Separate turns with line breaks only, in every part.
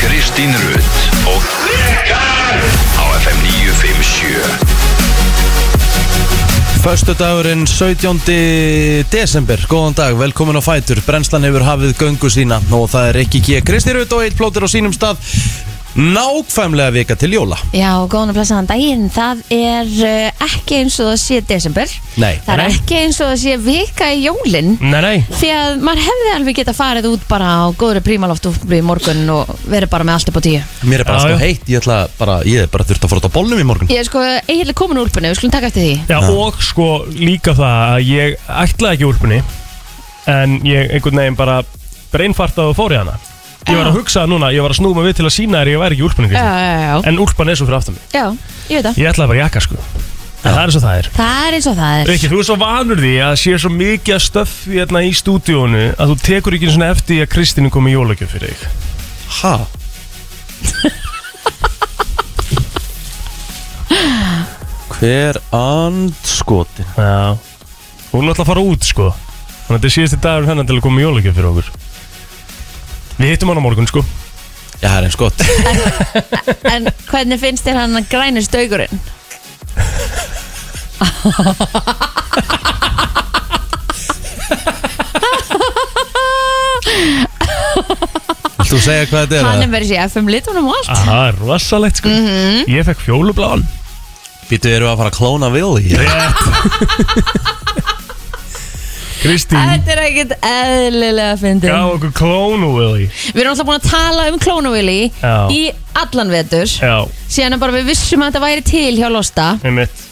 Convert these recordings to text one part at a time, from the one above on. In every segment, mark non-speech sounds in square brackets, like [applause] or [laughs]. Kristín Rutt og Rikar á FM 957
Föstu dagurinn 17. desember, góðan dag, velkomin á Fætur Brennslan hefur hafið göngu sína og það er ekki ekki Kristi Rut og eitt plótur á sínum stað Nákvæmlega vika til jóla
Já, góðan og blessaðan daginn. Það er uh, ekki eins og það sé desember.
Nei.
Það er
Nei.
ekki eins og það sé vika í jólinn.
Nei, nei,
Því að maður hefði alveg geta farið út bara á góðri prímaloftu í morgun og verið bara með allt upp á tíu.
Mér er bara
Já,
sko
já.
heitt, ég ætla bara, ég er bara þurft að fara út á bólnum í morgun
Ég er sko eiginlega komin úr úlpunni, við skulum taka eftir því.
já og sko líka það að ég ætlaði ekki úlpunni En ég einhvern veginn bara breinfartaði og fór í hana Ég var að hugsa það núna, ég var að snúma við til að sína þér að ég væri ekki í úlpunni
Já,
Kristín.
já, já, já.
En úlpan er svo fyrir aftan mig
Já, ég veit það.
Ég ætlaði bara í jakka sko En það er eins og það er
Það er eins og það er.
Rikki, þú ert svo vanur því að sé svo mikið að stöffi hérna í stúdíónu að þú tekur ekki svona eftir því að Kristínu kom í jólagjöf fyrir þig.
Ha? Hver andskoti?
Já. Hún er alltaf að fara út, sko. Þannig að þetta er síðasti dagur hennar til að koma í jólagjöf fyrir okkur. Við hittum hann á morgun, sko.
Já, það er eins gott
En hvernig finnst þér hann að grænir staugurinn?
Vilt Þú segja hvað þetta
Hann er
er?
verið sér FM litunum og allt.
Aha, það er rosalegt, sko.
Mhm.
Ég fekk fjólubláan.
Býtu, erum við að fara að klóna Willi?
[laughs] Kristín
Þetta er ekkert eðlilega fyndið.
gaf okkur klónu, Willi.
Við erum alltaf búin að tala um klónavili
Já.
í allan vetur.
Já,
síðan er bara við vissum að þetta væri til hjá Losta
einmitt.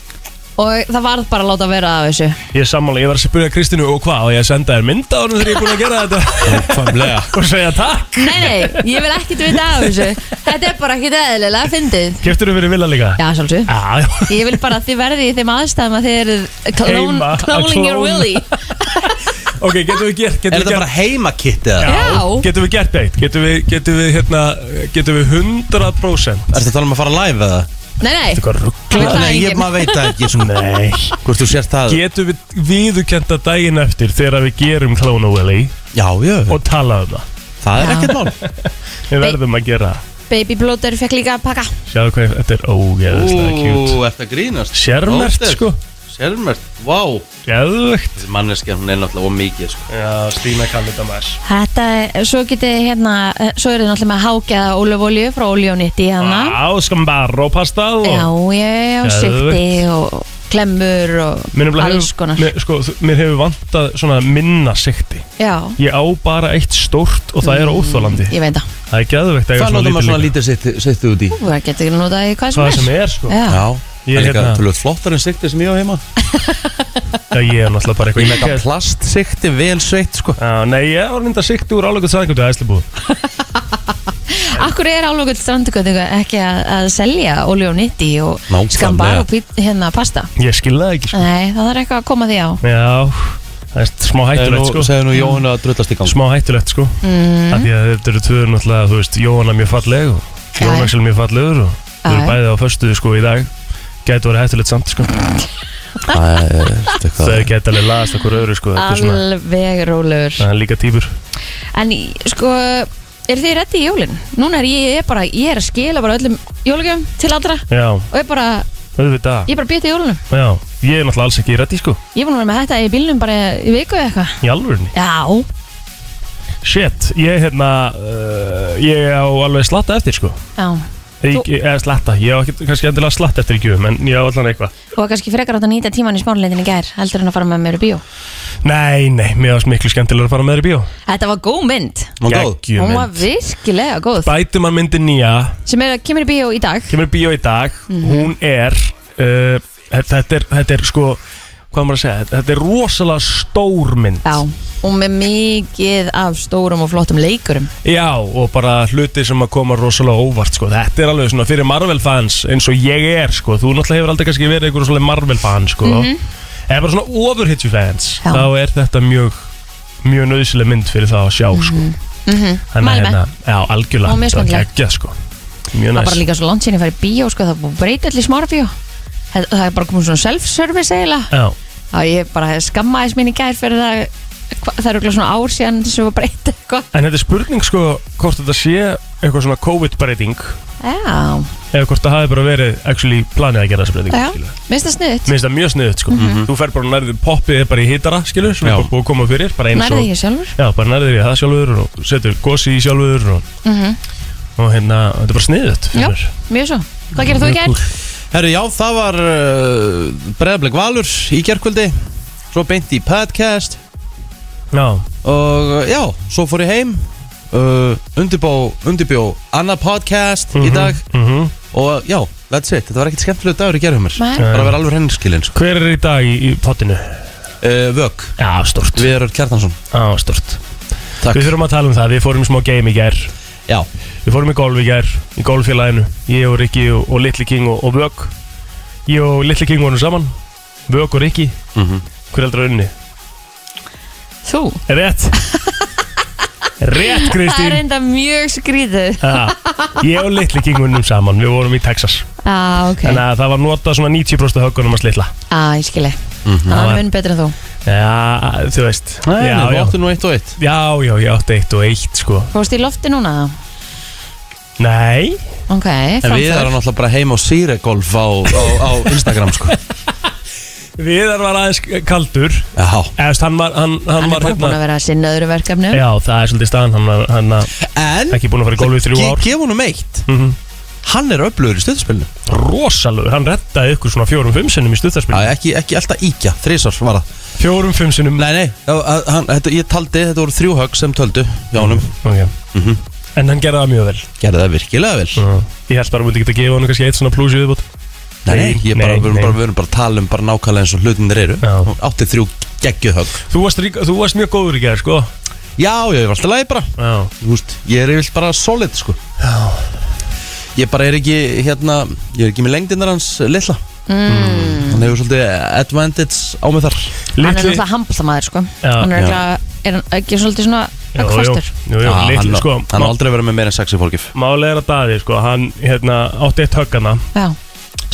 og það varð bara að láta vera af þessu
Ég er sammála, ég var að spyrja Kristínu og hvað og ég að senda þér mynda á hann þegar ég er búin að gera þetta
[laughs] Nákvæmlega.
og segja takk.
Nei, nei, ég vil ekkert vita af þessu Þetta er bara ekkert eðlilega fyndið
Keftur þú fyrir Villa líka?
Já, sjálfsög
Já, já.
Ég vil bara að þið verði í þeim aðstæðum að þið eru clone,
Heima, að
cloning your
klóna.
willy
Ok, getum við gert getum
Er
við
þetta
gert-
bara heimakitt eða?
Já.
Getum við gert eitt Getum við, getum við, hérna, getum við 100%
Er þetta tala um að fara live eða?
Nei, nei,
Eitthvað rugg
Þú veit það
Nei, ég
enginn.
maður veit það ekki svona,
Nei
Hvort þú sért það
Getum við viðukenda daginn eftir Þegar við gerum Clone Willy
Já, já,
Og tala um það
það er
Já.
ekkert mál
Við verðum að gera það
baby bloater fekk líka að pakka
Sjáðu hvað þetta er ógeðislega kjút
ert að grínast
Sérmert sko
Sérmert, vá Þessi
Geðvögt
manneskja, hún er náttúrulega of mikið sko.
Já, Stína kann þetta maður
Þetta, er- svo getið hérna eh, Svo eru þið náttúrulega með að hákja ólöfolju frá óljónitti hérna
Já, skambarro pastað og
Já, ég og sikti og klemmur og
Mér, nefnilega
alls
hefur,
konar
um mér, sko, þ- mér hefur vantað svona minna sikti
Já,
Ég á bara eitt stórt og
Mm.
það er óþólandi
ég veit það
Það er geðvegt að eiga
Hvað
svona
notar
lítið
maður svona
líka.
lítið sittu út í?
Þú það getur ekki notað í hvað sem
Hvað
er
sem er sko
Já.
Já,
Ég
ég er líka
hérna-
tölvöld flottar en siktið sem ég á heima
Já, ég er hérna- náttúrulega bara
Ég
eitthvað
með þetta plast siktið vel sveitt sko.
Já, nei, ég var mynda sikti úr álöku sæðingur til æslubúð
Akkur er álökull strandugöð ekki að, að selja olíu og nitti og
Nákvæmlega.
skambar og pít, hérna pasta
Ég skil það ekki sko.
Nei, það er eitthvað að koma því á
Já, það er smá hættulegt sko
Segðu nú Jóhannu að drullast í gang
Smá hættulegt sko
Mhm.
mm. Því að þetta eru tvöður náttúrulega, þú veist, Jóhanna mjög falleg og
Já, já.
Jón Axel mjög fallegur og
Já,
Þau eru
já.
bæði á föstuðu sko í dag Gæti voru hættulegt samt sko
Það er veistu hvað.
Þau gæti alveg laðast okkur öðru sko Þetta er svona,
Alveg rólegur
það er líka týpur
En í- sko, er þið reddi í jólin? Núna er ég, ég er bara, ég er að skila bara öllum jólugjöfum til allra
Já,
og ég bara,
auðvitað
ég er bara býtt í jólunum
Já, ég er náttúrulega alls ekki í reddi sko
Ég er búin að vera með þetta í bílnum bara í viku eða eitthvað
Í alvörni
Já,
Shit, ég hérna, uh, ég á alveg slatta eftir sko
já
Ég,
Þú-
eða slatta, ég á ekki, kannski endilega slatta eftir ekki en ég á allan eitthvað
Þú var kannski frekar átt að nýta tíman í smánuleitin í gær heldur en að fara með mér í bíó
Nei, nei, mér varst miklu skemmtilega að fara með þér í bíó
Þetta var góð mynd
Má góð?
Geggjuð
Hún var
mynd.
virkilega góð
Bætum að myndi nýja,
sem er, kemur í bíó í dag
kemur í bíó í dag
Mhm.
Hún er, uh, þetta er, þetta er sko, hvað á maður að segja Þetta er rosalega stór mynd
Já, og með mikið af stórum og flottum leikurum
Já, og bara hluti sem að koma rosalega óvart sko. Þetta er alveg svona fyrir Marvel fans eins og ég er, sko. þú náttúrulega hefur aldrei kannski verið einhverjum svona Marvel fans sko. eða bara svona overhitju fans
Mhm. Já.
þá er þetta mjög mjög nöðsileg mynd fyrir það að sjá sko. Þannig að
Mælum
hérna, já, algjörlega
Mhm. Og mjög
þetta
skemmtileg.
geggja, sko. Mjög
Það er
næs
bara líka svo langt síðan ég færi bíó sko, það er búið að breyta allir smárabíó Það það er bara komið svona self-service eiginlega
Já,
Það ég bara skammaðis mín í gær fyrir það hva, það eru svona ár síðan sem var breyta eitthvað
en þetta er spurning sko, hvort þetta sé eitthvað svona COVID-breyting
Já,
eða hvort það hafi bara verið actually planið að gera þessa breytingu
já, Mhm.
skilur.
minnst það sniðut
Mér finnst það mjög sniðut sko. Þú fer bara og nærðið poppið er bara í hitara skilur, sem
Já.
er bara búið að koma fyrir bara eins
Nærði
og,
ég sjálfur
já, bara nærðið í það sjálfur og setur gosi í sjálfur og,
Mhm.
og hérna, þetta er bara sniðut
Já, mjög svo Hvað gerir þú í gær?
Herru, já, það var uh, Breiðablik Valur í gerkvöldi Svo beint í podcast
Já,
Og uh, já, svo fór ég heim uh, Undirbjó, undirbjó Anna podcast í dag
mm
Og já, that's it, þetta var ekkert skemmtilega dagur í gerðumur
Nei.
Bara að vera alveg henniskilin sko.
hver er í dag í, í potinu?
uh, Vök,
Já, stort
við erum Kjartansson
Já, stort
Takk,
Við þurfum að tala um það, við fórum í smá game í gær
já,
Við fórum í golf í gær, í golffélaginu Ég og Rikki og, og Little King og, og Vög Ég og Little King vorum saman Vög og Rikki
Mhm.
Hver heldur að unni?
Þú
Rétt Rétt,
Það er
Kristín
enda mjög skrítið
Já, Ég og Little King unnum saman Við vorum í Texas
Já, ok
Þannig að það var notað svona 90% af höggunum að slitla
Já, ég skilji Það
var-
er mun betur en þú
Já, þú veist
Nei,
já,
við
já,
áttum nú eitt og eitt
já, já, ég átti eitt og eitt sko
Fórstu í lofti núna þá?
Nei,
Ok,
En við
framför
erum náttúrulega bara heim á Sýregolf á, á, á Instagram sko
[laughs] Viðar var aðeins kaldur
Já,
Eða, þú veist, hann var, hann, hann
Hann er
var hérna-
bara búin að vera að sinna öðru verkefni
Já, það er svolítið staðan Hann, var- hann var
en
ekki búin að fara í golf í þrjú
ge-
ár
Gefum honum eitt
mm
Hann er öflugur í stöðspilinu
Rosalögur, hann reddaði ykkur svona fjórum-fimm sinnum í
Já,
stuttarspil
ekki, ekki alltaf íkja, þrísar var það
Fjórum-fimm sinnum
Nei, nei, já, að- hann, þetta, ég taldi, þetta voru þrjú högg sem töldu hjá honum
okay. En hann gerði það mjög vel
Gerði það virkilega vel
Ég held bara að múti ekki að gefa honum kannski eitt svona plúsi viðbútt
Nei, nei, ég bara,
nei,
við erum
nei.
bara, við erum bara að tala um bara nákvæmlega eins og hlutinir eru
Já.
Hún Átti þrjú geggjuð högg
þú, varst rík- þú varst mjög góður í gerð, sko
Já, já, ég var alltaf lægi bara
Já,
Þú veist, ég er yfirlt bara solid, sko Já Ég bara er ekki, hérna, ég er ekki með lengdinnar hans litla mm. Hann hefur svolítið advantage á mig þar
Hann er náttúrulega handbóltamaður sko Hann er
Já.
Já.
örugglega- er hann ekki svolítið svona Öggfastur
Jú, jú,
Já,
litli,
Ah, hann,
sko
hann á aldrei verið með meira en sexi fólkif
Málega er að daði, sko Hann, hérna, átti eitt höggana
Já,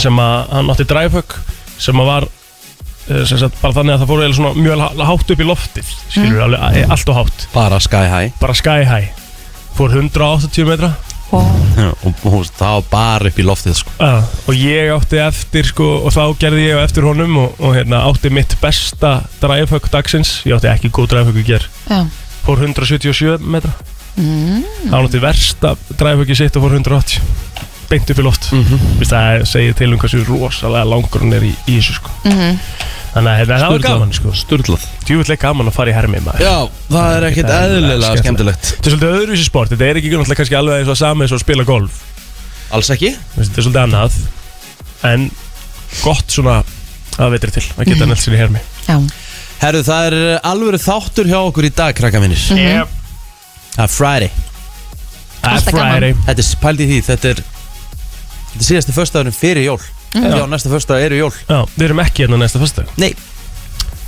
sem að hann átti dræfhögg sem að var eh, sem sagt, bara þannig að það fór eiginlega svona mjög há- hátt upp í loftið skilur
Mhm.
mm. alveg eh, allt og hátt
Bara sky high
bara sky high fór 180 metra
og
og þú veist, það var bara upp í loftið sko.
uh, og ég átti eftir sko og þá gerði ég á eftir honum og, og hérna átti mitt besta dræfhögg dagsins ég átti ekki góð dræfhögg í ger
já
fór 177 metra mm. hann átti versta dræfhögg í sitt og fór 180 beint upp í loft mm -hmm. það segir til um hversu rosalega langur hann er í, í þessu sko
Mhm.
þannig að hérna, það var gaman sko
Sturlað
djúvill er gaman að fara í hermi maður
Já, það er ekkert
Ekkert eðlilega
eðlilega skemmtilegt
skemmtilegt. Þetta er svolítið öðruvísi sport, þetta er ekki náttúrulega kannski alveg eins og sami eins og að spila golf
Alls ekki
Þú veist, Þetta er svolítið annað En gott svona að veitri til að geta nælt sér í hermi
Já,
Herru, það er alvöru þáttur hjá okkur í dag, krakka minnir
Yep.
Það er Friday
Það er
Alltaf gaman.
Friday
Þetta er pælt í því, þetta er Þetta er síðasti föstudagurinn fyrir jól Já, næsta föstudag eru jól
Já, við erum ekki hérna næsta fyrsta
Nei,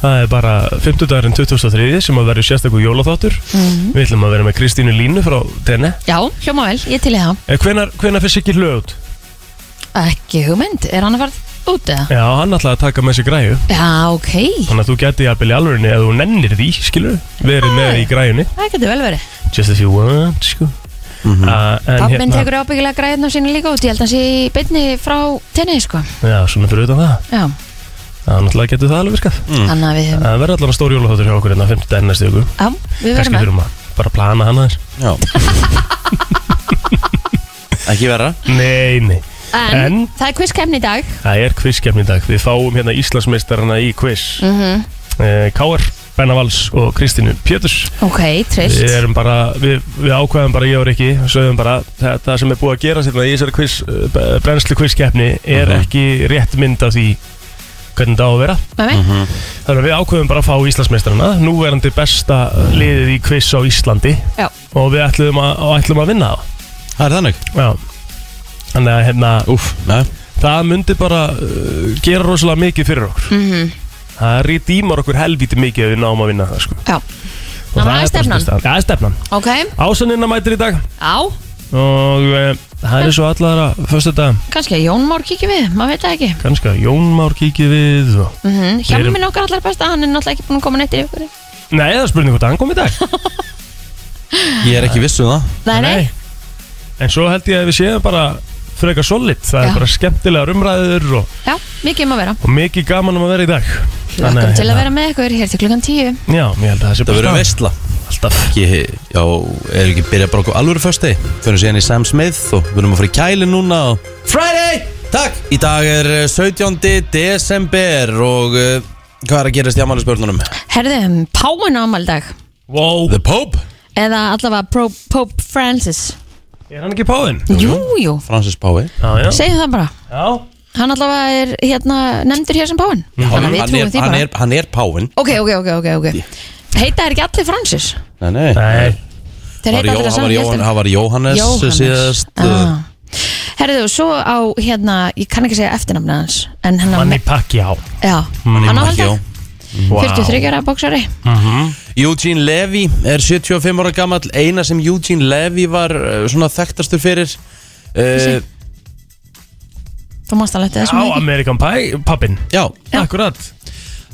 Það er bara 50 dagurinn 2003 sem að verður sérstakur jólaþáttur
Mhm.
Við ætlum að vera með Kristínu Línu frá Tene
já hljóma vel, ég til í það
Eh, Hvenær, hvenær fyrst ekki hlöð út?
Ekki hugmynd, er hann að fara út eða?
Já, hann ætlaði að taka með sér græju
Já, ok,
Þannig að þú geti jafnvel í alvörinni eða þú nennir því, skilur Verið með í græjunni
það getur vel verið
Just if you want, sko uh, en
Pappminn tekur ábyggilega græðin á sínu líka út Ég held að hann sé í beinni frá tenni sko
Já, svona fyrir utan það
Já,
Það náttúrulega getur það alveg virkað
þannig að við höfum
Það verður allan stór jólaþáttur hjá okkur hérna 50 daginn næstu ykkur
Já, við verðum
Kannski
með
þurfum að bara plana hann aðeins
já Ekki vera
Nei, nei
En,
En-
það er quizkemni í dag
Það er quizkefni í dag Við fáum hérna Íslandsmeistarana í quiz mm
Mhm.
Káar, Benna Valls og Kristínu Pjöturs
Ok, trillt
Við erum bara, við, við ákvæðum bara ég og Rikki Sögðum bara, það, það sem er búið að gera sérna í þessari quiz, eh, b- brennslu quizkefni Er
Mhm.
ekki rétt mynd af því hvernig það á að vera
Með mig?
Mhm.
Þannig að við ákveðum bara að fá Íslandsmeistarana Núverandi besta liðið í quiz á Íslandi
Já.
Og við ætlum að, og ætlum að vinna það
Það er þannig
Já Þannig að hérna,
Úf, nei
það myndi bara uh, gera rosalega mikið fyrir okkur mm
Mhm.
-hmm. Það rýdýmar okkur helvítið mikið ef við náum að vinna það sko.
Já,
Og
Þannig að það er
bara
stefnan.
svolítið staðan. Það er stefnan
ok,
Ásanina mætir í dag
á,
Og uh, það er svo allara Föstu dag,
kannski að Jón Már kíkja við Maður veit það ekki
kannski að Jón Már kíkið við og...
mm -hmm.
Við
Hjálmin
erum-
okkar allar besta, hann er náttúrulega ekki búin að koma neitt í ykkur [laughs]
Nei, það er spurning hvort hann kom í dag
Ég er ekki viss um það
Nei, nei,
En svo held ég að við séum bara frekar solid, það
Já.
er bara skemmtilegar umræður og,
Já, mikið um að vera
og mikið gaman um að vera í dag
Hlökkum til
hérna.
að vera með ykkur hér til klukkan tíu
hérna, Já, ég held að það sé
Það verður
staðan.
veistla
Alltaf
Ég, já, er ekki byrjað bara okkur alvöru fösti Fyrir síðan í Sam Smith og við erum að fara í kæli núna og Friday, takk! Í dag er eh, 17. desember og uh, hvað er að gerast í ammæli spörnunum?
Herðum, Páin ámaldag
Wow,
The Pope
Eða allavega Pro, Pope Francis
er hann ekki páðinn?
Jú, jú,
Francis Pái
Já, já,
segjum það bara
já
Hann allavega er hérna nefndur hér sem Páin Þannig að við
hann, er-
trúum því
hann,
bara
er- hann er Páin
Ok, ok, ok, ok, ok Heita er ekki allir Francis
Nei, nei,
Nei,
Var Jó-
Þeir heita allir það
Hann
saman
var Jóhann- hann var Jóhannes, Jóhannes. síðast ah.
ah. Herðu, svo á hérna Ég kann ekki segja eftirnafna hans En hann á
manni pakki á
Já, hann á
Jó.
alltaf 43 ára bóksari
Eugene Levy er 75 ára gammal Eina sem Eugene Levy var eh, svona þekktastur fyrir uh,
Þú mást alveg þetta
Á
þessum ekki
Amerikan Pie, pappinn
Já,
Akkurat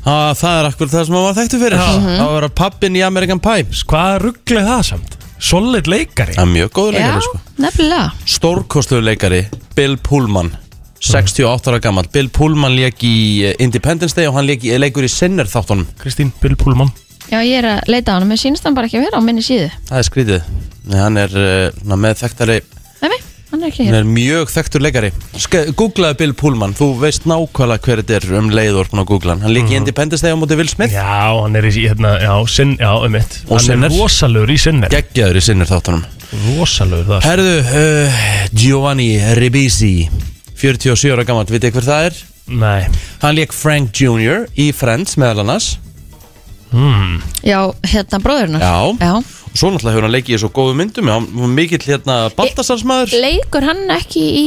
Ha, það er akkur það sem hann var þekktu fyrir Það var pappin í American Pie
Hvað ruggli það samt? Solid leikari
Það er mjög góður
Já,
leikari sko.
nefnilega
Stórkostluðu leikari, Bill Pullman 68 ára gammal Bill Pullman leik í eh, Independence Day og hann leik, leikur í Sinner þáttunum
Kristín Bill Pullman
Já, ég er að leita á hann, mér sýnist hann bara ekki að vera á minni síðu
Það er skrítið Nei, Hann er uh, með þekktari
Nei, nei, hann er ekki
Hann
hér
er mjög þekktur leikari Ske- Googlaðu Bill Pullman, þú veist nákvæmlega hver þetta er um leiðorpun á Googlan Hann leik í Independence Day á móti Will Smith
Já, hann er í hérna, já, sinn, já, um mitt
Og
Hann
Sinner.
er rosalur í sinner
Geggjaður í Sinner þáttunum
Rosalur það
Herðu, uh, Giovanni Ribisi 47 ára gammal, vitið hver það er?
Nei
Hann leik Frank Jr. í Friends meðal annars
Já, hérna bróðurnar
Já.
Já
og svo náttúrulega hefur hann leikið í svo góðu myndum hann var mikill hérna Baltasarsmaður
Leikur hann ekki í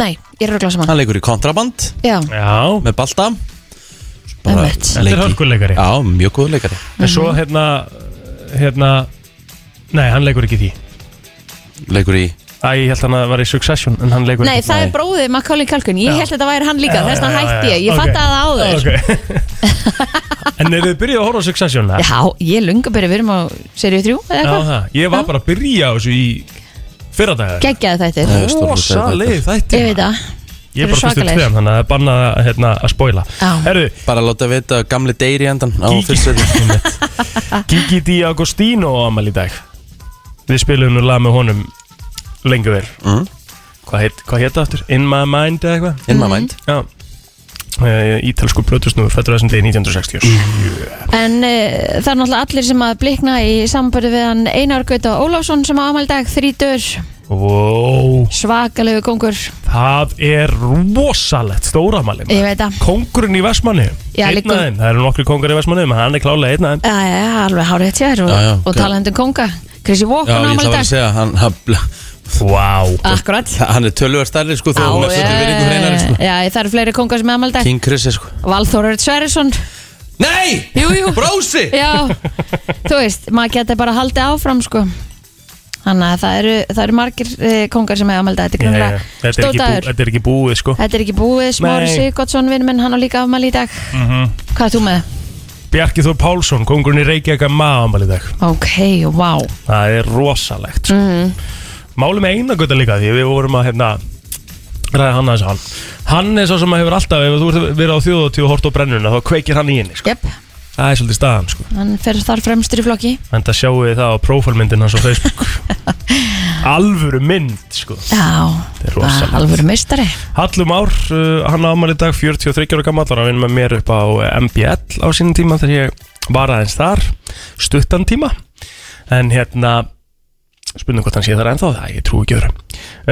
Nei, ég er að glasa hann
hann leikur í kontraband
Já,
Já,
með Balta
Einmitt.
þetta er hörkuleikari
Já, mjög góðu leikari
En svo hérna, hérna Nei, hann leikur ekki í því
leikur í
Æ, ég held hann að var í Succession En hann leikur
nei,
ekki
það
Nei.
er bróðið Macaulay Culkin Ég
Já.
held að þetta væri hann líka, þess vegna
Já, já,
hætti ég
já,
Ég
ok.
fatt að það áður
Ok [laughs] En eru þið byrjuð að horfa á Succession? eða?
Já, ég lunga byrja, við erum á seríu 3 eða
Já,
eitthvað
það. Ég var
Já.
bara að byrja á þessu í fyrradagið
Geggjaði þetta
Nei, stórkostlegur
Rosaleg
þáttur.
þætti
Ég veit það
Ég er
Þeir eru
bara fyrstu
svakalegir.
tveim Þannig að það er bannað að, hérna, að spoila
Já.
Herru,
bara að láta vita að gamli deyri í endan á
Gigi.
fyrstu
[laughs] Gigi Di Agostino á amal í dag Við spilum nú lag með honum lengi vel
Mm.
Hvað heit, hvað heit það aftur? In My Mind eða eitthvað?
in my mind
Já Eh, Ítalsku plötusnúður fættur þessum degi 1967
En uh, það er náttúrulega allir sem að blikna í sambörðu við hann Einar Gauta Ólafsson sem á ámaldag þrítur
Vó,
svakalegu kongur
það er rosalegt stóramali
Ég veit það
Kongurinn í Vestmanni
Já,
Einn
liggur-
af þeim, það eru nokkri kongur í Vestmanni En hann er klálega einn af þeim
Já, já, já, alveg hárið hjá þér og,
Já, já,
og
ok.
talandi um konga Krissi
já, ég
Vókun
ætla að vera
ámaldag
að segja hann, hann,
Vá
Akkurat
hann er tölvöð stærri sko
Já,
þegar hún er
já,
fullur virðingu fyrir einari sko
já, það eru fleiri kongar sem er ámaldag
King Chris sko
Valþór Örd Sverrisson
Nei!
Jú, jú.
Brósi!
Já, þú veist, maður getur bara haldið áfram sko Þannig að það eru, það eru margir uh, kongar sem er ámaldag Þetta er
Já, já,
grunlega
já. Þetta er ekki bú-
stótaður
þetta er ekki búið sko
Þetta er ekki búið, Smári
Nei. Mhm.
Sigurdsson vinn minn, hann á líka afmæli í dag Hvað er þú með?
Bjarki Þór Pálsson, kongurinn í Reykjavík að maður í dag
Ok, wow
Það er rosalegt sko.
Mhm.
Máli með eina gutta líka því við vorum að hérna ræða hann aðeins á hann Hann er svo sem að hefur alltaf, ef þú ert verið á þjóðatíu og hort á brennuna þá kveikir hann í henni sko.
Jep,
Það er svolítið staðan sko.
hann fer þar fremstur í flokki
En það sjáum við það á prófálmyndin hans á
[laughs]
Facebook Alvöru mynd sko.
Já,
Þetta er rosalegt.
alveg meistari
Hallum Ár, uh, hann á afmæli í dag 43 ára gammal, var að vinna með mér upp á eh, MBL á sínum tíma þegar ég var aðeins þar, stuttan tíma en hérna spurning hvort hann sé þar ennþá, það ég trú ekki öðru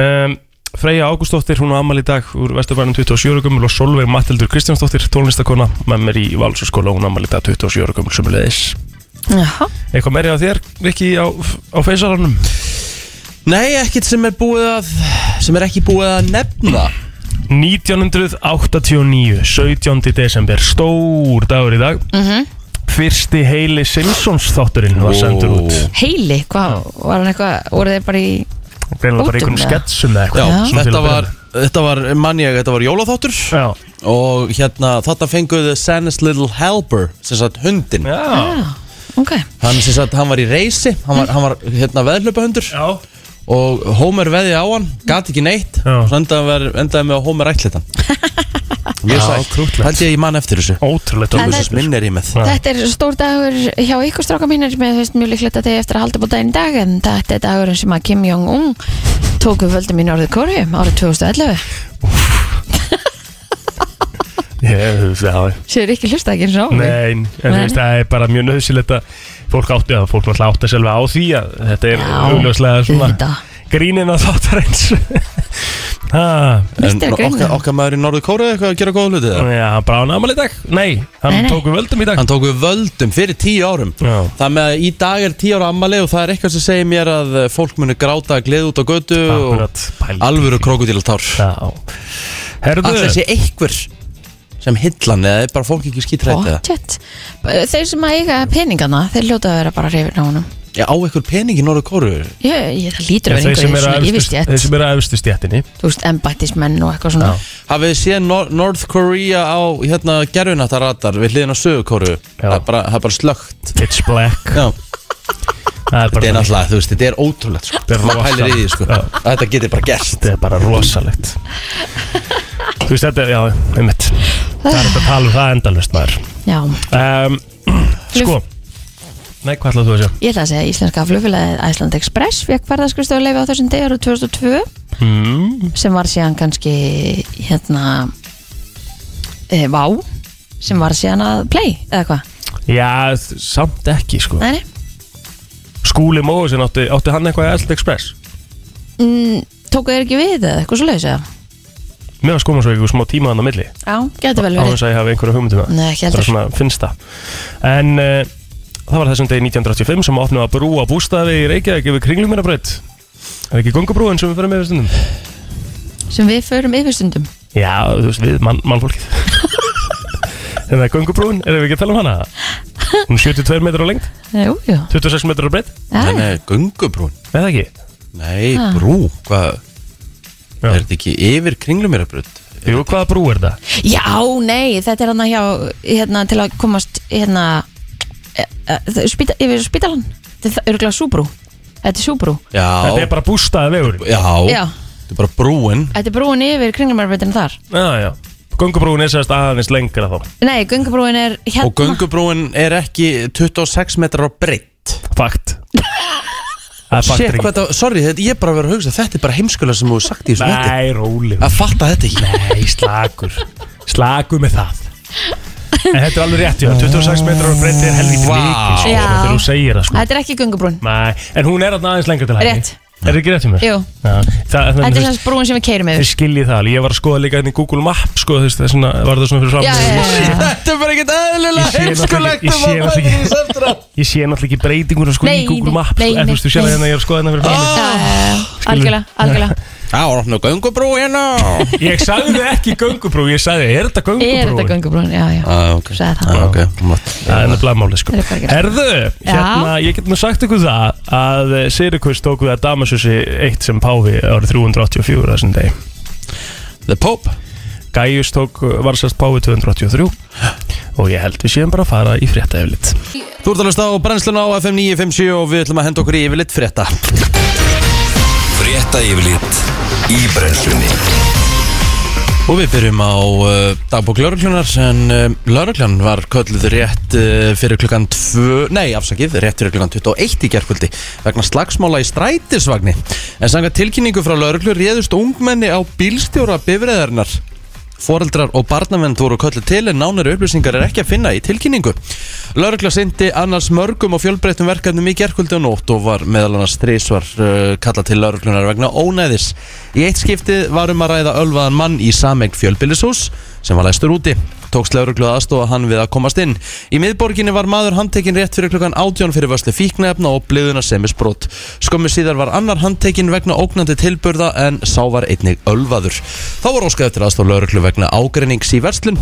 um, Freyja Ágústóttir, hún á afmæli í dag úr Vesturbænum 27 ára gömul og Solveig Mattildur Kristjánsdóttir, tónlistakona með mér í Valsarskóla, hún á afmæli í dag 27 ára gömul sumulegis.
Jaha,
Eitthvað meiri á þér, Rikki, á, á feysaranum?
Nei, ekkert sem er búið að sem er ekki búið að nefna
1989, 17. desember, stór dagur í dag
Mhm.
Fyrsti heili Simpsons þátturinn var sendur út
heili, hvað, var hann eitthvað, voru þeir bara í
Greinlega bara
Útum,
einhvern
eða?
sketsum eða eitthvað
Já,
svona til
þetta
að
var,
byrja
þetta var, mann ég, þetta var jólaþáttur
með. Já,
og hérna, þetta fenguðu Sannis Little Helper, sem sagt hundin
já,
Já, ok
hann sem sagt, hann var í reysi, hann var, hann var hérna veðlöpahundur
já
og Homer veði á hann, gat ekki neitt
Já.
og svo endaði, ver, endaði með að Homer
[laughs]
ætlit hann mjög
Já,
sætt,
krúttlegt.
held ég að ég man eftir þessu
Ótrúlega
En
Dómusins
tónlistarspil.
minn er ég með
Já.
Þetta er stór dagur hjá ykkur stráka mínir með veist, mjög líklegt að þið eigi eftir að halda búið daginn í dag en þetta er dagurinn sem að Kim Jong-un tók við völdum í Norður Kóru árið 2011
Ég, já, já.
Sér ekki hlusta ekki eins og á mig.
Nei, en þú
Nei.
veist, það er bara mjög nöðsilegt að fólk átti að fólk náttúrulega átti selva á því að þetta er
Já,
augljóslega svona
auðvitað.
grínin að þáttar eins [laughs] Ha,
En
Misti að grínið.
okkar, okkar maður í Norður Kóra eitthvað að gera góða hluti það
Já, hann bráði námali í dag Nei, hann
Nei, nei.
tók við völdum í dag
Hann tók við völdum fyrir tíu árum
Já.
Það með að í dag er tíu ára ammali og það er eitthvað sem segir mér að eh, fólk muni gráta að gleð út á götu og
Akkurat, pæl
alvöru krokodílatár
Já Herðu
Alltaf sé einhver sem hillan eða er bara fólk ekki skítrætt eða
Pottet. Þeir sem að eiga peningana þeir hljóta að vera bara hrifin á honum
Ég á einhver pening í Norður Kóru
ég, ég, Það lítur að
Þeir
vera
sem
einhverjum
eru
svona
að
yfirstjætt
efstu- þeir sem eru að efstu stjættinni
Þú veist, embættismenn og eitthvað svona
Já.
Hafið þið séð Nor North Korea á hérna gerfinættaratar við hliðin á Söður Kóru
Já.
það, er bara- það er bara slögt
Pitch black
Já, þetta
Það er
er
bara,
náttúrulega, þú veist, þetta er ótrúlegt sko.
Þetta er
Maður pælir í því, sko.
rosa. Já.
Þetta getur bara gerst
þetta er bara rosalegt Þú veist, þetta er, já, einmitt Það er þetta að tala um það endalvist maður
Já,
um, [clears throat] Sko Nei, hvað ætlaðu þú að sjá?
ég ætla að segja að íslenska flugfélagið Æsland Express fekk ferðarskristofu leifi á þessum degur 2002
Mm.
sem var síðan kannski hérna e, Vá sem var síðan að play eða hvað
Já, þ- samt ekki sko
Nei, nei.
Skúli Móðusin átti, átti hann eitthvað í Æsland Express
mm, tóku þeir ekki við eða eitthvað svo leiðis eða
Mér var skóma svo eitthvað smá tíma hann á milli
Já, getur vel
Á
verið
þess að ég hafi einhverja hugmyndum það
Nei, ekki
Bara
heldur.
svona finnst það En uh, það var þessum degi 1985 sem opnaði að brúa bústaði í Reykjavík yfir kringluminabraut Er ekki gungubrúin sem við fyrir með yfir stundum?
sem við förum yfirstundum
Já, þú veist, við, mann, mannfólkið En það er gungubrúin, erum við ekki að tala um hana? Hún er 72 metrar á lengt,
Jú, jú
26 metrar á breytt,
Nei,
Já,
nei, gungubrún
eða ekki?
Nei,
Ha.
brú, hvað
Já.
Er þetta ekki yfir kringlumirabröð?
Jú, hvaða brú er það?
Já, nei, þetta er hann að hjá hérna, til að komast hérna, e, e, þau- spýta, yfir spítalan Þetta er örgulega súbrú Þetta er súbrú
Já,
Þetta er bara bústaði vegurinn
já,
Já,
þetta er bara brúin
þetta er brúin yfir kringlumarbeitin þar
Já, já Gungubrúin er sérst aðeins lengra þá
Nei, göngubrúin er hérna
Og göngubrúin er ekki 26 metrar á breytt
Fakt Það er
Shit,
faktur
hvað
ekki
þetta, sorry, þetta, ég er bara að vera að hugsa Þetta er bara heimskulega sem þú hefur sagt í þessu þetta
Nei, róli
Að fatta þetta ekki
Nei, slagur Slagur með það En þetta er alveg rétt, já 26 metrar og breytti er helvítið
Vá.
mikið sko,
Já.
Þegar þú segir það sko
Þetta er ekki göngubrúin
Nei, en hún er þarna aðeins lengra til hægri
Rétt.
Er það ekki rétt hjá mér?
Jú.
Já, það, það,
Þetta er
það,
þess brúin sem við keirum
Þeir
yfir
skiljið það alveg Ég var að skoða líka hérna í Google Map sko, þess, þess, svona, Var það svona fyrir fram
Já, já, já, já.
Þetta er bara ekkert eðlilega
Ég sé náttúrulega ekki-
heimskulegt
ég
um
sé
að bæta
náttúrulega ekki-
því sem eftir á.
Ég sé náttúrulega ekki breytinguna sko
Nei,
í Google
nei,
Map sko,
nei,
En þú veist, þú sé
nei.
það hérna, ég er að skoða hérna fyrir fram
[laughs] Já, já, já, Algjörlega,
[laughs]
algjörlega
Já, opna göngubrú hérna [laughs]
Ég sagði ekki göngubrú, ég sagði, er þetta göngubrú?
Er þetta göngubrúin, já, já
Ah, ok.
Sagði það.
Ah, ok, mátt.
Það er nefnilega málið sko
Það er bara ekki-
Herðu, hérna, ég get nú sagt ykkur það að Sirikus tók við að Damasusi eitt sem páfi árið 384 þessum degi
The Pope
Gaius tók, uh, var sérst páfi 283 og ég held við séum bara að fara í frétta eflitt
Þú ert að hlusta á brennsluna á FM 957 og við ætlum að henda okkur í yfirleitt frétta
Frétta yfirlit í brennslunni
Og við byrjum á uh, dagbók lauruglunar en uh, lauruglan var kölluð rétt uh, fyrir klukkan 2, nei afsakið, rétt fyrir klukkan 21 í gerkvöldi vegna slagsmála í strætisvagni. En sanga tilkynningu frá lauruglu réðust ungmenni á bílstjóra bifræðarinnar. Foreldrar og barnavend voru kölluð til en nánari upplýsingar er ekki að finna í tilkynningu. Laurugla syndi annars mörgum og fjölbreytum verkefnum í gerkvöldi og nótt og var meðal annars þrísvar uh, kallað til lauruglunar vegna ónæðis. Í eitt skiptið var um að ræða ölvaðan mann í sameign fjölbýlishús sem var læstur úti. Tókst lauruglu að aðstofa hann við að komast inn. Í miðborginni var maður handtekinn rétt fyrir klukkan 18 fyrir vörslu fíknefna og bliðuna semisbrot. Skömmu síðar var annar handtekinn vegna ógnandi tilburða en sá var einnig ölvaður. Þá var óskað eftir aðstofa lauruglu vegna ágreinings í verslun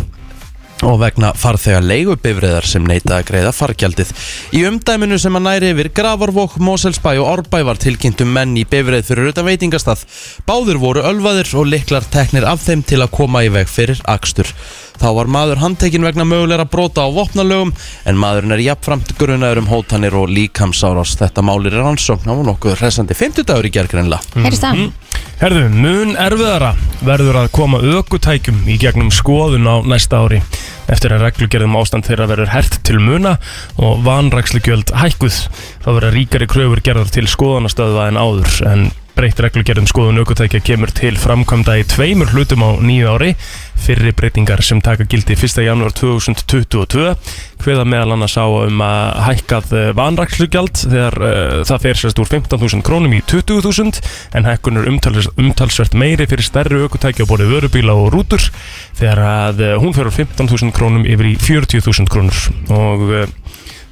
og vegna farþega leigubifriðar sem neita að greiða fargjaldið. Í umdæminu sem að næri yfir Gravarvók, Moselsbæ og Árbæ var tilkynntum menn í bifrið fyrir utan veitingastað. Báður voru ölvaðir og liklar teknir af þeim til að koma í veg fyrir akstur. Þá var maður handtekinn vegna mögulegra brota á vopnalögum en maðurinn er jafnframt grunaður um hótanir og líkamsárás. Þetta málir er rannsókn, það var nokkuð hressandi 50 dagur í
Mm.
gergreinlega.
Heyrist það?
Herðu, mun erfiðara verður að koma ökutækjum í gegnum skoðun á næsta ári eftir að reglugerðum ástand þeirra verður hert til muna og vanrækslugjöld hækkuð. Þá verður ríkari kröfur gerðar til skoðanastöðva en áður en breytt reglugerðum skoðun ökutækja kemur til framkvæmda í tveimur hlutum á nýju ári fyrri breytingar sem taka gildi 1. janúar 2022 hveða meðal annars á um að hækkað eh, vanrækslugjald þegar uh, það fer sérst úr 15.000 krónum í 20.000 en hækkunur umtals, umtalsvert meiri fyrir stærri ökutæki á borði vörubíla og rútur þegar að uh, hún fer úr 15.000 krónum yfir í 40.000 krónur og uh,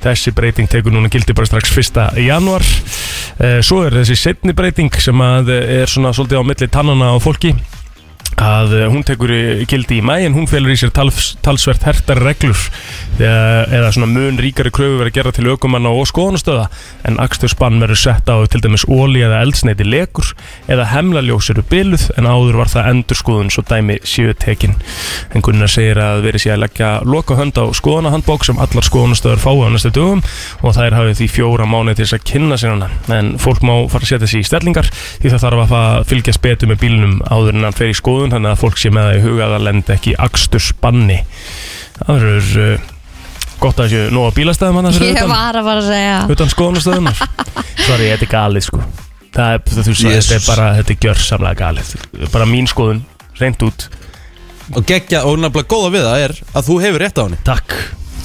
Þessi breyting tekur núna gildi bara strax 1. januar. Eh, Svo er þessi setni breyting sem að eh, er svona svolítið á milli tannana á fólki að eh, hún tekur í- gildi í mæ en hún felur í sér tals, talsvert hertar reglur eða, eða svona mun ríkari kröfu verið að gera til aukumanna og skoðunastöða en akstursbann verður sett á ef til dæmis óli eða eldsneiti lekur eða hemlaljós eru byluð en áður var það endurskoðun svo dæmi séu tekin en Gunnar segir að verið sé að leggja loka hönd á skoðunahandbók sem allar skoðunastöður fái á næstu dögum og þær hafi því fjóra mánuði til þess að kynna sér hana en fólk má fara að setja sér í stellingar því það þarf að fa- fylgjast betur með bílnum áður en hann fer í skoðun þannig að fólk sé með það í huga að það lenda ekki akstursbanni það verður uh, gott að þessu nóga bílastæðum hann fyrir
Ég
utan,
var að bara að segja
utan
[laughs]
skoðunastöðunar sorry, þetta er galið sko það er, þú, þú, þetta er
Jesus.
bara, þetta er gjörsamlega galið bara mín skoðun, reynd út
Og geggja, og nefnilega góða við það er að þú hefur rétt á henni.
takk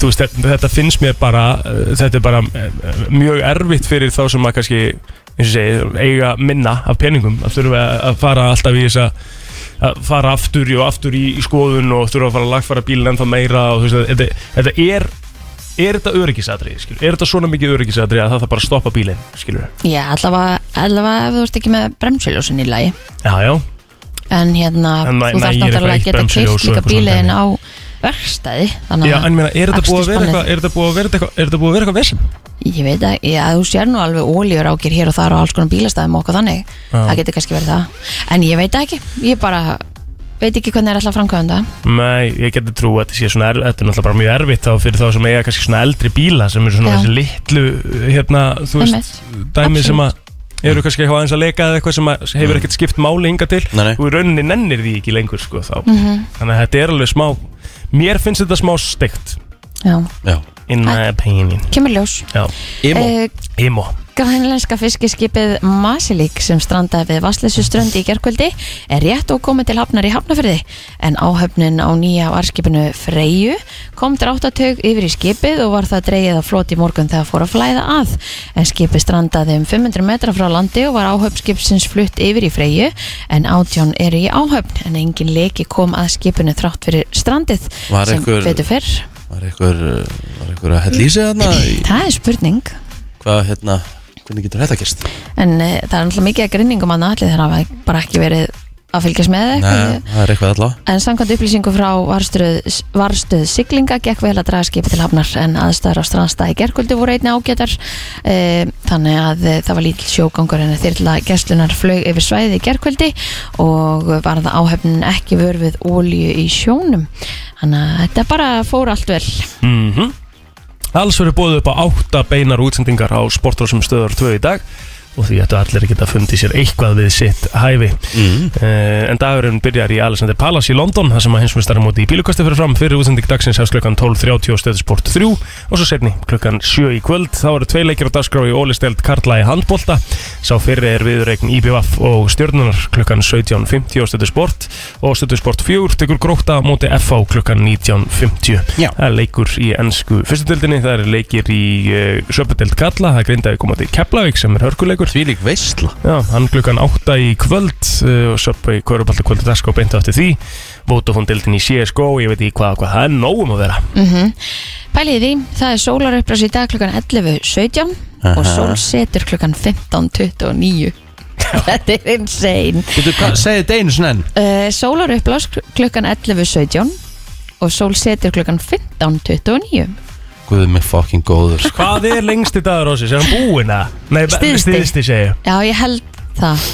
Þú veist, þetta, þetta finnst mér bara uh, þetta er bara uh, mjög erfitt fyrir þá sem að kannski, eins og segi, eiga minna af peningum, að þurfa að- að fara alltaf í þess að að fara aftur í og aftur í, í skoðun og þurfa að fara að lagfara bílinn ennþá meira og þú veist, þetta, þetta er er þetta öryggisatrið, skilur, er þetta svona mikið öryggisatrið að það þarf bara að stoppa bílinn, skilur
Já, allavega, allavega ef þú ert ekki með bremsuljósin í lagi
Já, já,
En hérna,
En næ-
þú þarft
nægir eitthvað
náttúrulega
eitt
að geta
bremsuljós og
keirt líka
eitthvað
bíliðin
svona
á verkstæði Þannig
já en meina, er þetta búið að vera
Akstursbannið.
eitthvað er þetta búið að vera eitthvað, er þetta búið að vera eitthvað vesum?
ég veit að, já, þú sér nú alveg ólífur ákir hér og þar og alls konar bílastæðum og okkur þannig
Já.
Það getur kannski verið það En ég veit það ekki, ég bara veit ekki hvernig er alltaf framkvæmda
Nei, ég geti trú að þetta sé svona erfitt, þetta er náttúrulega bara mjög erfitt þá fyrir þá sem eiga kannski svona eldri bíla sem eru svona
Já.
þessi litlu, hérna, þú veist, dæmi sem að eru kannski eitthvað aðeins að leika eða eitthvað sem að hefur ekkert skipt máli hinga til
Mm. Nei, nei.
og í rauninni nennir því ekki lengur sko þá. Þannig að þetta er alveg smá, mér finnst þetta smá steikt
Já,
Já.
in my opinion.
kemur ljós
Já,
Imo.
Eh,
imo.
Grænlenska fiskiskipið Masilík sem strandaði við Vassleysu strönd í gerkvöldi er rétt og komið til hafnar í hafnafyrði en áhöfnin á nýja varskipinu Freyju kom dráttatög yfir í skipið og var það dreigið að floti morgun þegar fór að flæða að en skipið strandaði um 500 metra frá landi og var áhöfn skipsins flutt yfir í Freyju en átján eru í áhöfn en engin leki kom að skipinu þrátt fyrir strandið
Var
sem
einhver-
betur fyrr
Var einhver, uh, var einhver að hella í sig þarna? í-
Það er spurning
Hvað, hérna, hvernig getur þetta gerst?
En uh, það er alltaf mikið að grinningum að allir þeirra hafa bara ekki verið að fylgjast með eða eitthvað.
Nei, það er eitthvað allavega.
En samkvæmt upplýsingu frá varstuð, varstuð siglinga gekk vel að draga skipi til hafnar en aðstæður á strandstæði gerkvöldu voru einni ágætar e, þannig að eh, það var lítil sjógangur en þyrla gæslunar flög yfir svæði í gerkvöldi og var það áhefnin ekki vörfið ólíu í sjónum þannig að þetta bara fór allt vel
Mm Alls verður búið upp á átta beinar útsendingar á sportrásum stöðar 2 í dag og því ættu allir að geta fundið sér eitthvað við sitt hæfi.
Mm.
Uh, en dagurinn byrjar í Alexander Palace í London þar sem að hinsmestari móti í bílukastu fyrir fram fyrir útsending dagsins hefst klukkan 12.30 og stöðsport 3 og svo setni klukkan 7 í kvöld þá eru tvei leikir á dagskrá í ólisteld Karla í handbolta sá fyrri er viðreikn IBVF og stjörnunar klukkan 17.50 og stöðsport og stöðsport 4 tekur grókta móti FH klukkan 19.50
Já.
það er leikur í ennsku fyrstutöldinni það eru leikir í uh, söpudeld Karla það er grindaði komandi Keflavík sem er hörkuleikur
Því lík veistla.
Já, hann klukkan 8 í kvöld uh, og söppa í kvörubaltu kvöldu dagská beintu eftir því Votafón dildin í CSGO, ég veit ekki hvað, hvað, það er nógum að vera
mm Pæliði því, það er sólarupprás í dag klukkan 11.17 og sól setur klukkan 15.29 Þetta er insane
Getur, hvað, segðu þetta einu sinni enn.
uh, Sólarupprás klukkan 11.17 og sól setur klukkan 15.29
Guðið mig fucking góður. sko.
Hvað er lengsti dagur á sig, er hann búinn að? Nei,
Styðsti.
stiðsti segi ég.
Já, ég held það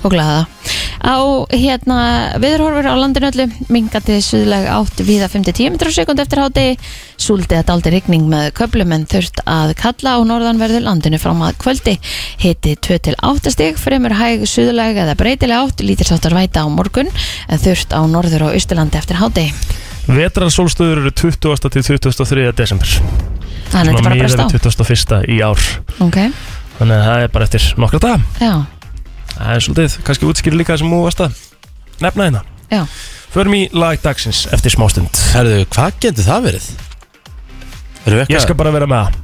Kóklaði það á hérna viðurhorfur á landinu öllu mingandi suðleg átt viða 5-10 metrar á sekund eftir hádegi súldið að daldi rigning með köplum en þurft að kalla á norðanverðu landinu fram að kvöldi hiti 2-8 stig fremur hæg suðleg eða breytileg átt lítir sáttar væta á morgun en þurft á norður og austurlandi eftir hádegi
Vetrarsólstöður eru 20. til 23. desember
þannig að þetta bara breyst á
Svona miðað við 21. í ár
ok,
Þannig að það er bara eftir nokkra daga
já,
Það er svolítið, kannski útskýri líka það sem þú varst að nefna hérna
já
Förum í lag dagsins eftir smástund
Herðu, hvað getur það verið? Erum við
Ég skal
eitthvað?
bara vera með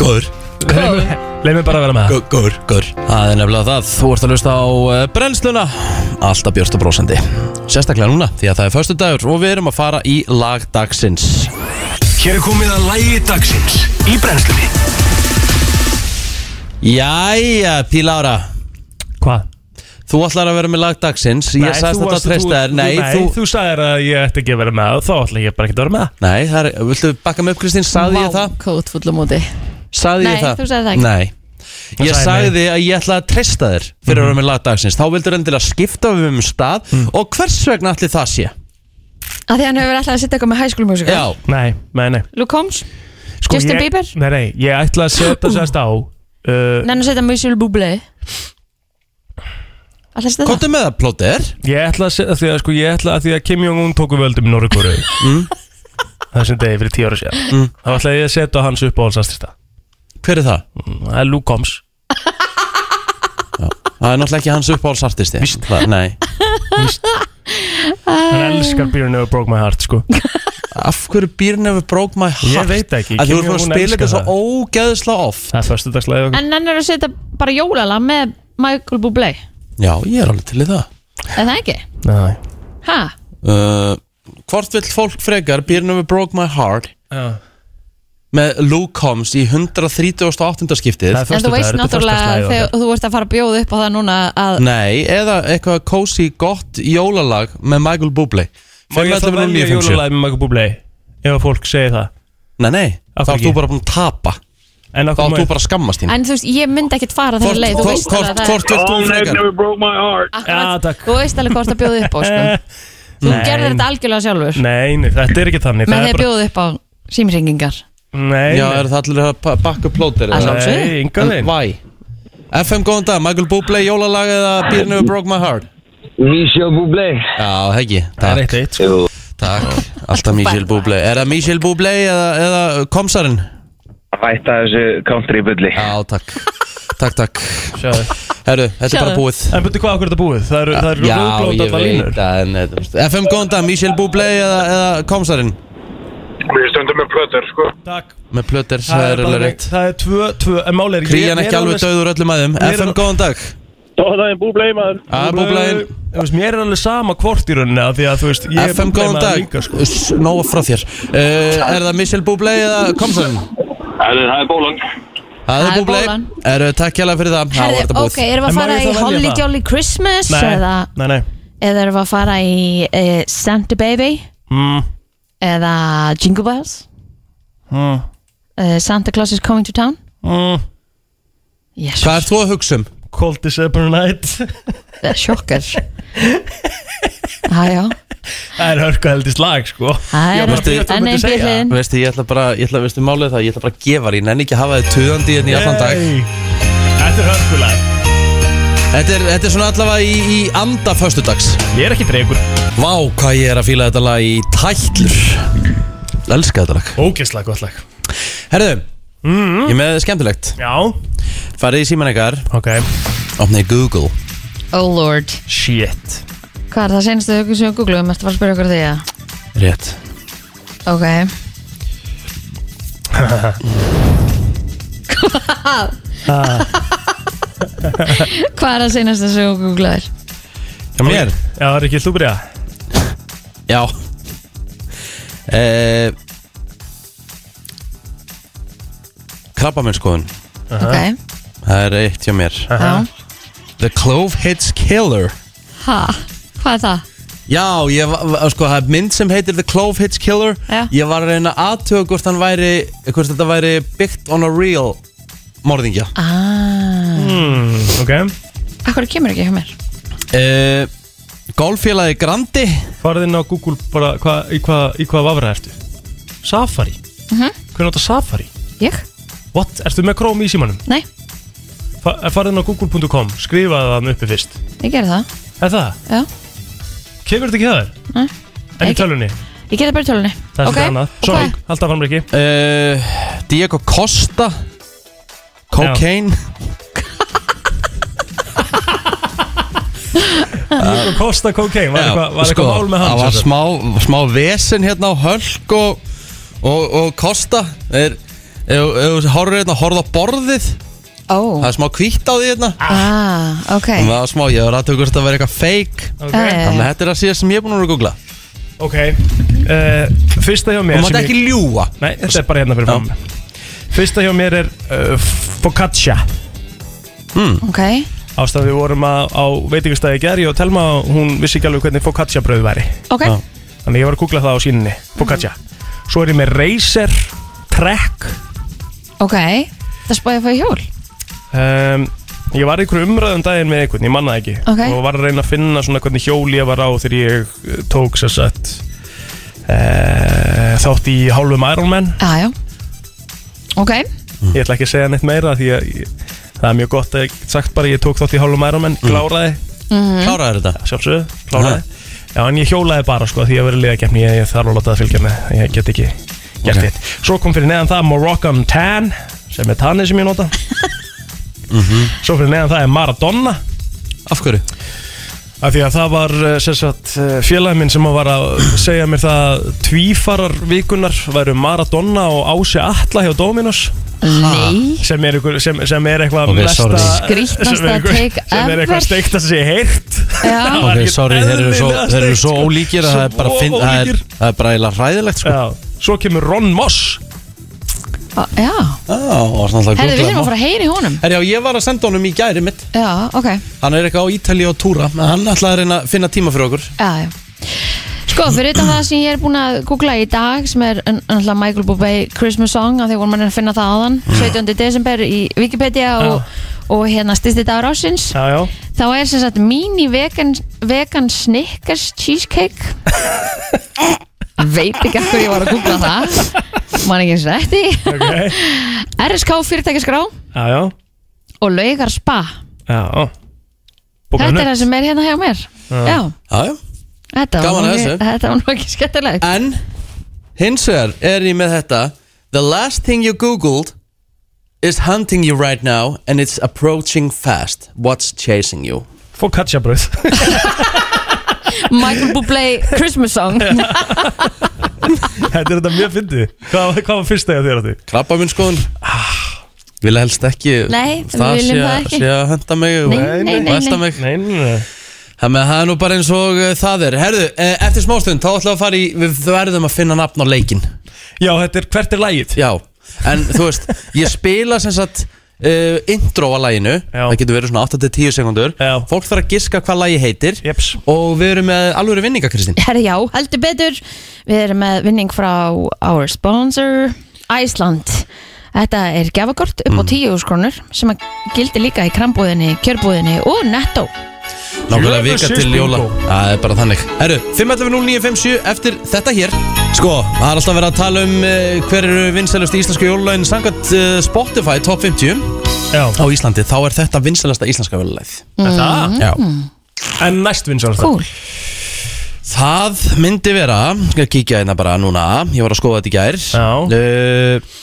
Góður,
það Leif mig bara vera með það
gó- góður, góður Það er nefnilega það, þú ert að lusta á eh, brennsluna Alltaf björst og brósandi Sérstaklega núna, því að það er föstu dagur Og við erum að fara í lag dagsins
Hér er komið að lægi dagsins í brennslunni
Jæja, Pílára
Hvað?
Þú ætlar að vera með lag dagsins Ég sagðist þetta að treysta þér Nei,
þú,
þú,
þú sagðir að ég ætti ekki að vera með það Þá ætla ég bara ekki að vera með það
nei, það er, viltu bakka mig upp Kristín Sagði ég það?
kót fullum úti
Sagði
Nei,
ég það?
þú sagðir það ekki.
Nei Ég
sagði
sagði að ég ætla að treysta þér fyrir
Mhm.
að vera með lagdagsins Þá vildur endilega skipta við um stað Og hvers vegna allir það sé
að því hann hefur alltaf að sitta eitthvað með high school musical
Já,
Nei, nei, nei
Luke Holmes,
Sko,
Justin
ég-
Bieber?
Nei, nei, ég ætla að
[coughs]
setja sérst á uh,
nennu setja Musil Bublé alltaf að setja það
komdu með það plóter
Ég ætla að setja því að sko Ég ætla að því að Kim Jong-un tóku völdum í Norrkóru mm. Þessum degi fyrir tíu ára sér mm. Þá ætla ég að setja hans upp á hans astrista
Hver er það?
Það er Luke Combs
Það er náttúrulega ekki hans uppáhaldsartisti Vist það? Nei
Hann elskar Beer Never Broke My Heart
[laughs]
sko
Af hverju Beer Never Broke My Heart?
Ég veit ekki,
Að
Kim
þú erum að
Jong-un
spila þetta
elskar
svo ógeðslega oft
Það er föstudagslagi og
en nennu að setja bara jólala með Michael Bublé
Já, ég er alveg til í það
er það ekki?
Nei
ha?
uh, Hvort vill fólk frekar Beer Never Broke My Heart
Já.
með Luke Combs í 138. skiptið
Það er
en þú
föstudagur,
veist
þetta er
náttúrulega
föstudagslagið
þegar
okkar. Mm.
þú ert að fara að bjóða upp á það núna að
Nei, eða eitthvað kósi gott jólalag með Michael Bublé
Má ég það velja
5.11.9.50
jólalæg með Michael Bublé Ef að fólk segir það
Nei, nei,
Af
þá
hverju
ert þú
ekki?
bara búin að tapa
En af
Þá
hverju
ert þú
má ég-
bara að skammast þín
en þú veist, ég myndi ekkit fara
Hvort-
þegar leið þú
Hvort
veist
hvort-
alveg að
hvort vilt þú frekar?
það
Já,
akkurat,
takk.
þú veist alveg hvort að bjóða upp á
[laughs]
sko. þú
Nei.
gerðir þetta algjörlega sjálfur
Nei, nei, þetta er ekki þannig
með
það
því
er
að
bara-
bjóða upp á símringingar
Nei,
Já,
nei.
eru það allir að pa- bakka upp plóter
Að
eða?
sjálfsögðu.
Nei, engan
En
veginn
Væ FM góðan dag, Michael Bublé, jólalag eða Beer Never Broke My Heart
Michel Bublé
Já, heggi,
Það er
takk,
eitt eitt sko.
takk Alltaf Michel Bublé Er það Michel Bublé eða, eða komsarinn?
Hætta þessu country bulli
Já, takk Takk, takk
Sjáðu.
Herru, þetta er bara
Sjáðu.
búið
En betur hvað okkur þetta búið? Það eru, það eru
Já,
rúðblót
ég
allar
veit
línur
það en þetta- þú veist, FM góðan dag, Michel Bublé eða, eða komsarinn
Við stöndum með plötur, sko.
Takk
Með plöter, það er alveg
bara-
rétt
Það er tvö, tvö En máli er ég-
Krían
mér
ekki
er
alveg
alveg-
döður öllum aðeim
Mér er-
FM góðan dag
Dóðaðin búblei maður
Ah, Bublé
Þú veist, Mér er alveg sama hvort í rauninni af Því að þú veist ég er
FM
Bublé
góðan
maður
dag
líka, sko.
S- Nóa frá þér uh, Er það Michel Bublé eða komsarinn?
Það er bólan
Það er
Það er
Bublé
bólan.
Eru takk hérlega fyrir það Þá er
Herði,
þetta búið
ok, erum við
En
að fara í
má ég þá velja
Holly
það?
Jolly Christmas
Nei,
eða,
nei, nei
eða erum við að fara í uh, Santa Baby
Mm,
eða Jingle Bells
mm,
uh, Santa Claus is coming to town
mm.
yes,
Hvað ert þú að hugsa um?
Cold December Night [laughs]
það er [laughs] sjokkar Hæjá,
Það er hörku heldist lag sko
það
Ég
er
var að bíða eftir að
enn
myndi
einn
segja.
byrliðin
Veistu, ég ætla bara, ég ætla, veistu, málið er það, ég ætla bara að gefa þér, ég nenni ekki að hafa þið tuðandi hérna í allan dag.
Hey. Þetta er hörku lag
Þetta er, þetta er svona allavega í, í anda föstudags.
Ég er ekki drengur
Vá, hvað ég er að fíla þetta lag í tætlur. Elskar þetta lag.
Ógeðslega gott lag
Herðu, ég er með skemmtilegt.
Já
Farið í síman ykkar,
Ok
opnið Google.
Oh lord,
Shit
hvað er það senstu hugum sem við googluðum, ertu bara að spyrja okkur því að
Rétt.
[laughs] ok Hvað? Hvað er það senast sem við googlaðir?
Hjá mér?
Já, það er ekki þú byrja
Já. Eh, Krabbamennsskoðun,
Ok,
það er eitt hjá mér.
já
The Clove Hits Killer.
Ha, hvað er það?
Já, ég var, var- sko, það er mynd sem heitir The Clove Hits Killer
Já.
Ég var að reyna aðtöga hvort hann væri hvort þetta væri byggt on a real morðingja
Ah,
mm, Ok
akkur kemur ekki hjá mér
uh, Golffélagi Grandi
farið inn á Google bara hva, í hvað í hvað vafra ertu Safari
Mhm.
Hvernig notar Safari?
Ég?
What? Ertu með Chrome í símanum?
Nei,
Fa farið inn á google.com, skrifaði það uppi fyrst
ég gerði það
Er það?
Já,
Kemur þetta ekki að þér?
Nei.
En í
Mm. Ekki.
tölunni?
ég gerði bara í tölunni
Það er
Ok,
okay. annað
og
Sorry,
hvað?
halda fram ekki
uh, Diego Costa Cocaine
Diego Costa Cocaine, var
Já,
eitthvað
sko,
var eitthvað mál með hann?
Það var
sem sagt?
smá, smá vesen hérna á hölk og, og, og kosta er, ef ef þú horfir hérna, horfðu á borðið
Ó,
það er smá kvítt á því hérna
ah, ok
og það var smá, ég var aðtöku hvort það væri eitthvað fake
Eh,
þannig að þetta er að síðast sem ég er búin að vera að googla
Ok, uh, fyrsta hjá mér
og
sem
maður
ég-
ekki ljúa
Nei, þetta er bara hérna fyrir
Já.
fram Fyrsta hjá mér er uh, focaccia
Ok,
Ástæðan við vorum að, á veitingastæði í gerði og Telma hún vissi ekki alveg hvernig focaccia bröðu væri
ok
Já.
Þannig ég var að googla það á síninni, focaccia Svo er ég með Razer, Trek
Ok, það spáði að fá í hjól
um, Ég var í einhverju umræðum daginn með einhvern, ég manna ekki
Ok.
Og var að reyna að finna svona hvernig hjól ég var á þegar ég uh, tók sér sett uh, Þátt í hálfum Ironman
Ah, Já, já Ok,
Ég ætla ekki að segja neitt meira því að ég, það er mjög gott að ég get sagt bara ég tók þátt í hálfum Ironman, kláraði,
kláraði þetta
sjálfsögðu, kláraði. Já, en ég hjólaði bara sko því að vera liðakefni, ég, ég þarf að láta það fylgja með, ég get ekki gert
Ok.
okay. þitt. Svo kom fyrir neðan það Moroccan Tan, sem er tannið sem ég nota. Svo fyrir neðan það er Maradona,
af hverju?
af því að það var eh, sem sagt félagin minn sem var að segja mér það að tvífarar vikunar væru Maradona og Ási Atla hjá Dominos
nei
sem er, ykkur, sem, sem er eitthvað
Ok, sorry.
Skrýtnasta
sem er ykkur-
take
sem er
ever.
eitthvað steikt að sé heyrt [laughs]
Já,
var
ok,
ekkert
sorry, þeir eru svo,
eðlilega
þeir eru
steikt,
svo
sko.
ólíkir að það er bara
Svo
finn, það, er,
ólíkir.
það er bara eiginlega hræðilegt sko.
Já, svo kemur Ron Moss
á- Ah, já
Já, og svona alltaf
Herði, við
googlaði
þurfum að
maður.
fara að heyra í honum
Herra, já, ég var að senda honum í gæri mitt
Já, ok,
Hann er eitthvað á Ítali og túra en Hann ætlaði að reyna að finna tíma fyrir okkur
já, já Sko, fyrir utan það sem ég er búin að googla í dag sem er n- náttúrulega Michael Bublé Christmas Song af því vorum mann að finna það áðan
Mm.
17. desember í Wikipedia og, og hérna styrsti dagur ásins
Já, já
þá er sem sagt mini vegan, vegan Snickers cheesecake [laughs] veit ekki af hverju ég var að googla það man ekki eins og eftir
okay.
RSK fyrirtækisgrá
Já, já,
og laugar spa
já ó. Bókaðu
þetta er
nöfn.
það sem er hérna hjá mér já,
Já, já
þetta var
Gaman
nú
að
ekki-
þessu.
þetta var nú ekki
[laughs]
skemmtilegt
En hins vegar er ég með þetta The last thing you googled is hunting you right now and it's approaching fast What's chasing you?
Focaccia bröð
[laughs] Michael Bublé Christmas song
Þetta er þetta mjög fyndið Hvað, hvað var fyrsta hjá þér að því?
Krabba minn skoðun Vil helst ekki
Nei, við
það sé,
viljum það
að-
ekki.
sé að henda mig og-
Nei, nei, nei,
og elta
nei.
mig
Nei, nei, nei
Það með það er nú bara eins og uh, það er Herðu, eh, eftir smástund þá ætlum við að fara í Við verðum að finna nafn á leikinn
Já, þetta er hvert er lægið
Já, en þú veist, ég spila sem sagt uh, intro að læginu
Já.
Það getur verið svona 8-10 sekundur
Já.
Fólk þarf að giska hvað lægi heitir
Jeps.
Og við erum með alvöru vinninga, Kristín
herri já, heldur betur við erum með vinning frá our sponsor Iceland Þetta er gefakort upp
Mm.
á 10 úrskronur sem að gildi líka í krambúðinni, kjörbúðinni og netto.
Nákvæmlega vika
Jöfus,
til
bingo.
jóla Það er bara þannig Herru, 5.11.09.57 eftir þetta hér Sko, það er alltaf verið að tala um uh, Hver eru vinsælust íslensku jólulegin Sangat uh, Spotify Top 50
Já,
á Íslandi Þá er þetta vinsælasta íslenska jólulegið
er það
Já
En næst vinsar það
Mhm. Cool.
Það myndi vera, skal kíkja hérna bara núna, ég var að skoða þetta í gær
Já.
uh,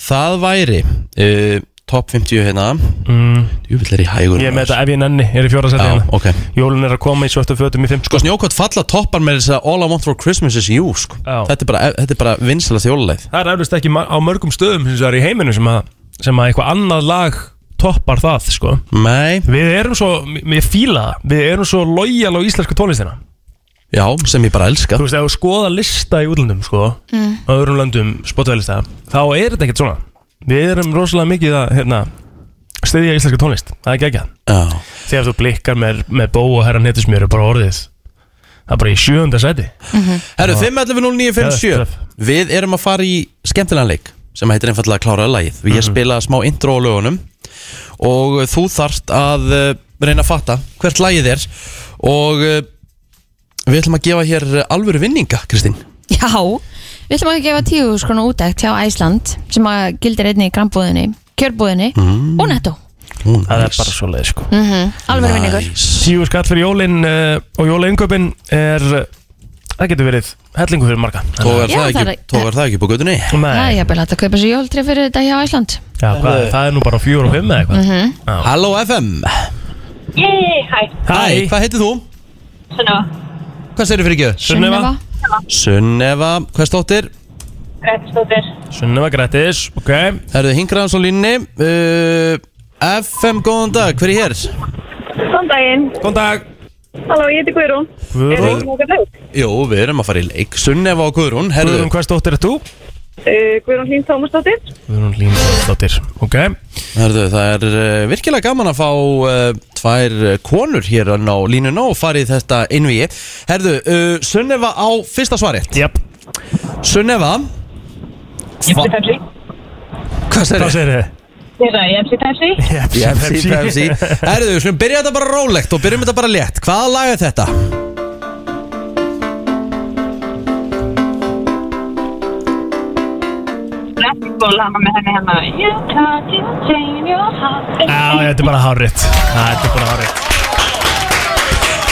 Það væri uh, Top 50 hérna mm. Júvill er í hægur
Ég er með
maður.
þetta ef ég nenni, ég er í fjóra seti
Já,
hérna
ok
Jólun er að koma í svörtu fötum í fimm
Sko snjókvæmt falla toppar með þess að All I Want For Christmas Is You sko.
Já.
Þetta er bara, þetta er bara vinsalast jóluleið
Það er eflust ekki ma- á mörgum stöðum sem það er í heiminu sem að, sem að eitthvað annað lag toppar það sko.
Nei,
Við erum svo, ég fíla það Við erum svo lojal á íslensku tónlistina
já, sem ég bara elska
Þú veist, ef þú skoða lista í útlöndum sko, mm. á öðrum löndum spottveðlista þá er þetta ekkert svona Við erum rosalega mikið að hérna, stiðja íslensku tónlist, það er geggjað
Já,
Þegar þú blikkar með, með bó og herran hittis mér er bara orðið Það er bara í sjöunda seti
Herru, 5.11.09.57
Geðveikt töff.
Við erum
Mhm.
að fara í skemmtilegan leik sem heitir einfallega að klára lagið og ég spilaði smá intro á lögunum og þú þarft að eh, reyna að fatta hvert lagið er og eh, við ætlum að gefa hér alvöru vinninga, Kristín
Já, við ætlum að gefa tíu skrona útækt hjá Æsland sem að gildir einni í grambúðinni, kjörbúðinni
Mm.
og netto
Það er bara svo leið sko
mm Alveg vinningur
Tíu skall fyrir jólin uh, og jólaengöpin er eh, Það getur verið hellingu fyrir marga
Tógar
Já,
það
það
ekki,
er-
tógar það ekki på gödunni
Það er
Nei,
jafnvel hægt að kaupa sér jóltrið fyrir þetta hjá Æsland
já, hvað, er- það er nú bara fjör og fimm eða eitthvað
Halló FM
Yey, hæ,
Hæ, hvað heitir þú?
svona,
Hvað segir fyrir ekki?
Sunneva
Sunneva, hvað stóttir?
Gretastóttir,
Sunneva grættis, ok
Herðu hingraðans á línni uh, FM, góðan dag, hver er hér?
góðan daginn,
Góðan dag
halló, ég heiti Guðrún, er
Guðrún,
það nokkað leik?
Jú, við erum að fara í leik Sunneva og Guðrún, herðu
Guðrún hvað stóttir er þú?
Uh, Guðrún Hlín Tómasdóttir,
Guðrún Lín stóttir, ok
Herðu, það er uh, virkilega gaman að fá uh, tvær eh, konur hér á línuna og farið þetta innvíi. Herðu, uh, Sunneva á fyrsta svarið.
Jep,
Sunneva,
Jepsi Pepsi,
hvað
hvað
segir þið?
segir þið?
þeirra Jepsi Pepsi,
Jep,
Pepsi, Pepsi. Herðu, við skulum byrja þetta bara rólegt og byrjum þetta bara létt. Hvaða lag er þetta?
Blackball, hann var með henni hérna hennar, You can't change your heart,
Já, þetta er bara hárétt Þetta er bara hárétt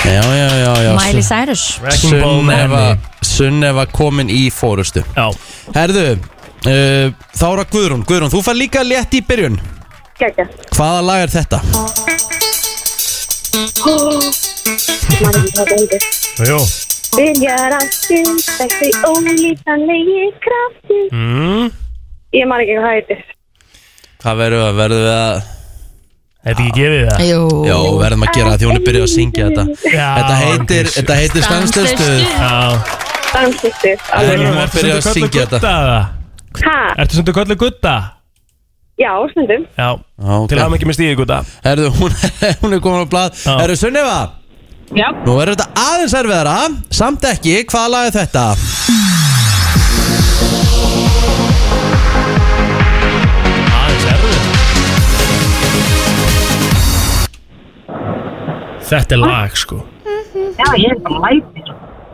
Já, já, já, já.
Miley Cyrus
Wrecking Ball með
Sunneva,
henni
Sunneva komin í fórustu.
Já,
Herðu, uh, Þára Guðrún, Guðrún, þú fær líka létt í byrjun.
geggja,
Hvaða lag er þetta?
jú
byrjar að syns, þessi ólítanlegi krafti,
mm.
ég man ekki hvað það heitir,
Hvað verður að verður við að...
Þetta er ekki gefið það
Jú,
Já, við verðum að gera það því hún er byrjuð að syngja þetta
Já,
Þetta heitir,
ok.
þetta heitir stanslaustu
Já,
um danslýttir,
Guðrún
Guðrún,
var að
ertu
byrja
sundu
að
köllu
syngja
gutta
þetta.
eða?
ha,
Ertu sundu köllu gutta?
já, stundum,
Já,
ok.
til að hafa ekki með stíði gutta
Herðu, hún, hún er komin á blað
Já.
Herðu, Sunneva,
já,
nú er þetta aðeins erfiðara Samt ekki, hvaða lag er þetta?
Aðeins erfið Þetta er lag sko
já, ég er bara lætir,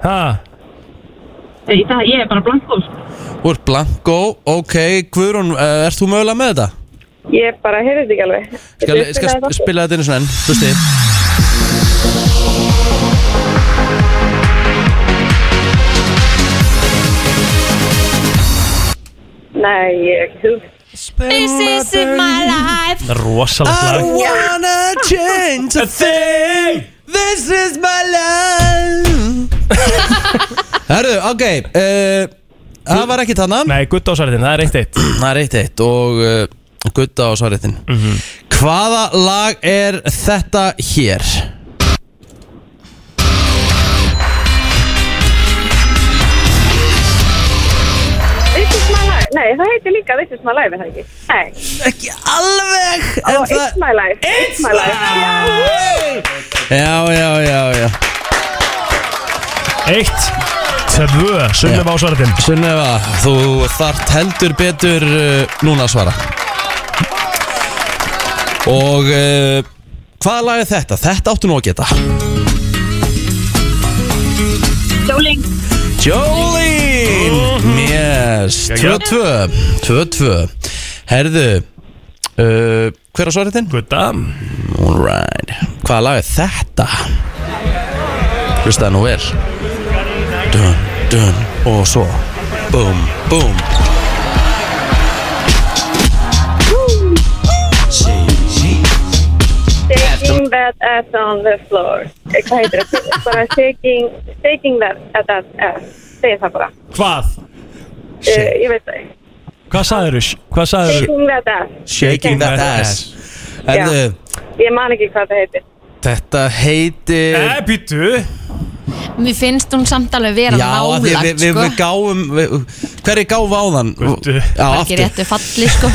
Ha,
það, ég er bara blankos,
Úr Blanko, ok, Guðrún, uh, ert þú mögulega með þetta?
ég bara heyrði þetta ekki alveg,
Skal, skal spila þetta einu svona enn, hlusti
nei, ég er ekki hugmynd,
This is my life
rosalegt
I
lag
wanna change a thing This is my life Herðu, ok, uh, það var ekki þannig
Nei, gutt ásvarðin, það er eitt eitt
Það er eitt eitt og uh, gutta á svaréttin Hvaða lag er þetta hér?
This is my life, nei, það heitir líka This is my life, er það ekki, nei,
Ekki alveg en
Oh, it's my life. It's my life.
Já, já, já, já
Eitt, tvö, sunnum ásvarðin
Sunneva, þú þart heldur betur uh, núna að svara Og uh, hvaða lag er þetta? Þetta áttu nú að geta
Sjóling.
Jolín Yes,
Jæja.
2-2 2-2 Herðu uh, Hver á svaréttin?
Gutta
Alright Hvaða lag er þetta? Hlustaði nú vel Dun, dun Og svo Búm, búm
Taking that ass on the floor. Eh, Hvað heitir
[laughs]
það? Bara taking, taking that, that, that ass. Segir það bara.
Hvað?
Uh, ég veit það. ekki.
Hvað sagður þú? Hvað sagður þú?
Taking that ass.
Shaking that ass Herðu
Ég man ekki hvað það heitir.
Þetta heitir
Nei, býttu
Mér finnst hún samt alveg vera
Já, af því
nálagt
við, við, við
sko
gáum við, Hverri gáum á þann?
Guttu.
Já,
Ekki
aftur
réttu falli sko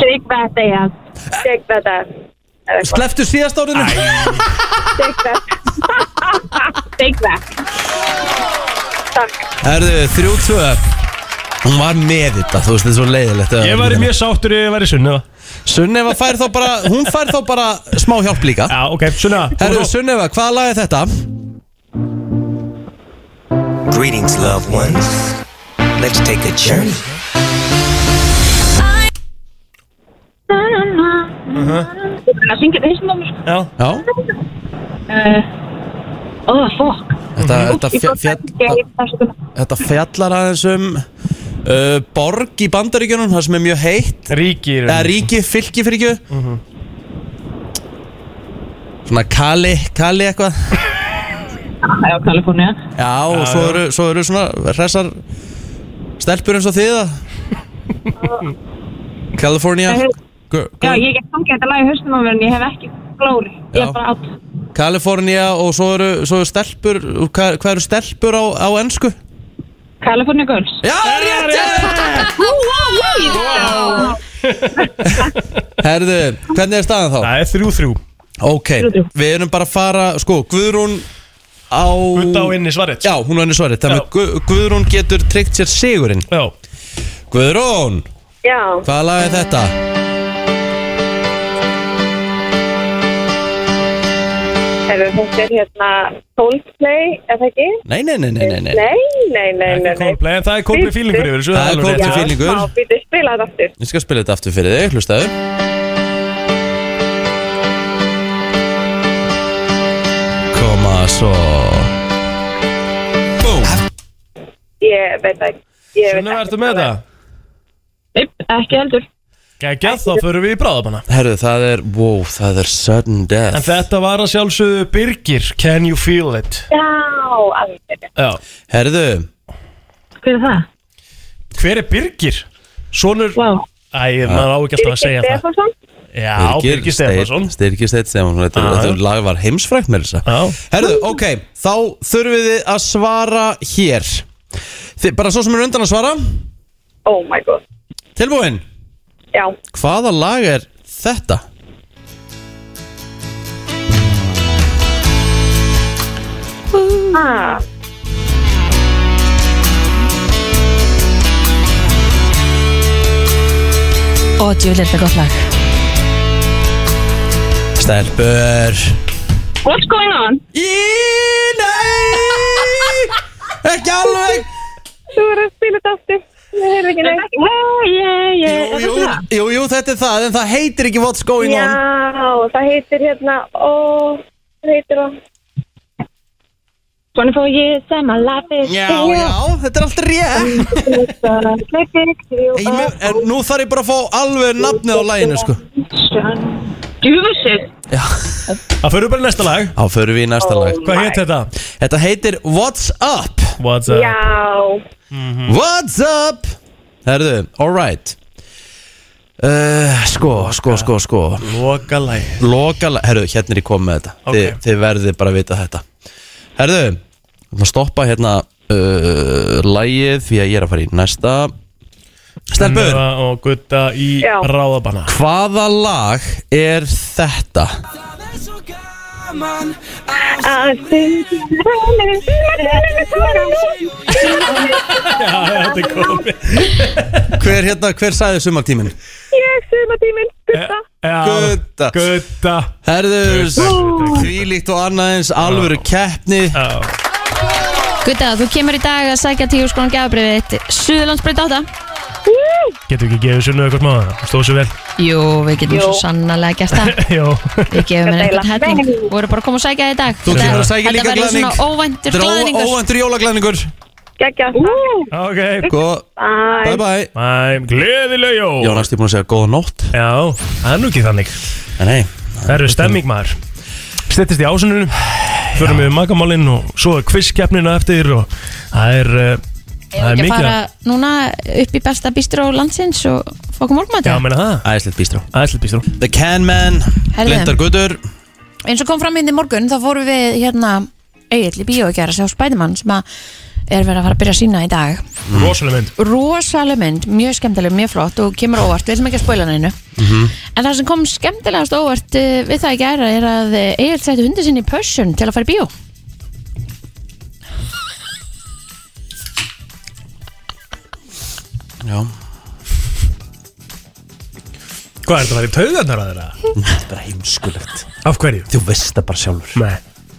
Shake that ass. Shake that ass. Eða [laughs] eitthvað.
Sleftu síðast árinu
Shake that. Shake that. Takk.
Herðu, 3-2 Hún var með þetta, þú veist, þetta er svo leiðilegt
Ég væri mjög sáttur ef ég væri sunnum
Sunnefa fær þá bara, hún fær þá bara smá hjálp líka
Já, ok, sunna
Herru, Sunnefa, hvaða lag er þetta?
Greetings, loved ones. Let's take a journey.
I think it is number...
Já,
Já,
Oh, fuck.
þetta, þetta, fjall, fjall, þetta fjallar aðeins um uh, borg í bandaríkjunum, það sem er mjög heitt
ríkir
eða ríki, fylki fyrir ekki Svona Kali, Kali eitthvað
Já, Kalifornia.
Já, og svo eru, svo eru svona hressar stelpur eins og þið að California Gr-
Já,
gr-
ég get fangið þetta lag í haustum á mér en ég hef ekki glóri. Ég
Já.
er bara átt.
California og svo eru, svo eru stelpur hvað, hvað eru stelpur á, á ennsku?
California Girls.
Já, rétt!
Wow.
Herðu, hvernig er staðan þá?
Það er þrjú þrjú
Ok, við erum bara að fara sko, Guðrún á
Gutta og inn í svarið
Já, hún var henni svarið
Já.
Þannig Gu Guðrún getur tryggt sér sigurinn
Já.
Guðrún,
Já.
hvaða lag er þetta?
Ef þetta er hérna Coldplay, er það ekki?
Nei, nei, nei, nei, nei, nei.
Nei, nei, nei, nei,
Ekki
nei.
Coldplay, en það er Coldplay feelingur yfir þessu
Það er
alveg rétt.
Coldplay
Já.
feeling. fílingur.
Já, má býta spila þetta aftur.
Ég skal spila þetta aftur fyrir þig, hlustaðu Koma svo Búm
Ég veit það ekki. Ég veit
Sunna,
það
ertu með það?
Nei, ekki heldur.
Gægjað, þá förum við í bráðabanna
Herðu, það er, wow, það er sudden death
En þetta var að sjálfsögðu Birgir, Can You Feel It
Já, alveg.
Já.
Herðu,
Hver er það?
Hver er Birgir? Sonur
Vá.
Æ, maður á ekki alltaf að segja það
Stefánsson?
Já, Birgir Stefansson
Styrkir Steinn Stefansson, þetta,
Já, já.
þetta lag var heimsfrækt með þess
Já.
að Herðu, ok, þá þurfið þið að svara hér Þið, Bara svo sem er undan að svara
Oh my god.
Tilbúin,
Já.
hvaða lag er þetta?
Ah,
Og djúlega þetta er gott lag
Stelbur
what's going on?
Í, nei Ekki alveg
Þú verður að spila þetta aftur. Ég hefur ekki neitt. Yeah, yeah, yeah.
Eh,
jú, jú, jú, jú, þetta er það En það heitir ekki What's Going
Já,
On
það heitir hérna, ó, hvað heitir það? 24 years and my life is
Já, já, þetta er allt rétt Ég með- en Nú þarf ég bara að fá alveg nafnið á læginu sko.
Djúfusir.
Það förum bara í næsta lag
Þá förum við í næsta lag
Hvað hétt þetta?
Þetta heitir What's Up
What's up?
Já,
What's Up Herðu, alright uh, Sko, sko, sko, sko
Loka lag
Lokala, herru, hérna er ég komið með þetta
Ok.
þið, þið verðið bara að vita þetta Herru, við ætlum að stoppa hérna uh, Lægið því að ég er að fara í næsta Stelbur,
Og gutta í
Já.
bráðabanna
hvaða lag er þetta?
að
Já, þetta er komið
Hver hérna, hver sagði sumartíminn?
Ég suma tíminn, gutta.
Já,
Gutta.
Gutta
Herru,
Gutta.
þvílíkt og annað eins Alvöru keppni
Já.
Gutta, þú kemur í dag að sækja tíu skrón gæðabriðið þitt Suðurlandsbreyt átta
Getur ekki gefið sunnu eitthvað smáða Stóð svo vel [laughs]
Jú, við getum
Jú.
svo sannarlega gert það
Já
[laughs]
Við gefum henni einhvern
Þetta er
helling
eiginlega-
Við vorum bara að koma og sækja þig í dag
Þú
Þetta-
kemur að sækja líka
Þetta verður
glæðning
svona óvæntur
Þetta er
glæðningur
ó- óvæntur jólaglæðningur
Gækja, takk.
Ok
Sko, bye
Bye.
bye
Mæm, gleðileg jól
Jónas, ég er búin að segja góða nótt
Já, það er nú ekki þannig
En nei,
Það eru stemming maður Stettist í ásununum Förum við makamálinn og svo er quizkeppnina eftir og það er uh,
Ég er ekki
Það er
að
mikið
fara
að-
núna upp í besta bístró landsins og fá okkur morgmæti
Já, meina það
æðislegt bístró
Æslit býstur
The Can Man,
Herðu.
Glendar Guður
eins og kom fram hérna í morgun þá fórum við hérna eiginlega í bíó í gær að sjá Spiderman sem að er verið að fara að byrja að sína í dag
Mm.
Rosaleg mynd
rosaleg mynd, mjög skemmtileg, mjög flott og kemur á óvart, við ætlum ekki að spóla neinu
Mhm.
en það sem kom skemmtilegast á óvart eh, við það í gæra er að eh, eiginlega sættu hundu sinni í pössun til að fara í bíó
Já
Hvað er þetta að vera í taugarnar að þeirra?
Bara heimskulegt
Af hverju?
Þú veist það bara sjálfur
Nei,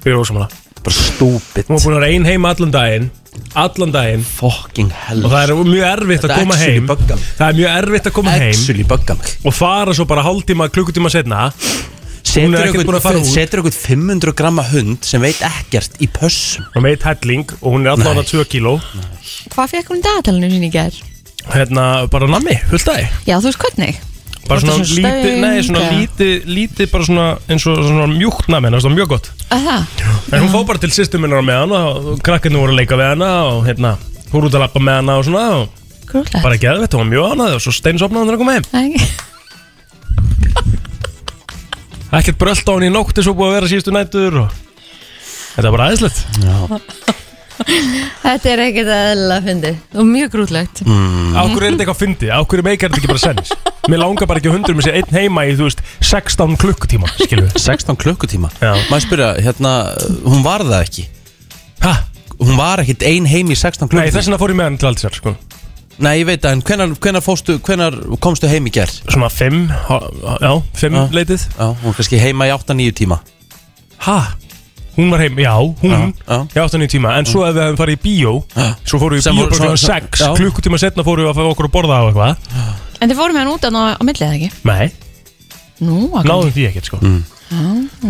ég er ósamála
Bara stúpid
Hún var búin að vera ein heim allan daginn Allan daginn
Fucking hell
Og það er mjög erfitt að
Þetta
koma
actually
heim
buggar mig.
Það er mjög erfitt að koma heim
Actually bugga mig
Og fara svo bara hálftíma, klukkutíma setna Hún er
Setur
ekkert búin að fara
einhvern-
út.
Setur einhvern 500 gramma hund sem veit ekkert í pössum
Og meitt um helling Og hún er allan að 2 kíló
Hvað fekk hún í dagatalinu sín í gær?
Hérna, bara nammi, fullt aði
Já, þú veist hvernig? Var
Bara
þetta
svona
svona
lítið, nei, svona
stöng, eða?
lítið, lítið bara svona eins og svona mjúkt nammi hennar, svona mjög gott
Að það?
En hún fór bara til sýstu minnar með hana og krakkarnir voru að leika við hana og hérna, hún er út að lappa með hana og svona og
Grúlega
bara geðvett, hún var mjög annað og svo steinsopnaði hann að koma heim Ekkert brölt á hann í nótt eins og búið að vera síðustu nættur og þetta er bara aðeinslegt
[laughs] Þetta er ekkert aðeins að fyndi Og mjög grútlegt
mm. Ákveður er þetta eitthvað fyndið, ákveður meikar þetta ekki bara sens Mér langar bara ekki að hundur með sér einn heima í, þú veist, 16 klukkutíma, skilur við
16 klukkutíma
Já.
Maður spyrja, hérna, hún var það ekki
Ha?
Hún var ekkit ein heim í 16
Nei,
klukkutíma
þess vegna fór ég með hann til aldrei sko
Nei, ég veit það, en hvenar, hvenar, fóstu, hvenar komstu heim í gerð?
Svona 5, já, 5
Já.
leitið
Já, hún var kannski heima í 8-9 tíma
Ha? Hún var heim, já, hún
Já, já.
Í 8-9 tíma, en svo ef við hefum farið í bíó
Já.
Svo fórum við í
Sem
bíó
voru-
bara
svo-
klukkan
svo-
6
já.
Klukkutíma setna fórum við að fá okkur að borða á eitthvað
En þið fórum með hann út að ná á millið eða ekki?
Nei,
Nú, að
náðum því ekkert sko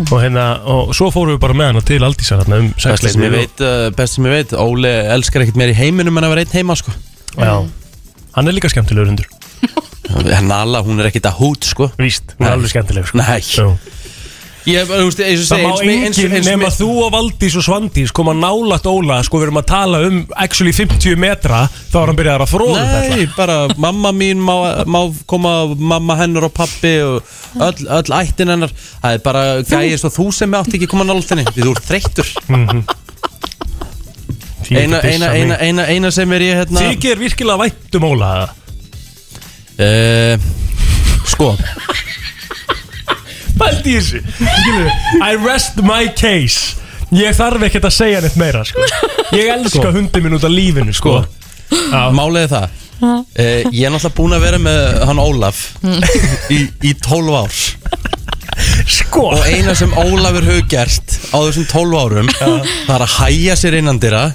Og hérna, og svo fórum við bara með hana til Aldísar hérna um
Best sem ég
6
veit, uh, best sem ég veit Óli elskar ekkert meir í heiminum en að vera einn heima, sko
Já, hann er líka skemmtilegur hundur
Nala, hún er ekkert að hút, sko
Víst, hún er
Nei.
alveg skemmtileg sko
Nei.
Jú.
Ég, þú veist, eins og
Það
segi,
má
eins og- eins og-
enginn
eins og-
nema þú og Valdís og Svandís koma nálat Óla sko við erum að tala um actually 50 metra þá er hann byrjaðar að fróða þetta
Nei, bara mamma mín má, má koma mamma hennar og pappi og öll, öll ættin hennar það er bara gæið svo þú sem átt ekki að koma nált henni því þú ert þreyttur eina, eina, eina, eina, eina sem er ég hérna
Þykir virkilega vænt um Óla eða?
uh, sko
Pældi í þessu Skilu, I rest my case Ég þarf ekkert að segja neitt meira sko. Ég elska hundi minn út af lífinu sko.
málið er það uh, ég er náttúrulega búin að vera með hann Ólaf í, í 12 ár
sko
og eina sem Ólafur hefur gert á þessum 12 árum það er að hæja sér innan dyrra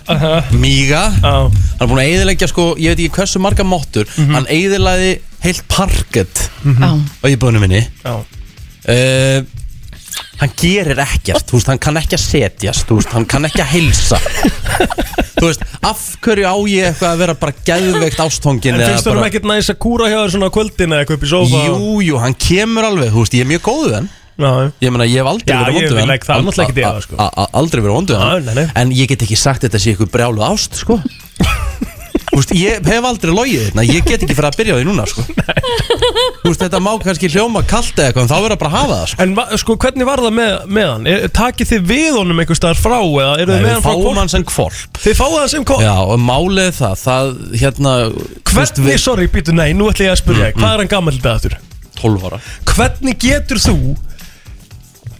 míga
Já.
hann er búin að eyðileggja sko, ég veit ekki hversu marga máttur
Mhm.
hann eyðilegði heilt parkett á íbúinu minni
Já.
uh, hann gerir ekkert, þú veist, hann kann ekki að setjast þú veist, hann kann ekki að
[laughs]
heilsa þú veist, af hverju á ég eitthvað að vera bara geðveikt ástfóngin
En finnst
Hérna
þú
bara,
bara... ekkert næst að kúra hjá þér svona á kvöldin eða eitthvað upp í sofa
jú, jú, hann kemur alveg, þú veist, ég er mjög góð við hann
Já,
Ég meina, ég hef aldrei
Já,
verið
ég
vondur við hann
legg það
Al-
náttúrulega ekki í
a-
það, sko.
a- a- Aldrei verið vondur við
Já, nei, nei.
hann En ég get ekki sagt þetta sé ykkur brjálu ást, sko Úst, ég hef aldrei logið þetta Ég get ekki fyrir að byrja á því núna,
[laughs]
sko Úst, Þetta má kannski hljóma kalt eða eitthvað En þá verður að bara að hafa það, sko
En va- sko, hvernig var það með, með hann? Er, takið þið við honum einhvers staðar frá eða eru þið með hann frá
fáum
hvort?
hann sem kvolp
Þið fáið hann sem kom
Já, og málið er það, það, hérna þú veist,
Hvernig, sorry, býtu, nei, nú ætla ég að spyrja Hvað er hann gammal þetta aftur?
12 ára
Hvernig getur þú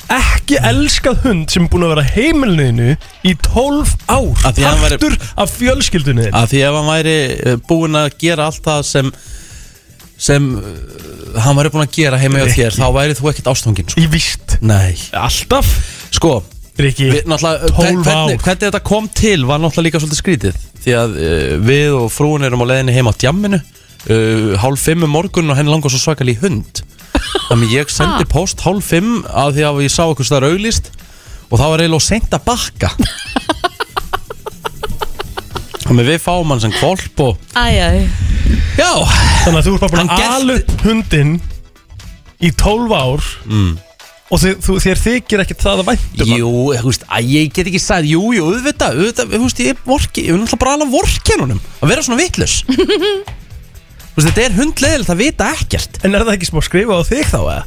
ekki elskað hund sem er búin að vera heimilniðinu í 12 ár
Af því að hann væri-
Partur af fjölskyldunni þinni?
Af því ef hann væri eh, búinn að gera allt það sem sem eh, hann væri búinn að gera heima hjá þér þá væri þú ekkert ástfangin, sko
Í víst
Nei,
Alltaf
sko
Riki,
Við, náttúrulega, eh,
12
hvernig, hvernig, hvernig þetta kom til var náttúrulega líka svolítið skrítið því að uh, við og frúin erum á leiðinni heim á djamminu uh, hálf fimm um morgun og henni langar svo svakal í hund þannig ég sendi post hálf fimm að því að ég sá eitthvað staðar auglist og það var eiginlega seint að bakka þannig við fáum hann sem kvolp og
Æjæj
já,
Þannig að þú ert bara búin
Hann
að
gert-
ala upp hundinn í 12 ár mm. og þið, þú, þér þykir ekkert það að væntum
jú, eh, þú veist að ég get ekki sagt, jú, jú, auðvitað auðvitað, þú veist, ég er vorki, ég er náttúrulega bara alveg vorkenunum að vera svona
[laughs]
vitlus þú veist, þetta er hundleðilegt að vita ekkert
En er það ekki smá skrifa á þig þá eða?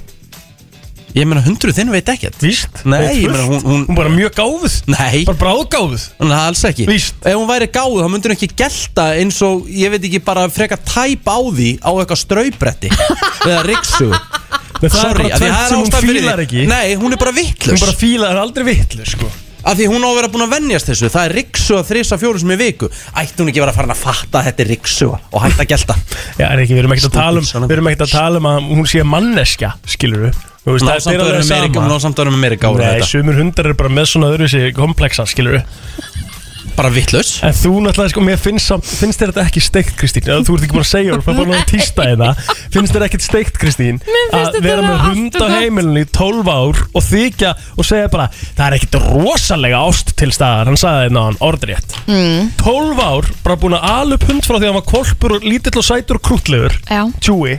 Ég meina hundruð þinn veit ekkert
Víst
Nei,
Og
ég
fullt.
meina, hún- hún-
bara mjög gáfuð
Nei,
Bara bráðgáfuð
hún er það alls ekki
Víst.
Ef hún væri gáð þá myndir hún ekki gelta eins og ég veit ekki bara freka tæp á því á eitthvað
[laughs]
straubretti eða riksu
Nei, það er
Sorry,
bara
af því
tvennt sem hún
ástæðan fyrir
fílar
því.
ekki
Nei, hún er bara vittlust
Hún bara fílar aldrei vitlu sko
Af því hún á að vera búin að venjast þessu Það er riksuga þrisa fjóru sem í viku Ætti hún ekki að vera farin að fatta að þetta er riksuga Og hætta að gelta
Já, er ekki, við erum ekkert að tala um Við erum ekkert að tala um að hún sé manneskja Skilur við
Ná samt að vera með Amerika- ná samt að vera með Amerika ára
Nei,
þetta.
sumur hundar eru bara með svona öðruvísi komplexa Skilur
Bara vittlaus
En þú náttúrulega, sko, mér finnst, samt- finnst þér þetta ekki steikt Kristín Eða Þú ert ekki búin að segja, þú ert bara búin að tísta þetta Finnst þér ekkert steikt Kristín
Mér finnst
Að
þetta
vera með
vera
hund
allt
á
of gott.
heimilinu í 12 ár Og þykja og segja bara Það er ekkert rosalega ást til staðar Hann sagði þetta náðan, orðrétt
mm.
12 ár, bara búin að ala upp hund frá því að hann var kolpur og lítill og sætur og krútlegur
Já.
Tjúi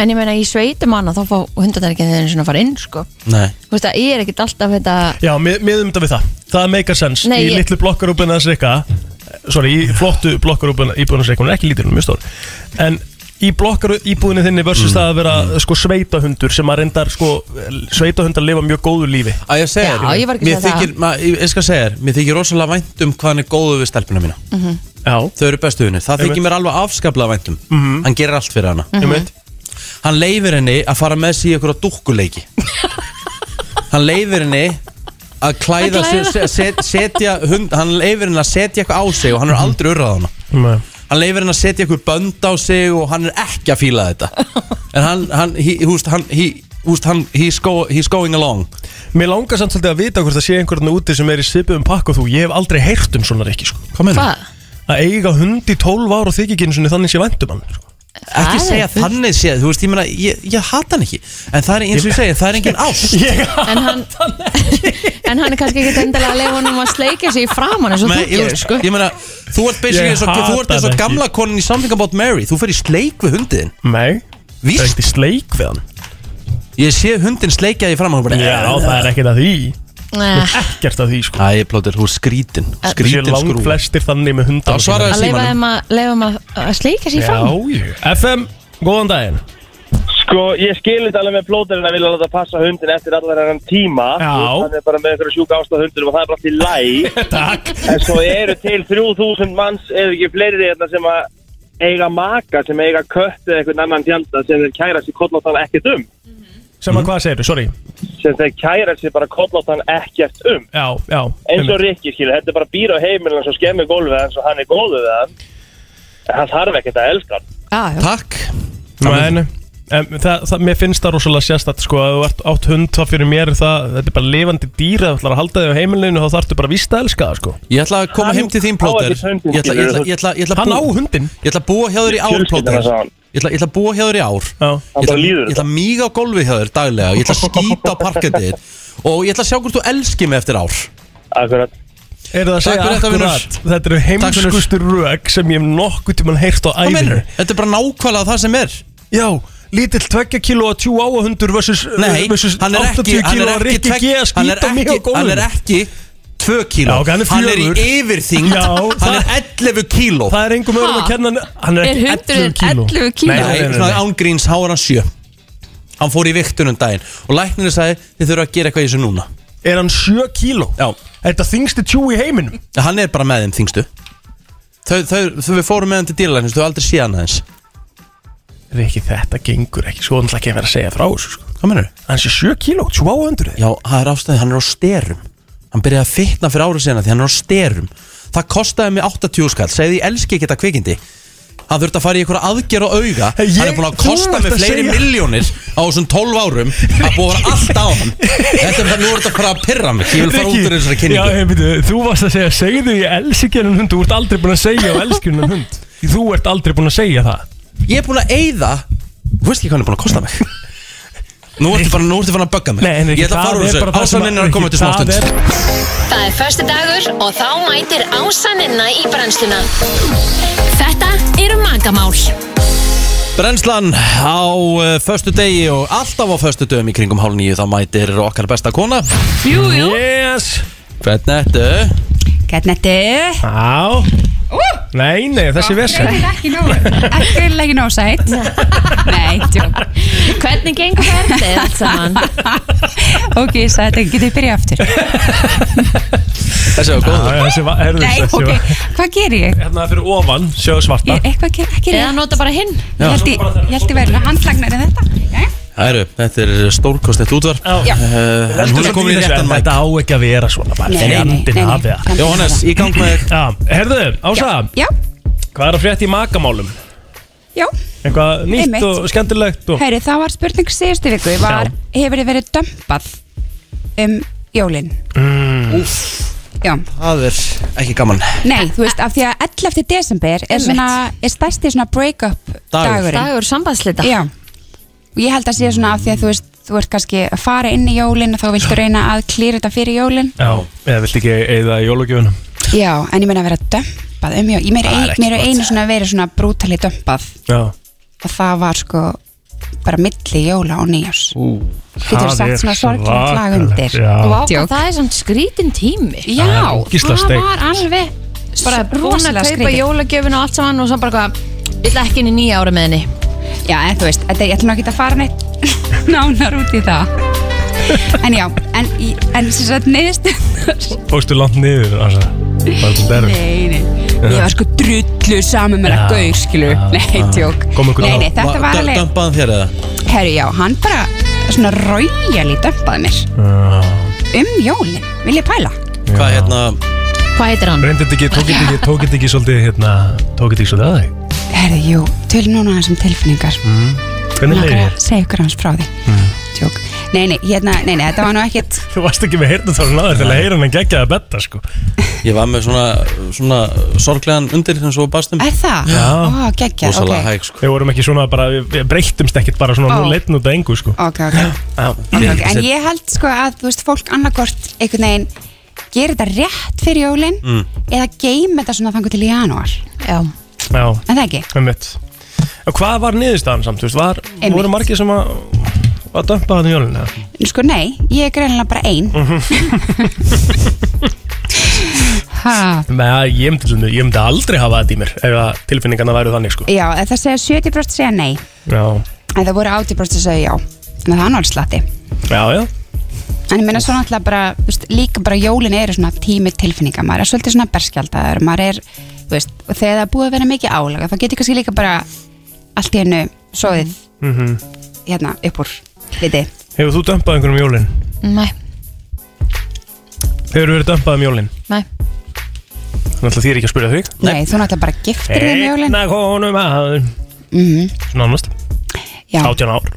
En ég meina í sveitum hana þá fá hundarnir ekki þeirinn svona að fara inn sko
Nei
Þú veist að ég er ekkert alltaf þetta
Já, mið, miðum þetta við það Það meikar sens
Nei,
Í
ég-
litlu blokkarúbuna þess rikka Sorry, í flottu blokkarúbuna íbúinu þess rikka Hún er ekki lítil, hún er mjög stór En í blokkarúbúinu þinni versus það að vera sko, sveitahundur sem að reyndar sko, sveitahundar lifa mjög góðu lífi
Að ég segja
Já,
þér,
ég var ekki að
mér
segja
þykir,
það.
ma, ég, ég skal segja þér Mér þykir rosalega vænt um hvað hann er góðu við stelpuna mína
Mhm.
Já.
Þau eru bestu henni Það
Einmitt.
þykir mér alveg afskaplega vænt um
Mhm.
Hann gerir allt fyrir hana
Mhm. Einmitt.
Hann leifir henni að fara með sig í einhverja dúkkuleiki Hann leifir henni að klæða,
Að
að
klæða.
Set, setja hund, Hann leifir henni að setja eitthvað á sig og hann er aldrei urrað á hana
Nei.
Hann leifir henni að setja eitthvað bönd á sig og hann er ekki að fíla þetta En hann, hann, he, húst, hann, he, húst, hann he's, go, he's going along
Mér langar samt svolítið að vita hvort það sé einhvern úti sem er í svipuðum pakk og þú Ég hef aldrei heyrt um svona rikki sko.
Hvað
meinar?
Að eiga hund í 12 ár og þykja ekki einu sinni þannig sé væntum hann sko.
Ekki segja þannig séð, þú veist, ég meina, ég, ég hata hann ekki En það er eins og ég segja, það er engin ást
[laughs] Ég
En hann, en hann er kannski ekkert endilega að lefa honum að sleika sig í framan eins og þú
Nei, ég,
gerir
veist,
sko
ég meina, þú ert basically
Ég
eins og, þú
hata
ert eins og
hann ekki.
gamla konin í Something About Mary Þú fer í sleik við hundiðin
Nei,
Víst? það er
ekkert í sleik við hann
Ég sé hundin sleikja því fram og hann bara
Já, það er ekkert að því
Nei.
Ekkert að því sko
Æ, plótir, þú er skrítin
Skrítin
Skrítin
skrú Lang
skrúfa.
flestir þannig með hundar
Þá svaraði
Að leifa þeim að, leifa þeim að, að sleika sig í framan
Já, jú. FM, góðan daginn
Sko, ég skil þetta alveg með plóterinn að vilja láta passa hundin eftir allar enn tíma
Já.
Hann er bara með einhverju sjúka ástað hundinum og það er bara allt í læ
[laughs] Takk
En svo eru til 3000 manns eða ekki fleiri hérna sem að eiga maka, sem eiga kött eða einhvern annan fjanda sem þeir kæra sér kollóttan ekkert um
Sem
Mhm.
að hvað segirðu, sorry
sem þeir kæra sér bara kollóttan ekkert um
Já, já
eins og
einmitt.
Rikki skilur, þetta er bara býr á heimilin og skemmir gólfið hans og hann er góður við hann en hann þarf ekkert að elska hann
ah,
Takk
Nei, nei. Em, það, það, mér finnst það rosalega sérstætt sko að þú ert átt hund þá fyrir mér er það, þetta er bara lifandi dýr að þú ætlar að halda þig á heimilinu þá þarftu bara víst að elska það sko
Ég ætla að koma
Hann
heim til þín
á
plóter
ekki hundinn,
Ég ætla, ég ætla, ég ætla, ég ætla
Hann á
hundin Ég ætla að búa hjá þér í ár
Fjölskyldan
plóter
hans á hann.
Ég ætla, ég ætla að búa hjá þér í ár Ég ætla,
bara líður
ég ætla að míga á golfi hjá þér daglega Ég ætla
[laughs]
að skýta á parkandi þér Og ég ætla að sjá hvort þú elskir mig eftir ár
Akkurat
Er það að
Takk
segja
fyrir þetta, vinur.
akkurat Þetta eru heimskustu rög sem ég hef nokkuð tímann heyrt á
Hvað
æfinu
meinar? Þetta er bara nákvæmlega það sem er
Já, lítill 2 kilo og 20 áhundur versus,
Nei,
versus
hann er ekki
80
hann
kilo
er
og
ekki
Rikki
tvegg-
G að
hann er
skýta mig á
ekki- Hann er
góðum
ekki 2 kíló
Já, ok, hann er fjögur.
í yfirþyngd
Já,
Hann
það-
er 11 kíló
Það er engum öðrum að kenna hann- Hann er
Er
ekki 11
hundurinn
kíló
11 kíló?
Nei, nei,
Nei,
nei,
svona
nei.
ángríns há er hann 7 Hann fór í viktunum daginn Og læknirinn sagði þið þurfa að gera eitthvað í þessu núna
Er hann 7 kíló?
Já
Þetta þingsti tjú í heiminum
Hann er bara með þeim þingstu Þau, þau, þau við fórum með hann til dýralæknins Þau hafa aldrei séð hann aðeins
Rikki, þetta gengur ekki Svo hann ætla ekki að vera að segja frá þessu sko.
Hvað mennur?
Hann sé 7 kíló, 20 áhundur
Já, það er ástæði, hann er á styrum Hann byrjaði að fitna fyrir árið sena því hann er á styrum Það kostaði mig 80 skall Segði ég elski ekki þetta kvikindi Hann þurfti að fara í einhverja aðgerð á auga
Ég-
Hann er búin að
þú
kosta
ert
mig
að
fleiri
segja-
milljónir Á þessum 12 árum Að búa að vera allt á hann Þetta er það, nú er þetta bara að pyrra mig Ég vil fara út úr þessari
Já,
kynningu
hey, byrju, þú varst að segja, segðu ég elski hennan hund Þú ert aldrei búin að segja og elski hennan hund Þú ert aldrei búin að segja það
Ég er búin að eyða Þú veist ekki hvað hann er búin að kosta mig Nú ertu bara, nú ertu bara að bögga mig
Nei, en
Ég ætla að
það
fara
er
úr
bara
þessu
það sem að-
Ásaninn er að koma til
Rikki, það
smástund
er-
Það er förstu dagur og þá mætir ásaninna í brennsluna. Þetta eru magamál.
Brennslan á uh, föstu degi og alltaf á föstu dögum í kringum hálf nýju þá mætir okkar besta kona
Jú, jú.
Yes
Hvernig ertu?
Hvernig ertu?
Já Nei, nei, þessi vesen
Greinilega Ekki nóg, ekki greinilega ekki nóg sætt Nei, tjók
Hvernig gengur ferðið allt saman?
Ok, ég sagði þetta, getur ég byrjað aftur
Þessi var
góð Þessi var, herðu
Nei,
þessi
ok,
var
hvað ger ég?
Hérna fyrir ofan, sjáðu svarta
Ég- Eitthvað ger, ekki
Eða nota bara hinn
Ég held ég verið að handlagnari þetta
Já, Æru, þetta er stórkostnett útvarp
Já.
uh, En hún er komin í réttan mæk
Þetta á ekki að vera svona bara
Nei,
Nei,
nei,
nei,
nei, nei.
nei
Jóhannes, í gang með þig.
Já, herðu, Ása
Já.
Hvað er að frétta í makamálum?
Já.
Eitthvað nýtt
Einmitt.
og skemmtilegt og...
Heyri, það var spurning síðustu viku var, Hefur þið verið dömpað um jólin?
mm.
Já
Það er ekki gaman
Nei, þú veist, af því að 11. desember er, svona, er stærsti svona break-up
Dagur.
dagurinn
Dagur
sambandslita
Já, og ég held að sé svona af því að þú veist þú ert kannski að fara inn í jólin og þá viltu reyna að klýra þetta fyrir jólin
Já, eða vilt ekki eða jólugjöfunum
Já, en ég meina að vera dömpað um jólin Ég meira
Það er
ein,
ekki
mér er einu svona verið svona brútali dömpað
Já
og það var sko bara milli jóla og nýjars
Ú,
Getur sagt svona sorglegt lag undir
Vá,
Djók.
hvað það er samt skrítin tími
Já, Það er ógeðslega
það
steikt.
var alveg bara búin að kaupa
rosalega skrítið.
jólagjöfin og allt saman og svo bara hvað, vill ekki inn í nýja ára með henni
Já, en þú veist, þetta er, ég ætlum ekki að fara neitt [laughs] nánar út í það En já, en, í- en sem sagt neyðstunar
Fóstu langt niður, Ása
Nei, nei, ég var sko drullu saman með
Já,
það gaur, skilu Nei, tjók Nei, nei, þetta var alveg
Dömpaðan þér eða?
Herru, já, hann bara svona raujali dömpaði mér um jólin, vil ég pæla
Hvað hérna
Hvað heitir hann?
Reyndið ekki, tókið ekki, tókið ekki svolítið hérna Tókið ekki svolítið að þig
Herru, jú, tölum núna aðeins um tilfinningar
mm. Hvernig leiðir þér?
Segja ykkur hans frá því Tjók Nei, nei, hérna, nei, nei, þetta var nú ekkit
Þú varst ekki með heyrnartólun aður til að heyra hann en geggja það betta sko
Ég var með svona, svona sorglegan undir sem svo bastum
Er það?
Já.
Ó, geggja, ok
Rosalega hæg sko
Við vorum ekki svona bara, við- við breyttumst ekkert bara svona
Ó.
nú leitin út að engu sko
Ok, ok
Já,
Ok, En ég held sko að, þú veist, fólk annarkort einhvern veginn gerir þetta rétt fyrir jólin
Mm.
eða geim þetta svona þangur til í janúar Já En
Já,
það ekki?
einmitt Og hvað var niðurstaðan samt, þú veist, var,
Einmitt.
voru margir sem að að dömpa hann í jólun eða?
Sko nei, ég er greinlega bara
[laughs]
ein Ha,
Nei, ég myndi, til dæmis- ég myndi aldrei hafa þetta í mér ef að tilfinningarna væru þannig sko
Já, en það segja 70% segja nei
Já,
en það voru 80% sem segja já en það er annars slatti
já, já
En ég meina svo náttúrulega bara, þú veist, líka bara jólin eru svona tími tilfinninga, maður er svolítið svona berskjaldar, maður er, þú veist, og þegar það er búið að vera mikið álaga, þá getur kannski líka bara allt í hennu svoðið
Mhm.
hérna upp úr liti.
Hefur þú dömpað einhverjum um jólun?
Nei,
Hefur þú verið dömpað um jólun?
nei
Þannig að því er ekki að spyrja þig
Nei, þú náttúrulega bara giftir þig um jólin.
Einna konum aður
Mhm.
Nánast
Já.
18 ár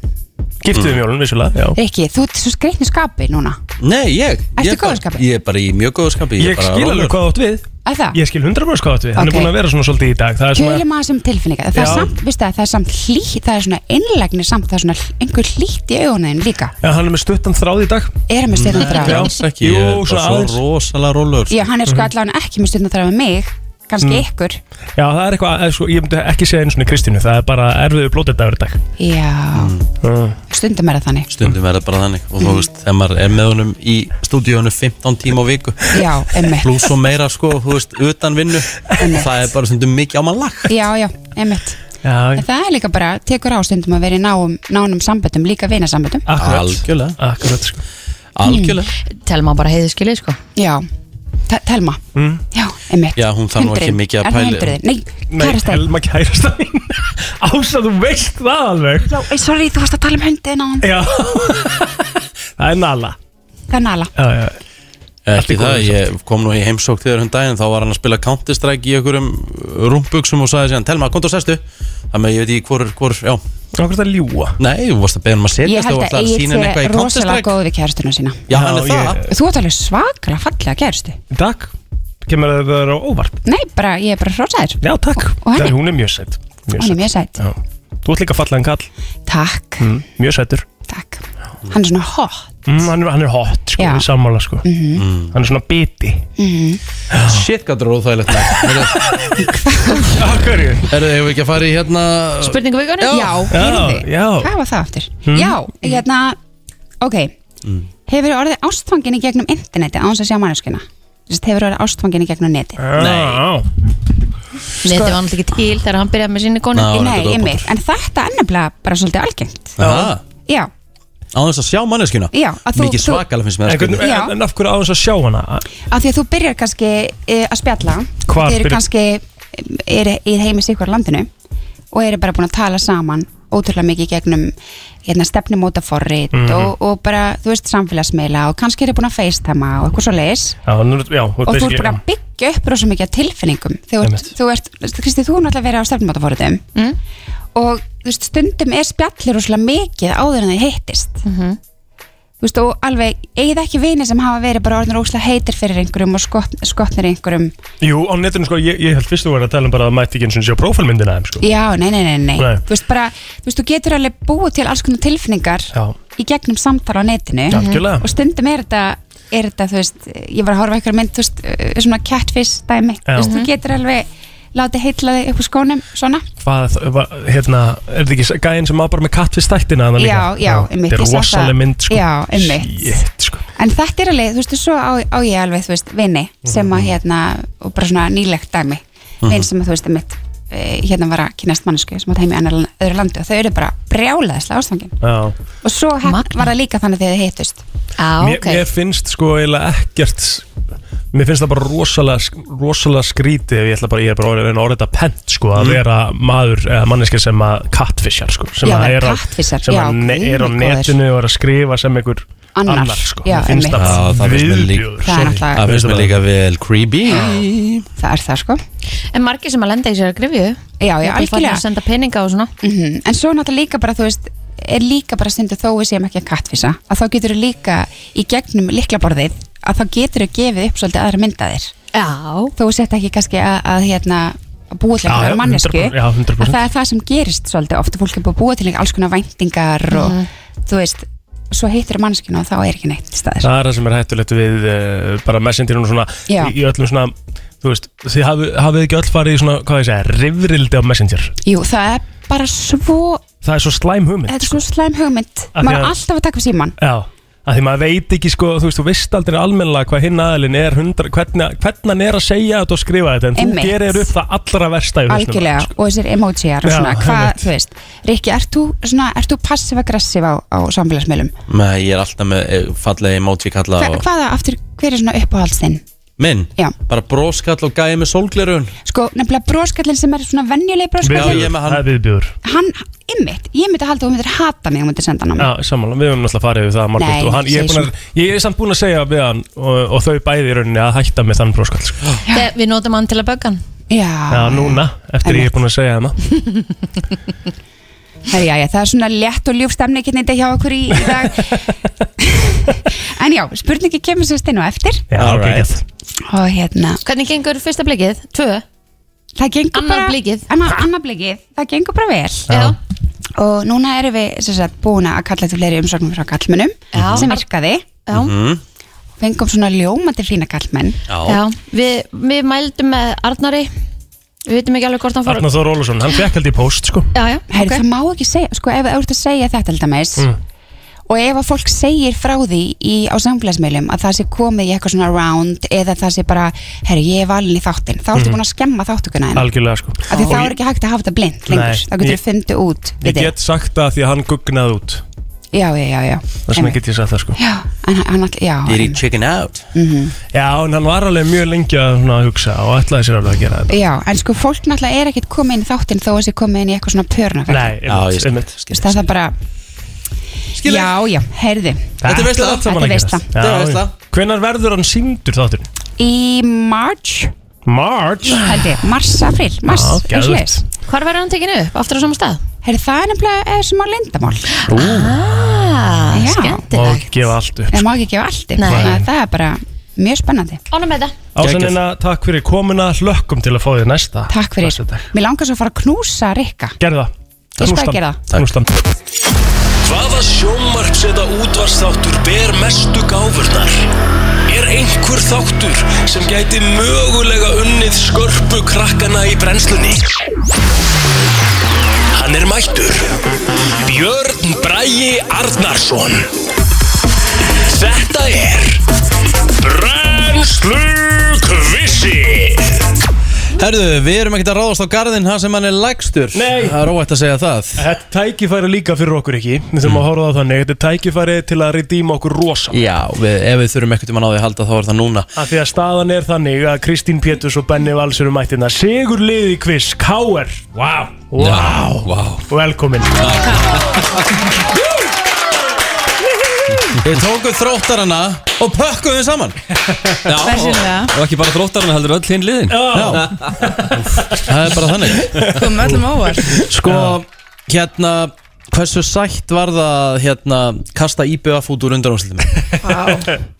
Giftið um jólun, vissulega já.
Rikki, þú ert svo skreitni skapi núna.
Nei, ég
Ertu
ég bara-
góður skapi?
Ég er bara í mjög góðu skapi
Ég skil alveg hvað átt við
Er það?
Ég skil 100% hvað átt við Hann
Ok.
er búin að vera svona svolítið í dag Það er svona
Tölum aðeins um tilfinninga. Það er
Já.
samt, veistu það, það er samt hlýtt, það er svona innlegni samt, það er svona hl- einhver hlýtt í augunniðin líka.
Já, hann er með stuttan þráð í dag
Er hann með stuttan þráð?
Mm,
Já, ekki, ég
Jú,
er
svona
bara svo
aðeins.
rosalega rólur
Já, hann er sko allavega ekki með stundin þar með mig, kannski
Mhm. Mm.
ykkur.
Já, það er eitthvað, eða sko, ég myndi ekki segja einu svona Kristínu Það er bara erfiður blótið dagur í dag
Já,
Mm.
uh,
stundum er það þannig
Stundum verður bara þannig Og þú veist, þegar maður er með honum í stúdíónu 15 tíma á viku
Já, emmitt
Plus og meira sko, þú veist, utan vinnu Það er bara stundum mikið á mann lag
Já, já, emmitt
Já,
En það er líka bara, tekur á stundum að vera í náum, nánum samböndum, líka vinasamböndum
Algjörlega Mm.
Akkurat sko
Algjörlega
Telma bara heiði skilið sko
Já, Te- Telma
mm.
Já, emmitt
Já, hún þarf nú ekki mikið að pæli
Er það hundruðin? Nei, kærasta
Helma kærasta mín [laughs] Ása, þú veist það alveg
Já, ei, sorry, þú varst að tala um hundin á hann
Já [laughs] Það er nala
Það er nala
Já, já
Ekki það, ég kom nú í heimsók þegar hún daginn þá var hann að spila Counter-Strike í einhverjum rúmbuksum og sagði síðan, telma, kontu og sestu þannig að ég veit ekki hvor, hvor, já
Akkur það ljúa
Nei, þú varst að beða hann um að
Ég
setjast þú
held
varst
að
að
Egil
sína henni
sé
eitthvað í
rosalega
Counter-Strike
góð við kærastunum sína
Já, hann er það
Þú ert alveg svakra fallega kærastu
Takk Kemur það þér á óvart
Nei, bara, ég er bara hrósaður
Já, takk
Og hann
Nei,
er,
Hún er mjög sætt
hann er mjög sætt
Já. Þú ert líka fallegan kall
Takk,
mm, Mjög sættur
hann er svona hot
mm, hann, er, hann er hot sko,
Já. Mhm.
í sammála sko mm. Hann er svona biti
mm.
Shit, hvað það er óþægilegt [laughs]
Hvað er það?
Herðu, hefur ekki að fara í hérna
Spurningu vikunni?
Já, heyrði
já.
Hvað var það aftur?
Hmm.
Já, hérna, ok Hefur orðið ástfangin í gegnum interneti án þess að sjá manneskuna? Þess að hefur orðið ástfangin í gegnum neti?
Nei
Neti var náttúrulega ekki til þegar hann byrjaði með sinni konu
Ná,
Nei,
þetta er
einmitt, en þetta er nefnilega bara svolítið algengt
Aha,
Já,
Á þess að sjá manneskina
Já, að þú-
Mikið
þú-
svakalega finnst mér sko.
En,
það
hvernig,
Já.
en, en af hverju á þess að sjá hana?
af því að þú byrjar kannski e, að spjalla
Hvar
Þið eru
byrjar-
kannski, e, eru í heimis ykkur landinu og eru bara búin að tala saman ótrúlega mikið í gegnum hérna, stefnumótaforrit
Mhm.
og, og bara, þú veist, samfélagsmeila og kannski er ég búin að facetama og eitthvað svo leis
Já, nú, já,
og þú ert búin
hérna.
að byggja upp rosa mikið af tilfinningum þú ert, þú ert, Kristi, þú er náttúrulega verið á stefnumótaforritum mm. og þú veist, stundum er spjallir rosalega mikið áður en það hittist -hmm. þú veist, og alveg, eigið ekki vini sem hafa verið bara orðin rosalega heitir fyrir einhverjum og skott, skottnir einhverjum
Jú, á netinu sko, ég, ég held fyrst þú verið að tala um bara að mætti ekki eins og sjá prófælmyndina þeim sko
Já, nei, nei, nei, nei.
Nei.
Þú veist bara, þú veist, þú getur alveg búið til alls konar tilfinningar
Já.
í gegnum samtala á netinu
Algjörlega.
og stundum er þetta, er þetta, þú veist, ég var að horfa á einhverja mynd, þú veist, eh, svona catfish dæmi,
Já.
þú veist, þú
Mhm.
getur alveg látið heitla þig upp úr skónum, svona.
Hvað, va- hérna, er þetta ekki gæðin sem var bara með katt við stættina þarna líka?
Já, já, einmitt,
Þetta
ég
er
sá
rosaleg
það.
mynd sko
Já, einmitt.
Shit, sko
En þetta er alveg, þú veist, svo á, á ég alveg, þú veist, vini sem að hérna, og bara svona nýlegt dæmi,
Mhm.
vin sem að, þú veist, mitt, hérna var að kynast mannsku sem átt heim í annar, öðru landi og þau eru bara brjálaðislega ástfangin.
Já,
Og svo hef, var það líka þannig þegar þið hittust.
Já,
Ah,
mér, mér finnst sko eiginlega ekkert Mér finnst það bara rosalega, rosalega skrítið ef ég ætla bara, ég er bara orðið að reyna að orða þetta pent sko,
Mm.
að vera maður eða manneski sem að kattfisjar sko, sem
Já,
að
vera
er, á-
catfishar,
sem
já,
að ne,
guð
er á
minn góður.
netinu og er að skrifa sem einhver
Annar,
annar, sko,
já,
Mér finnst
einmitt.
Já,
það
það finnst mér líka-
viðbjóður
Það er náttúrulega-
Það finnst mér líka vel creepy
Það er það sko
En margir sem að lenda í sér að grifju
Já, já, algjörlega.
að senda peninga og svona
-hmm. En svo náttúrulega líka bara, þú veist, er líka bara stundu þó við séum ekki að kattfisa að þá getur þú líka í gegnum liklaborðið að þá getur þú gefið upp svolítið aðra myndaðir
Já
Þó sett ekki kannski að, að hérna að búa til
Já,
einhverja
já,
mannesku
100%, já, 100%.
að það er það sem gerist svolítið ofta fólk er búið að búa til alls konar væntingar
Mhm.
og þú veist, svo heitir manneskinu og þá er ekki neitt til staðar
Það er það sem er hættulegt við uh, bara messendirinn og svona
Já.
í, í öllum svona, þú veist, þið hafið, hafið ekki öll farið í svona, hvað ég segja, rifrildi á messenger.
Jú, það er bara svo
Það er svo slæm hugmynd.
þetta er svo slæm hugmynd
Af því
maður er
að-
alltaf að taka við síman
Já, að því maður veit ekki sko, þú veist, þú veist aldrei almennilega hvað hinn aðalinn er, hundra, hvernig, hvernig hann er að segja þetta og skrifa þetta, en
Einmitt.
þú gerir upp það allra versta í hausnum.
algjörlega og þessir emojiar og
Já,
svona, hvað,
einmitt.
þú veist Rikki, ert þú, svona, ert þú passiv-aggressiv á, á samfélagsmiðlum?
Nei, ég er alltaf með eh, fallega emoji kalla
Hva,
og...
hvaða, aftur, hver er svona uppáhaldstinn?
Minn,
Já.
bara broskall og gæði með sólglerun
Sko, nefnilega bróskallin sem er svona venjulegi
Já, ég
bróskallin
er með hann.
Það er viðbjör.
hann, ymmit, ég myndi að halda að þú myndir hata mig og myndir senda hann á mig
Já, sammála, við höfum náttúrulega farið við það margótt
Nei,
og hann, ég, er
segir
búin að, ég er samt búin að segja við hann og, og þau bæði í rauninni að hætta með þann bróskall sko.
Þegar Við notum hann til að bögga hann
Já,
Já, núna, eftir ég er búin að segja hana
Herri, já, já, það er svona létt og ljúf stemning hérna í dag hjá okkur í, í dag En já, spurningi kemur sem stinn og eftir
Já, ok, gett
og hérna
Hvernig gengur fyrsta blikið? Tvö?
Það gengur
Annað
bara-
blikið
Annað, annað blikið, það gengur bara vel
Já.
og núna erum við sem sagt, búin að kalla til fleiri umsóknum frá kallmennum
Já.
sem virkaði
Já. Mhm.
fengum svona ljómandi fína kallmenn
Já, við, við mældum með Arnari Við veitum ekki alveg hvort hann fór
Arnar Þór Ólusson, hann fekk held í post sko
Já, já,
Heri, það má ekki segja, sko ef þú ert að segja þetta til dæmis
Mm.
og ef að fólk segir frá því í, á samfélagsmeilum að það sé komið í eitthvað svona round eða það sé bara, herri ég er valin í þáttin þá ertu
Mhm.
búin að skemma þáttökuna henni
Algjörlega sko
af því
Og
þá
ég-
er ekki hægt að hafa þetta blind
Nei,
lengur, þá getur
ég-
þú fundið út
Ég
við þig.
get sagt það því að hann gugnaði út
já, já, já, já.
Þess vegna get ég sagt það sko
já, en, hann, já,
Did he chicken out?
mm -hmm.
Já, en hann var alveg mjög lengi að svona, hugsa og ætlaði sér alveg að gera þetta
Já, en sko fólk náttúrulega er ekkert komið inn í þáttinn þó að sé komið inn í eitthvað svona pörna
Nei, einmitt, einmitt
Það er það bara Já, já, heyrði
Þetta er veistla allt saman að
veisla.
gerast Hvenar verður hann síndur þátturinn?
Í March
March
Held ég, Mars, April, Mars
Já, geðveikt.
Hvar verður hann tekinu upp? Aftur á sama stað?
Heyrði, það er nefnilega eh, smá lindamál
Ú,
ah,
Já.
Má ekki gefa allt upp
Það má ekki gefa allt upp,
Nei.
þannig að það er bara mjög spennandi
Ánum með það
Ásannina, takk fyrir komuna, hlökkum til að fá þig næsta
Takk fyrir.
Næsta dag.
Mér langar svo að fara að knúsa Rikka
Gerðu það
Ég skal
Knústan.
gera
Knústan.
Hvaða sjónvarps eða útvarstáttur ber mestu gáfurnar? Er einhver þáttur sem gæti mögulega unnið skörpu krakkana í brennslunni? Hann er mættur. Björn Bragi Arnarsson. Þetta er Brennslu Kvissi.
Herðu, við erum ekkert að ráðast á garðin hann sem hann er lægstur Nei Það er óætt að segja það
Þetta tækifæri líka fyrir okkur ekki Við þurfum að horfa á það þannig Þetta er tækifæri til að redíma okkur rosa
Já, við, ef við þurfum ekkert um að ná því að halda þá er það núna
Af því að staðan er þannig að Kristín Péturs og Benni Vals eru mættina Sigur liði kviss, K.R. Vá, vá,
vá
Velkomin
Við tókum þróttarana og pökkum við saman Já,
Bersýnilega.
og ekki bara þróttarana heldur öll hinn liðin Já, það er bara þannig
Komum öllum á óvart
Sko, hérna, hversu sætt var það hérna, kasta IBF út úr undanúrslitum? [laughs]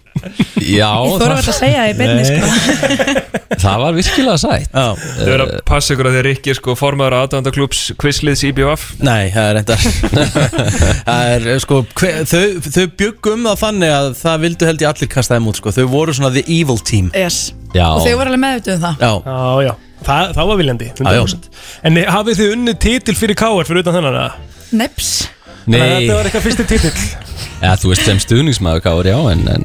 Já,
Ég þóra verið að segja það í beinni sko.
það var virkilega sætt
Þau verður að passa ykkur að þið Rikki er sko formaður aðdöndaklúps Quizliðs IBF
Nei, það er
[laughs]
reyndar Það er, sko, hver, þau, þau bjöggum það þannig að það vildu held ég allir kasta þeim út sko. Þau voru svona the evil team
yes.
Já.
Og þau voru alveg meðvituð um það
Já,
Já, já, það, það var viljandi 100%. En eh, hafið þið unnið titil fyrir K.R. fyrir utan þennan? eða?
Neps
Þannig að
Nei.
Þetta var eitthvað fyrsti titil
Já, þú veist sem stuðningsmaður Káur, já, en, en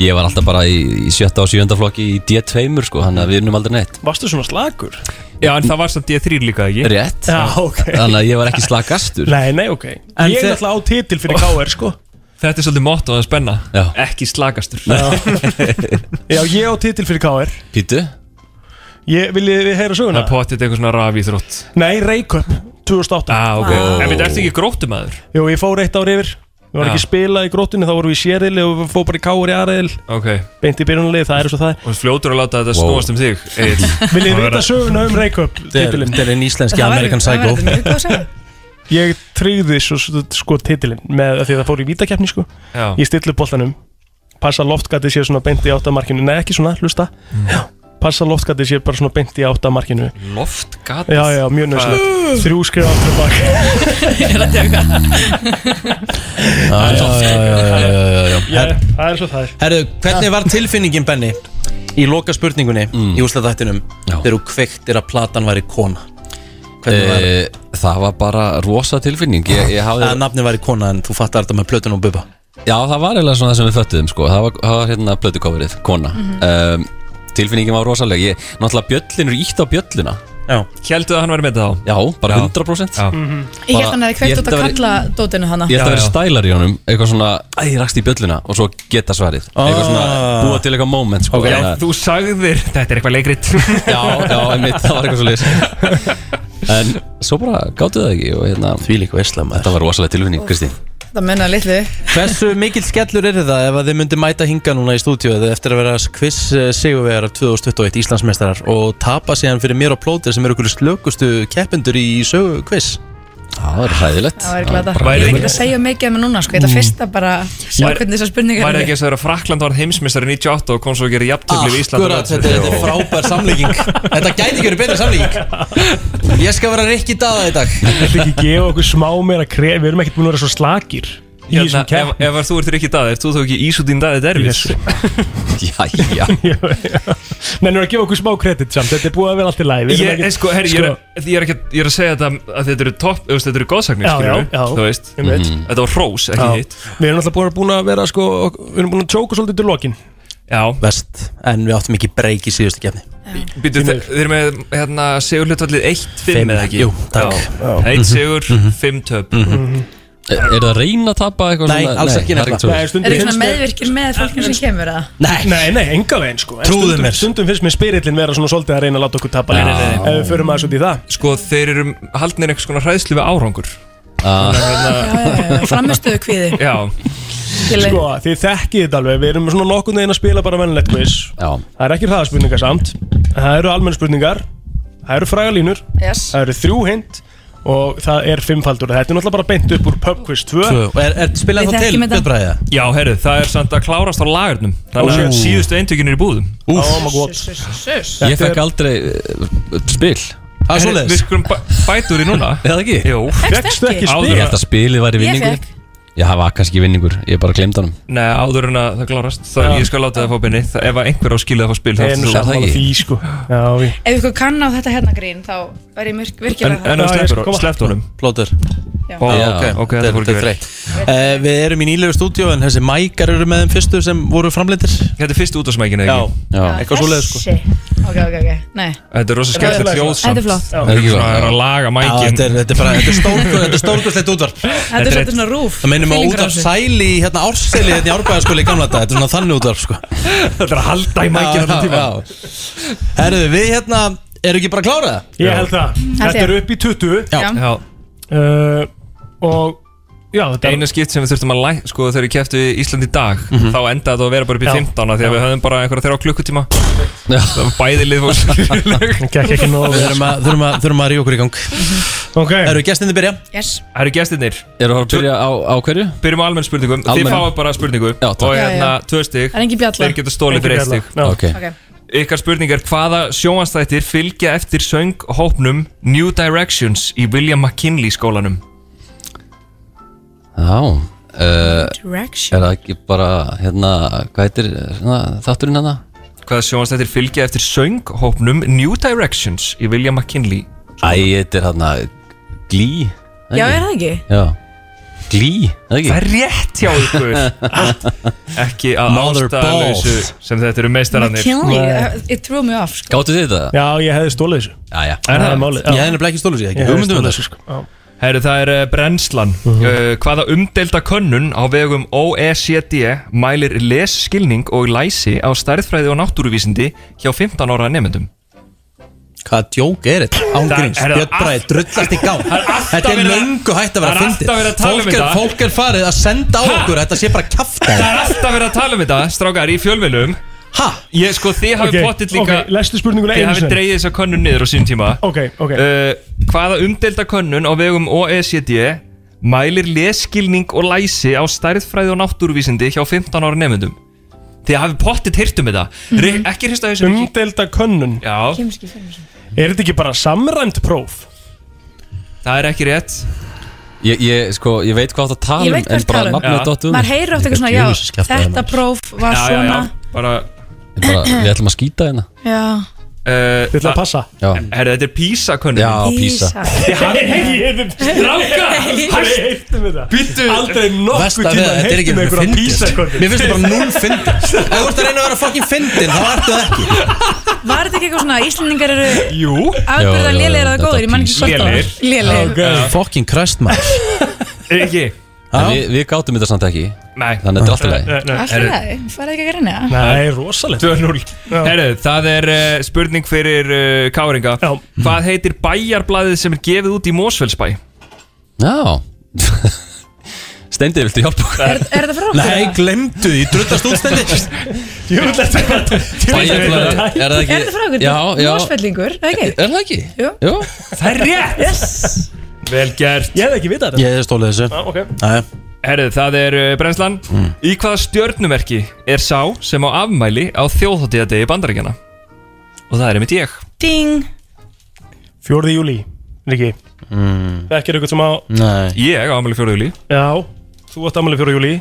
ég var alltaf bara í, í sjötta og sjönda flokki í D2, sko, hann að við erum aldrei neitt.
Varstu svona slagur?
Já, en það var samt D3 líka, ekki?
Rétt.
Já, ok.
Þannig að ég var ekki slagastur.
Nei, nei, ok
En
Ég
þe-
er alltaf á titil fyrir K.R. sko
Þetta er svolítið motto að spenna já. Ekki slagastur
Já, ég á titil fyrir K.R.
Pítu?
Ég, viljið þið heyra söguna?
Það potið eitthvað svona rafið þrótt
Nei, Reykjöp 2008
ah, ok. Vá. En við ertu ekki gróttumæður?
Jú, ég fór eitt ár yfir Við varum
Já.
ekki spilað í grótunni, þá vorum við í sérðil og við fórum bara í káur í aðriðil
Ok
Beint í byrjunarlið, það er eins og það er
Og fljótur að láta þetta snúast um þig
Vil ég vita söguna um Reykjöp? titilinn?
Þetta er einn íslenski American Psycho
Ég tryggði svo svo- sko titilinn með af því að það fór í vítakeppni sko
Já.
Ég stillu boltanum Passa að loftgatið sér svona beint í áttamarkinu Nei, ekki svona, hlusta
Mm.
Já. Passa að loftgatið sér bara svona beint í áttamarkinu
Loftgat
Já, já, mjög nöðslega Þrjú skrifa aftur bak
Já, já, já, já, já, já, já. Her,
Það er svo það er
Herðu, hvernig var tilfinningin, Benni, í loka spurningunni
Mm.
í úsleðættinum þegar þú kveiktir að platan væri kona? Hvernig var
Eh, það var bara rosa tilfinning ég, ég hafði...
Að nafni væri kona en þú fattar þetta með plötun og bubba
Já, það var eiginlega svona það sem við föttuðum sko. það, var, það var hérna plötukofrið, kona
Mhm.
um, Tilfinningin var rosaleg ég, Náttúrulega bjöllinur ítt á bjölluna
Hjældu að hann væri með það á?
Já, bara 100% Já.
Ég held hann að þið
Ég
kveikt
held
út að
að væri-
kalla dótinu hana
Ég ætla að vera stælar í honum Eitthvað svona, æ, ég rakst í bjölluna Og svo geta svarið Eitthvað svona,
Ah.
búa til eitthvað moment sko,
Ok. Já,
Þannig að-
þú sagðir, þetta er eitthvað leikrit
[laughs] Já, já, einmitt, það var eitthvað svo
[laughs]
En svo bara gáttu það ekki og, hérna,
Því líka veistlega maður
Þetta var rosaleg tilfinning, Kristín
Það munna litlu
Hversu mikill skellur er það ef að þið myndi mæta hinga núna í stúdíu eftir að vera quiz eh, sigurvegar 2021 Íslandsmeistarar og tapa síðan fyrir mér og plótir sem eru okkur slökustu keppendur í sögu quiz
Það var hræðilegt
Það væri glada Ég er ekki að segja mikið um það núna sko. Ég ætla fyrst að bara sjá
Væri-
hvernig þessar spurningar
Var
eru.
ekki þess að vera Frakland var heimsmeistari 98 og kom svo að gera jafntöfli við Ísland
Akkurat, þetta, þetta er frábær samlíking Þetta gæti ekki verið betri samlíking Ég skal vera Rikki Dada í dag
Þetta ekki gefa okkur smá meira kref Við erum ekkert búin að vera svo slakir Í
Hérna,
þessum
ef,
keppni
ef þú ert ekki dað, ert þú þá ekki Ísudín daðið derfis?
[laughs]
Jæja
Nennir að gefa okkur smá kredit samt Þetta er búið að vera allt í lagi Við erum
Ég,
ekkert-
ekki, sko, herri, ég, er, ég, er ekki, ég er að segja þetta að þetta eru topp, þú veist, þetta eru góðsagnir,
Já,
skilur
já, já.
þú veist, Mhm.
Ég veit.
þetta var hrós, ekki
Já.
hitt.
Við erum alltaf búin að, búin að vera sko Við erum búin að tjóka svolítið til lokin
Já.
Vest, en við áttum ekki breyk í síðustu kefni
Býtu, þe- þeir eru með, hérna, segur hlutvallið 1-5
Fimm,
eða ekki?
jú, takk. Já.
Mhm.
1 segur, 5 töp.
Er er það að reyna að tapa eitthvað
Nei,
svona?
alls
það
ekki
er
nefnilega.
svo leiðis.
Nei,
Er ekki svona meðvirkir með fólkinu sem kemur að
Nei,
nei, nei enga veginn sko En
Trúðu
stundum-
mér.
Stundum finnst mér spyrillin vera svona svolítið að reyna að láta okkur tapa
Nei, nei, nei, nei.
Ef við förum aðeins út í það
Sko, þeir eru haldnir einhvers konar hræðslu við árangur.
Ah.
Framistuðu kvíði
Já,
Skilji.
Sko, þið þekkið þetta alveg, við erum svona nokkurn veginn að spila bara mennilegt quiz
Já.
Það er ekki hraðaspurningar samt Það eru almenn spurningar Það eru frægalínur
Yes.
Það eru þrjú hint Og það er fimmfaldur Þetta er náttúrulega bara beint upp úr pub quiz 2
Tvö. Og er- er- spilaði Við þá til, þekkjum þetta. Björn Bragi, eða?
Já, herru, það er samt að klárast á lagarnum. Þannig
Ó.
að síðustu eintökin er í búðum.
Úff. Oh my god.
Ég fekk aldrei uh, spil
Það er svoleiðis. Við skulum bæ- bæta úr í
[laughs]
núna.
Eða ekki?
Jú.
Fékkstu ekki spil?
Áður að spilið væri
Ég
vinningur
fékk.
Já, það var kannski vinningur Ég bara glemd honum
Nei, áður en að það klárast þá
Já.
ég skal láta það fá benni Þa- ef að einhver á skilið að fá spil þá
En
ert þú.
saman því sko Já, við
Ef ykkur kann á þetta hérna grín þá væri ég myrk-
En-
virkilega
en að
þakklát.
sleppur- sleppt honum
Plótur
Já.
Ó,
Já,
ok,
ok,
þetta
þetta
er
fór ekki vel.
þreytt uh, Við erum í nýlegu stúdíu en þessi mækar eru með þeim fyrstu sem voru framleitir
Þetta er fyrstu útásmækin
eða ekki? Já, eitthvað svoleið sko
Þessi. Ok, ok, ok, nei
Þetta er rosa skemmtilegt
Þetta er
hljóðsamt
flott.
Þetta er svona- það er að laga mækin
Þetta er- þetta er bara- þetta er stórkostlegt-
[laughs]
þetta er stórkostlegt útvarp
Þetta er svolítið svona rúf
Það minnum að
feelingur
út
á
af
þessu.
sæli í hérna árseli hérna í árbæðaskóli í gamla dag Þetta er svona þannig útvarp sko
Þetta er að halda í mækinn
hérna
allan tímann.
tíma Herðu, við hérna, eru ekki bara að klára það?
Ég held það Þetta er upp í 20
Já. Já.
Uh, Og Já, þetta
Einu skipt sem við þurftum að læk sko þegar við kæftu í Ísland í dag þá endaði þetta að vera bara upp í
Mhm. Já.
15 af því að
Já.
við höfðum bara einhverja þeirra á klukkutíma það var bæði lið fór
Gekk ekki nógu vel.
[laughs]
Við þurfum að- þurfum að- þurfum að ríða okkur í gang
Ok
Eru gestinni byrja?
Yes
Það eru gestirnir
Eru að byrja á, á hverju?
Byrjum á almenn spurningum Þið
Almenn.
fáið bara spurningu Já, Og
Já,
hérna
já.
tvö stig
Það er engin bjalla.
Þeir geta stólið
Engin
fyrir eitt
bjalla.
stig
Já. Ok. Ok.
Ykkar spurning er Hvaða sjónvastættir fylgja eftir sönghópnum New Directions í William McKinley skólanum?
Já uh,
Direction.
Er það ekki bara, hérna, hvað heitir hérna, þátturinn hérna?
Hvaða sjónvastættir fylgja eftir sönghópnum New Directions í William McKinley
Æ, þetta er hérna Glí
Já, er það ekki?
Já Glí, það ekki?
Það er rétt hjá ykkur Ekki
Ah,
að
Mother
ástæðalausu
balls.
sem þetta eru meistarannir
Killing, uh, it threw me off sko.
Gáttu þið þetta?
Já, ég hefði stólið þessu
Já, já
Það er málið, já. Ég hefði
nefnilega ekki stólu sér
ekki Ég hefði hugmynd um stolið þetta. þessu, sko.
Herru, það er eh, brennslan uh, Hvaða umdelda könnun á vegum OECD mælir lesskilning og læsi á stærðfræði og náttúruvísindi hjá 15 ára nefndum?
Hvaða djók er þetta? Ángríns,
Það- er það
Björn Bræði, drullast í gang Þetta er
verið að-
löngu hægt að vera
það
að
er
fyndi
alltaf verið að tala um
fólk, er-
þetta.
fólk er farið að senda á okkur Þetta sé bara kafta
Það er alltaf verið að tala um þetta, strákar, í fjölvelum
Ha?
Ég sko, þið hafið
Ok,
okay, pottit líka
ok, lestu spurninguna
Þið
einu
hafið
sinni.
dreigið þessa könnun niður á sín tíma
Ok, ok
uh, Hvaða umdelda könnun á vegum OECD mælir lesskilning og læsi á stærðfræði og náttúruvísindi hjá 15 ára nefndum? Þið hafið pottit heyrt um þetta mm. Ekki hrista þessu
Umdelda könnun
Já
Kemur ekki fyrir þessu.
Er þetta ekki bara samræmt próf?
Það er ekki rétt
Ég, ég, sko, ég veit hvað það tala
Ég
um
veit hvað
En bara
það tala um
nafnið dottu
Maður heyrir oft eitthvað svona, já, þetta próf var
Já, já,
svona
já.
Bara
bara, Við ætlum að skýta hérna
Já,
Uh,
Þið ætla að passa
Já
Herri, þetta er PISA könnun
Já, PISA.
Ég hefði Stráka, hættum við það
Býttu
Aldrei nokkuð
Vesta við
tíma
að þetta er ekki
hefði með
einhver
um einhverja
fyndið sko.
písakönnun
Mér finnst þetta bara núl
[laughs]
fyndið Ef þú ert að reyna að vera fucking fyndin, þá ertu það ekki
var þetta ekki eitthvað svona Íslendingar eru
Jú
afbyrða lélegir eða góðir, ég man ekki svart á það Lélegir
uh, Fucking kræst maður
Eh, Ekki
En við, við gátum þetta samt ekki
Nei
Þannig að þetta er alltaf
Nei,
Alltaf það, farið ekki að reyna það?
Nei, rosalegt
2-0 Herru, það er uh, spurning fyrir uh, Káringa Já. Hvað heitir bæjarblæðið sem er gefið út í Mósfellsbæ?
Já [laughs] Steindi, viltu hjálpa okkur?
Er þetta frá okkur?
Nei, glemdu því, drullast útstendi
Ég vil þetta
Bæjarblaðið, er það ekki
Er þetta frá okkur?
Já, já
Mósfellingur, er það ekki?
Er það ekki?
Jú.
Jú
Það er rétt
Yes
Vel gert
Ég hefði ekki vitað
Ég hefði stólið þessu
þetta Ok
Jæja.
Herru, það er uh, brennslan
Mm.
Í hvaða stjörnumerki er sá sem á afmæli á þjóðháttíðadegi bandaríkjana? Og það er einmitt ég
Ding
Fjórði júli Riki
Mm.
Þekkir ykkur sem á
Nei
Ég á afmæli fjóruðjúli
Já Þú átt ammali fjóra júli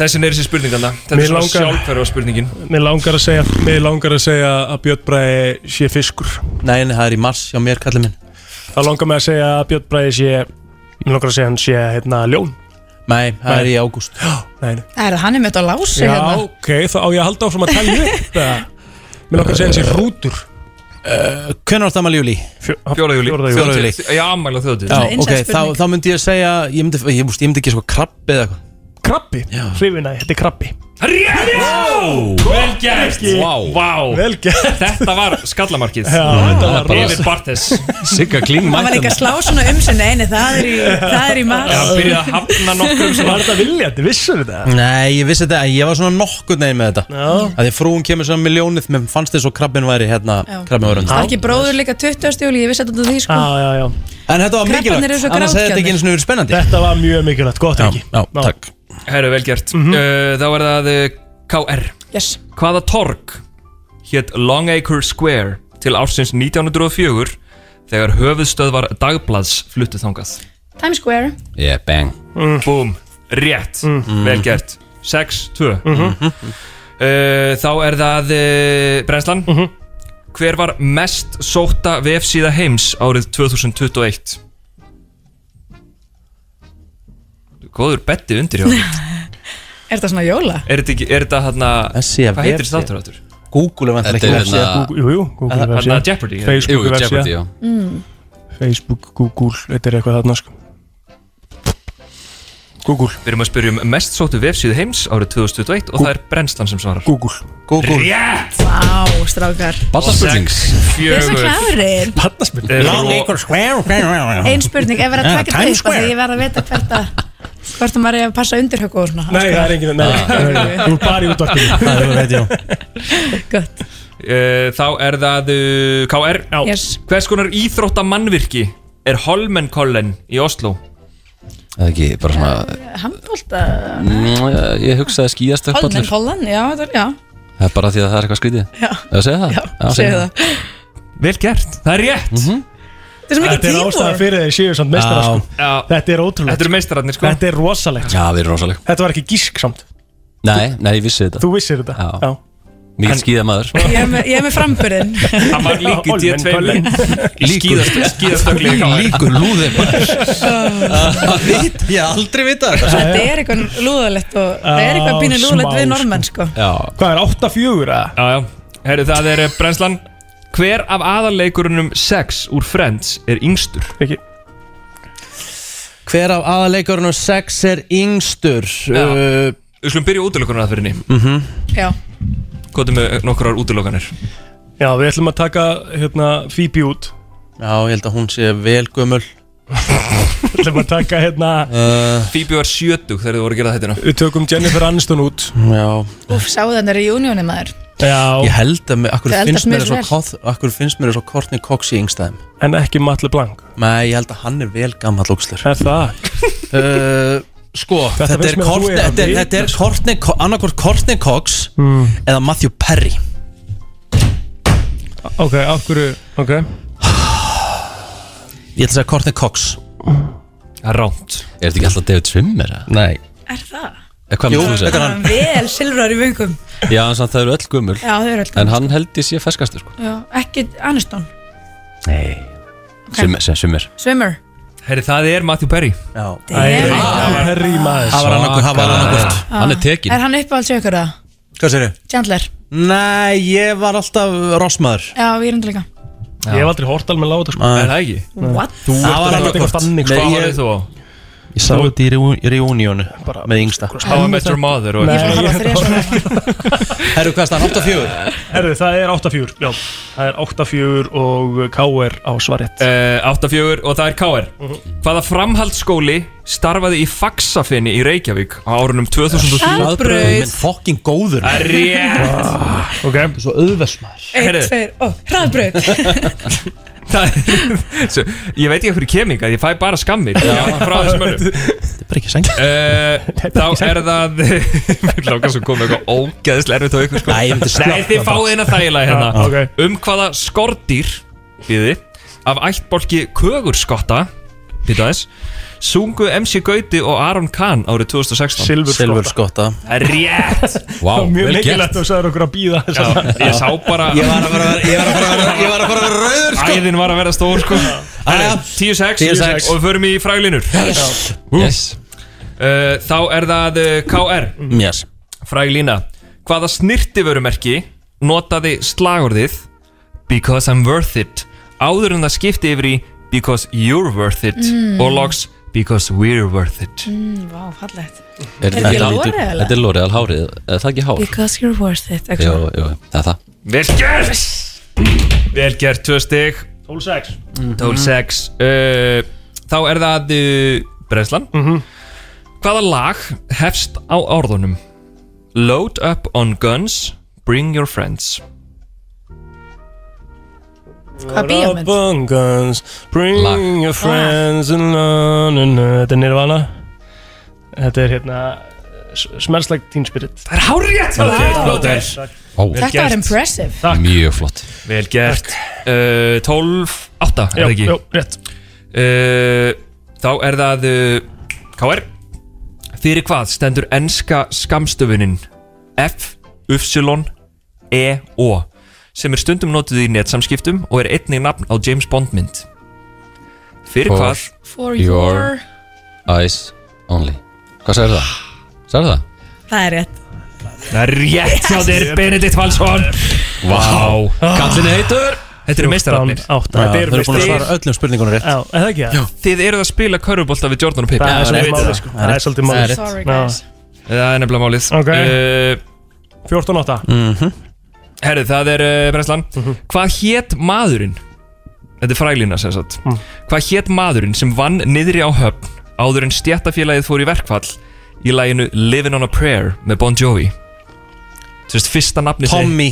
Þessin er þessi spurning þarna Þetta
Mér
er svona
langar-
sjálfhverfa spurningin
Mér langar að segja Mér langar að segja að Björn Bræði sé fiskur
Nei, nei, það er í mars hjá mér, kallið minn
Það langar mig að segja að Björn Bræði sé Mér langar að segja hann sé hérna ljón
Nei, það er í ágúst
Nei, nei.
Það er að hann er með þetta á lási
Já,
hérna
ok, þá á ég að halda áfram að telja upp eða? Mér langar að segja hann sé hrútur
Hvernig var þetta maður júli?
Fjóruðjúli
Fjórða júli.
Fjórða júlí.
Já, afmæli á þjóðháttíð
Já, ok,
Svona inside
þá,
spurning.
þá myndi ég segja Ég myndi, ég, ég, ég myndi ekki sko krabbi eða eitthvað
Krabbi Hrifina, þetta er krabbi
Rétt! Vel gert!
Ekki.
Vá! Vá.
Vel gert
Þetta var skallamarkið
Já, þetta var
bara-
Yfir Bartes
Sigga klín
Það var
mættan
líka að slá svona um sinni eini, það er í, það er í mars
Það byrjaði að hafna nokkrum sem
Var þetta viljandi, vissur þetta?
Nei, ég vissi þetta, en ég var svona nokkur negin með þetta
Já
Að því frúin kemur saman með ljónið Mér fannst þess að krabbin væri hérna
Já.
krabbin var
Það
undan
er ekki bróður líka 20. júli, ég vissi þetta því sko
Já, já, já
En þetta var
Krabbarnir eru
mikilvægt,
svo
annars hefði þetta ekki eins og verið spennandi
Þetta var mjög mikilvægt, gott ekki
Já, takk
Herru, vel gert
Mhm.
uh, Þá er það uh, KR
Yes
Hvaða torg hétt Long Acre Square til ársins 1904 þegar höfuðstöðvar dagblads fluttu þangað
Times Square
Yeah, bang
Búm, rétt, vel gert 6-2 uh, Þá er það uh, brennslan Hver var mest sóta vefsíða heims árið 2021? góður betti undir hjá honum.
Er þetta svona jóla?
Er þetta ekki, er þetta hann að Hvað heitir þetta aftur aftur?
Google er
Þetta
vantilega
er
ekki
hérna-
vefsíða.
Jú, jú, Google
Er það-
vefsíða.
Þarna Jeopardy, eða?
Facebook
Jú,
vefsíða.
Jeopardy, já.
Mm.
Facebook, Google, þetta er eitthvað þarna sko
Google Við erum að spyrja um mest sóttu vefsíðu heims árið 2021 og það er brennslan sem svarar Google Google Rétt
Vá, strákar
Barnaspurning. Sex,
Þið er svo
fjögur.
klárir
hérna-
Barnaspurning.
Long Acre Square
Ein spurning, ef verið að
Ah,
taka
Times
þetta upp af
Square.
Því ég verð að veta hvert að Hvort að maður er að passa undirhöku og svona
Nei, það er engin, nei,
Ah.
nei, nei, þú er bara í útvarpinu
Það er rétt, já
Eh, Þá er það uh, KR
Yes.
Hvers konar íþrótta mannvirki er Holmenkollen í Oslo?
Það er ekki bara svona
Handbólta
mm, Ég hugsaði skýjast upp
Holmen Holland, já, þetta er, já
Það er bara því að það er eitthvað sko. skrítið
Já.
Eða segja það? Já,
segðu það.
Vel gert, það er rétt
Þetta er svo mikið
Þetta er ástæða
tímur
fyrir þeir séu samt meistara
Já.
sko. Þetta er ótrúlegt
Þetta eru meistararnir sko
Þetta er rosalegt
Já, við erum rosaleg
Þetta var ekki gísk samt
Nei, nei, ég vissi þetta
Þú vissir þetta
Já, Mikið skýða maður
Ég er með, ég er með framburðin
Hann var líkur
Holmen
G2
Colin.
í skíðast-
[laughs]
skíðastöngli í KR
Líkur lúðið maður
Það veit ég aldrei vita þetta.
Þetta er eitthvað lúðalegt og það er eitthvað pínu
Já,
lúðalegt við
smá,
normenn sko
Já
Hvað er 8-4 eða?
Já, já, herru það er eh, brennslan Hver af aðarleikurunum sex úr Friends er yngstur?
Ekki
Hver af aðaleikurinn og sex er yngstur Uh,
Já. Við skulum byrja útlökunar að fyrir henni
Mhm.
Já
Kvotum með nokkrar útlökanir
Já, við ætlum að taka hérna Phoebe út
Já, ég held að hún sé vel gömul
Við ætlum að taka hérna
Phoebe var 70 þegar þið voru að gera þetta
Við tökum Jennifer Aniston út
Já
Úf, sáðu þannig er í júnióni maður
Já
Ég held að, mig- akkur
Þau eldast
finnst mér
mjög
svo
vel.
koth, akkur finnst mér svo Courtney Cox í yngstæðum
En ekki Matle Blank
Nei, ég held að hann er vel gammal ógslur
Er það?
uh, Sko,
Þetta
þetta,
finnst
er
mér að þú
Courtney-
er að
þetta er,
vita,
þetta er Courtney, Co- annarkvort Courtney Cox eða Matthew Perry
Ok, af hverju Ok
Ég ætla að segja Courtney Cox
Það er ránt
Er þetta ekki alltaf David Swimmer? eða?
Nei
Er það?
Eh, Hvað
Jú,
myndir þú
þetta er
segja?
hann.
Vel silfrar í vöngum
Já, en samt það eru öll gömul
Já, þau eru öll
En
gömul,
hann held ég sé ferskastur sko.
Já, Ekki Aniston,
Nei Swimmer, sem Swimmer
Swimmer
Herri það er Matthew Perry
Já
Harry maður
Það var annarkvort- það var annarkvort.
Já. Er hann uppáhalds í ykkur það?
Hvað segir
Chandler
Nei, ég var alltaf rossmaður
Já, ég er endur líka
Ég hef aldrei hort alveg láta sko
Ah. Nei.
Er það ekki?
What?
Þú
Það
ert
var
að
annað
láta eitthvað
hvort.
þannig
Nei,
sko
Hvað var
ég-
þið þú á?
Ég sá þetta í reú- í reunionu með yngsta
How I Met Your Mother og
Ég er búin að hafa þrjá svona
Herru, hvað er það? 84?
Herðu, það er 8-4 Já, það er 8-4 og KR á svarett
Uh, 84 og það er KR Hvaða framhaldsskóli starfaði í Faxafinni í Reykjavík á árunum 2007?
Hraðbraut.
Minn fokkin góður
Það er Rétt
Ok
Svo auðvelsmaður
Eitt,
Heyrðu.
tveir, ó, hraðbröð
[laughs] Það er- Svo, Ég veit ekki hverju keming að ég fæ bara skammir frá þessum önum
Þetta er bara ekki sænt
Þá er það [laughs] Mér lákar svo komið eitthvað ógeðslega erfitt á ykkur sko
Nei, ég myndi
Nei,
slökna
þið fáið hérna þægilega
Ah,
hérna
ok.
Um hvaða skordýr Býði Af ættbólki kögurskotta Býta þess Sungu MC Gauti og Aron Kahn árið 2016
Silfur
Silfur skotta
Það er Rétt
Vá,
Mjög
vel
mikilvægt
gert
þú sagður okkur að býða
Já, Ég sá bara
Ég var að fara að vera- ég var að fara að vera- ég var að fara að vera rauður sko
Æðin var að vera stór sko
Jæja. 10-6.
10-6 Og við förum í fræglinur
Yes
Uh, Þá er það uh, KR
Yes
Fræglína Hvaða snirtivörumerki notaði slagorðið Because I'm worth it áður en það skipti yfir í Because you're worth it og loks Because we're worth it
Vá, fallegt
Er
þetta ekki L'Oreal, eða?
Þetta er L'Oreal hárið Er það ekki hár?
Because you're worth it
Jú, jú, það er það
Vel gert Vel gert, tvö stig
12-6
12-6 uh, Þá er það uh, Breslan Hvaða lag hefst á orðunum Load up on guns Bring your friends
Hvað bíómynd?
Guns, bring
Lag.
your friends and na, na, na. Þetta er Nirvana Þetta er hérna s- Smells like Teen Spirit
Það er hárið
Blóter.
Ó,
Þetta var impressive
mjög flott
Vel gert uh, 12, 8
Jó,
er það ekki
jó, rétt
Uh, Þá er það uh, KR Fyrir hvað stendur enska skamstöfunin F, Y, E, O sem er stundum notuð í netsamskiptum og er einnig nafn á James Bond mynd Fyrir
For-
hvað
For
Your- Eyes only Hvað sagði það? Sagði það?
Það er rétt
Það er rétt hjá
[laughs]
þér, Benedikt Valsson
Vá,
kallin er heitur Þetta eru
14,
meistararnir
átta.
Þetta
Já,
eru
þeir eru búin að
meistararnir.
svara
öllum spurningunum rétt
Já, er það ekki það?
Já. Þið eruð að spila körfubolta við Jordan og Pippi
Það er svolítið
Ég veit
málið,
það.
sko. Það er svolítið málið.
rétt.
Sorry, guys.
Það er nefnilega málið
Ok.
uh,
14.8
-hmm. Herru, það er uh, Brenslan
Mhm.
Hvað hét maðurinn? Þetta er frælina sem sagt
Mhm.
Hvað hét maðurinn sem vann niðri á höfn áður en stjættafélagið fór í verkfall í læginu Living on a Prayer með Bon Jovi Þú veist, fyrsta nafni
Tommy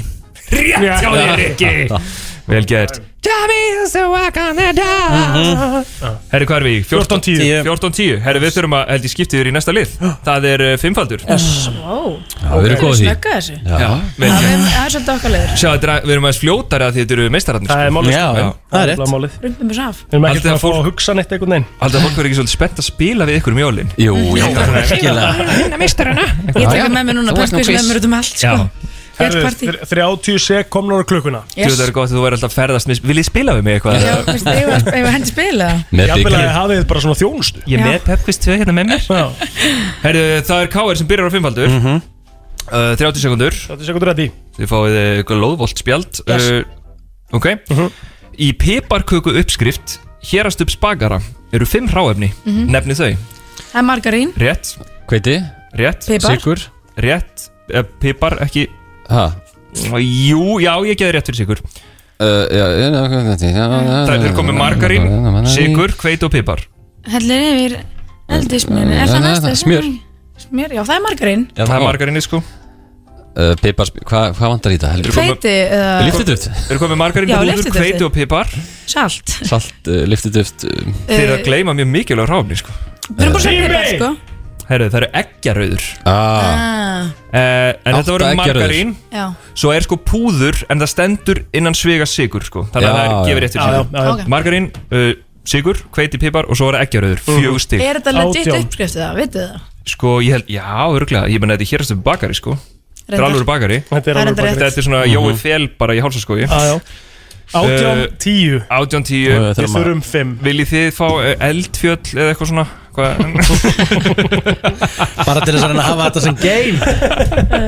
Rétt hjá þér, Rikki [laughs] Vel gert
Tommy is the walk on the
Mhm.
dog
Herri, hvað er við í? 14.10 14.10 Herri, við þurfum að held ég skiptið þér í næsta lið Það er uh, fimmfaldur yes.
Ó,
Já, við erum góð í því.
Snögga þessu
Já, vel
Það
gert.
er- það er svolítið okkar leiður
Sjá, þetta er að- við erum aðeins fljótari að því þetta eru meistararnir
Það er málið, sko. Já, það er
rétt
málið
Rundum þessu af
Við erum ekki
Haldið
að
að
fá að hugsa neitt einhvern veginn
Haldið að fólk verður ekki svolítið spennt að spila við ykkur um jólin Jú,
ég held að
Hérna mistur hana Ég tek með mér núna plastbísu með mér út um allt sko. Hvert partí.
Herðu, þr- 30 sekkomnur á klukkuna
Þú veit að það er gott að þú verður alltaf að ferðast mis- Viljið spila við mig eitthvað?
Já, veist, eigum við- eigum við hendi spila
Með
Jafnvel að
byggjum.
þið hafið bara svona þjónustu
Ég er með Pepquist 2 hérna með mér Herru, það er KR sem byrjar á fimmfaldur uh, 30 sekundur
30 sekundur að því
Þið fáið uh, eitthvað lóðvolt spjald
Yes.
uh, Ok
Mhm.
Í piparköku uppskrift Hérast upp spagara Eru fimm hráefni
Mhm.
Nefni þau
Það er margarín
Rétt Hveiti Rétt
Pipar. Sykur.
Rétt uh, Pipar, ekki Hæ? Jú, já, ég geði rétt fyrir sigur Það
Það
er komið margarín, sigur, hveit og pipar
Hellir yfir eldismjöri Er það
Nei,
næsta?
það- smjör.
Smjör, já það er margarín
Já, það er margarinni sko
Eh, Pipar, hvað hva vantar í þetta?
Hveiti
Eh,
eða-
Liftiduft
Eru komið margarín,
Já,
húður,
lyftiduftið.
hveit og pipar
Salt
Salt, uh, liftiduft um,
Þeir
Eh.
eru að gleyma mjög mikilvæg hráfni sko
Við erum búin að segja pipar sko
Herru, það eru eggjarauður
Ah.
Eh, En þetta
Átta
voru
eggjarauður.
margarín
Já.
Svo er sko púður En það stendur innan svega sigur sko. Þannig
Já,
að það er
já.
gefið rétt
Já,
fyrir
já, já, já.
sigur Margarín, uh, sigur, hveiti, pipar Og svo voru eggjarauður,
Mhm.
fjögur stig
Er þetta legit uppskriftu það, vitið þið það?
Sko, ég held, já, örgulega Ég menna þetta er hérastu bakari sko Þetta er
Reyndar.
alveg bakari
Þetta er Það er alvöru reyndar bakari. rétt.
Þetta er svona
Mhm.
Jói Fel bara í sko, hálsaskogi
Já, já.
Eh,
18.10.
18
Ö, þurfum
10
að- Við þurfum
5
Viljið þið fá eh, eldfjöll eða eitthvað svona Hvað?
[laughs]
Bara til þess að reyna að hafa þetta sem game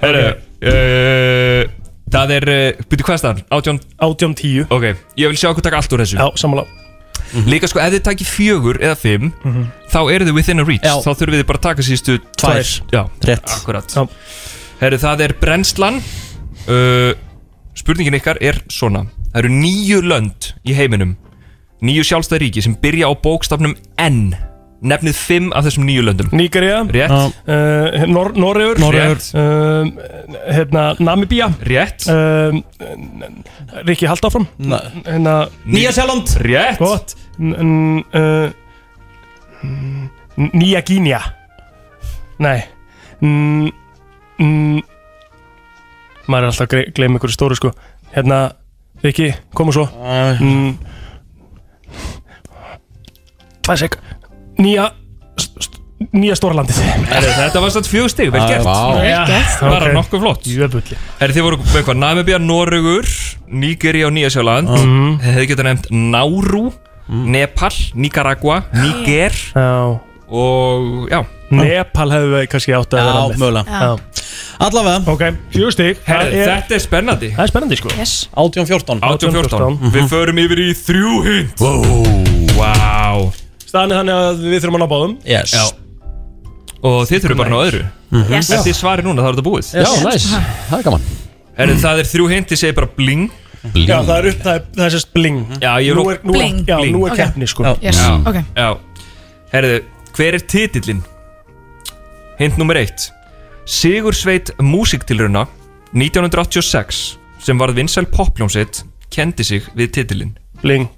Herru uh, Það er, uh, byrju hvað er staðan? 18
18 10
Ok, ég vil sjá okkur taka allt úr þessu
Já, sammála
Líka sko, ef þið takir fjögur eða fimm
Mhm.
Þá eru þið within a reach Þá þurfum við bara að taka síðustu
Tvær.
Já,
Rétt.
akkurat Herru, það er brennslan uh, Spurningin ykkar er svona Það eru nýju lönd í heiminum Nýju sjálfstæð ríki sem byrja á bókstafnum N Nefnið fimm af þessum nýju löndum
Nígeria
Rétt
uh, Nor Noregur
Noregur.
um, hérna, Namibía
Rétt
um, Rikki, halda áfram
Na-
hérna,
Nýja-Sjáland.
Rétt
Gott N- n- uh, n- Nýja Gínja Nei N- n- Maður er alltaf að gre- gleyma ykkur stóru sko Hérna, Rikki, komu svo N- Tvær sek Nýja st- st- Nýja Stórlandið
Herru, þetta var satt fjögur stig, vel gert
Vel gert.
Bara
Ok.
nokkuð flott
Jöfulli
Herri, þið voru með eitthvað Namibia, Noregur, Nigeria og Nýjasjáland
Mhm.
Þið hefðu getað nefnt Náru, Nepal, Nicaragua,
Ah.
Niger
Já
Og já
Nepal hefðu við kannski átt að
Já,
vera með
mögulega. Já.
Allavega
Ok, fjögur stík
Herri, þetta er spennandi
Það er spennandi sko
yes.
18-14
18-14 Við
Mhm.
förum yfir í þrjú hund Wow
Staðan er þannig að við þurfum að ná báðum
Yes
já. Og þið þurfum bara að ná öðru
Mhm. Yes.
Ef þið svarið núna þá er þetta búið
Yes. Já, nice.
Það er gaman
Herri, það er þrjú hund, þið segir bara bling Mhm.
Já, það er upp, það er, það er sérst bling
Já, ég
Nú er- nú er-
Bling.
Já, nú er
Ok.
keppni sko
Já.
Yes,
Já.
ok.
Já. Herðu, hver er titillinn? Hint nummer eitt Sigursveit Músiktilruna 1986 sem varð vinsæl popljómsitt kendi sig við titillinn
Bling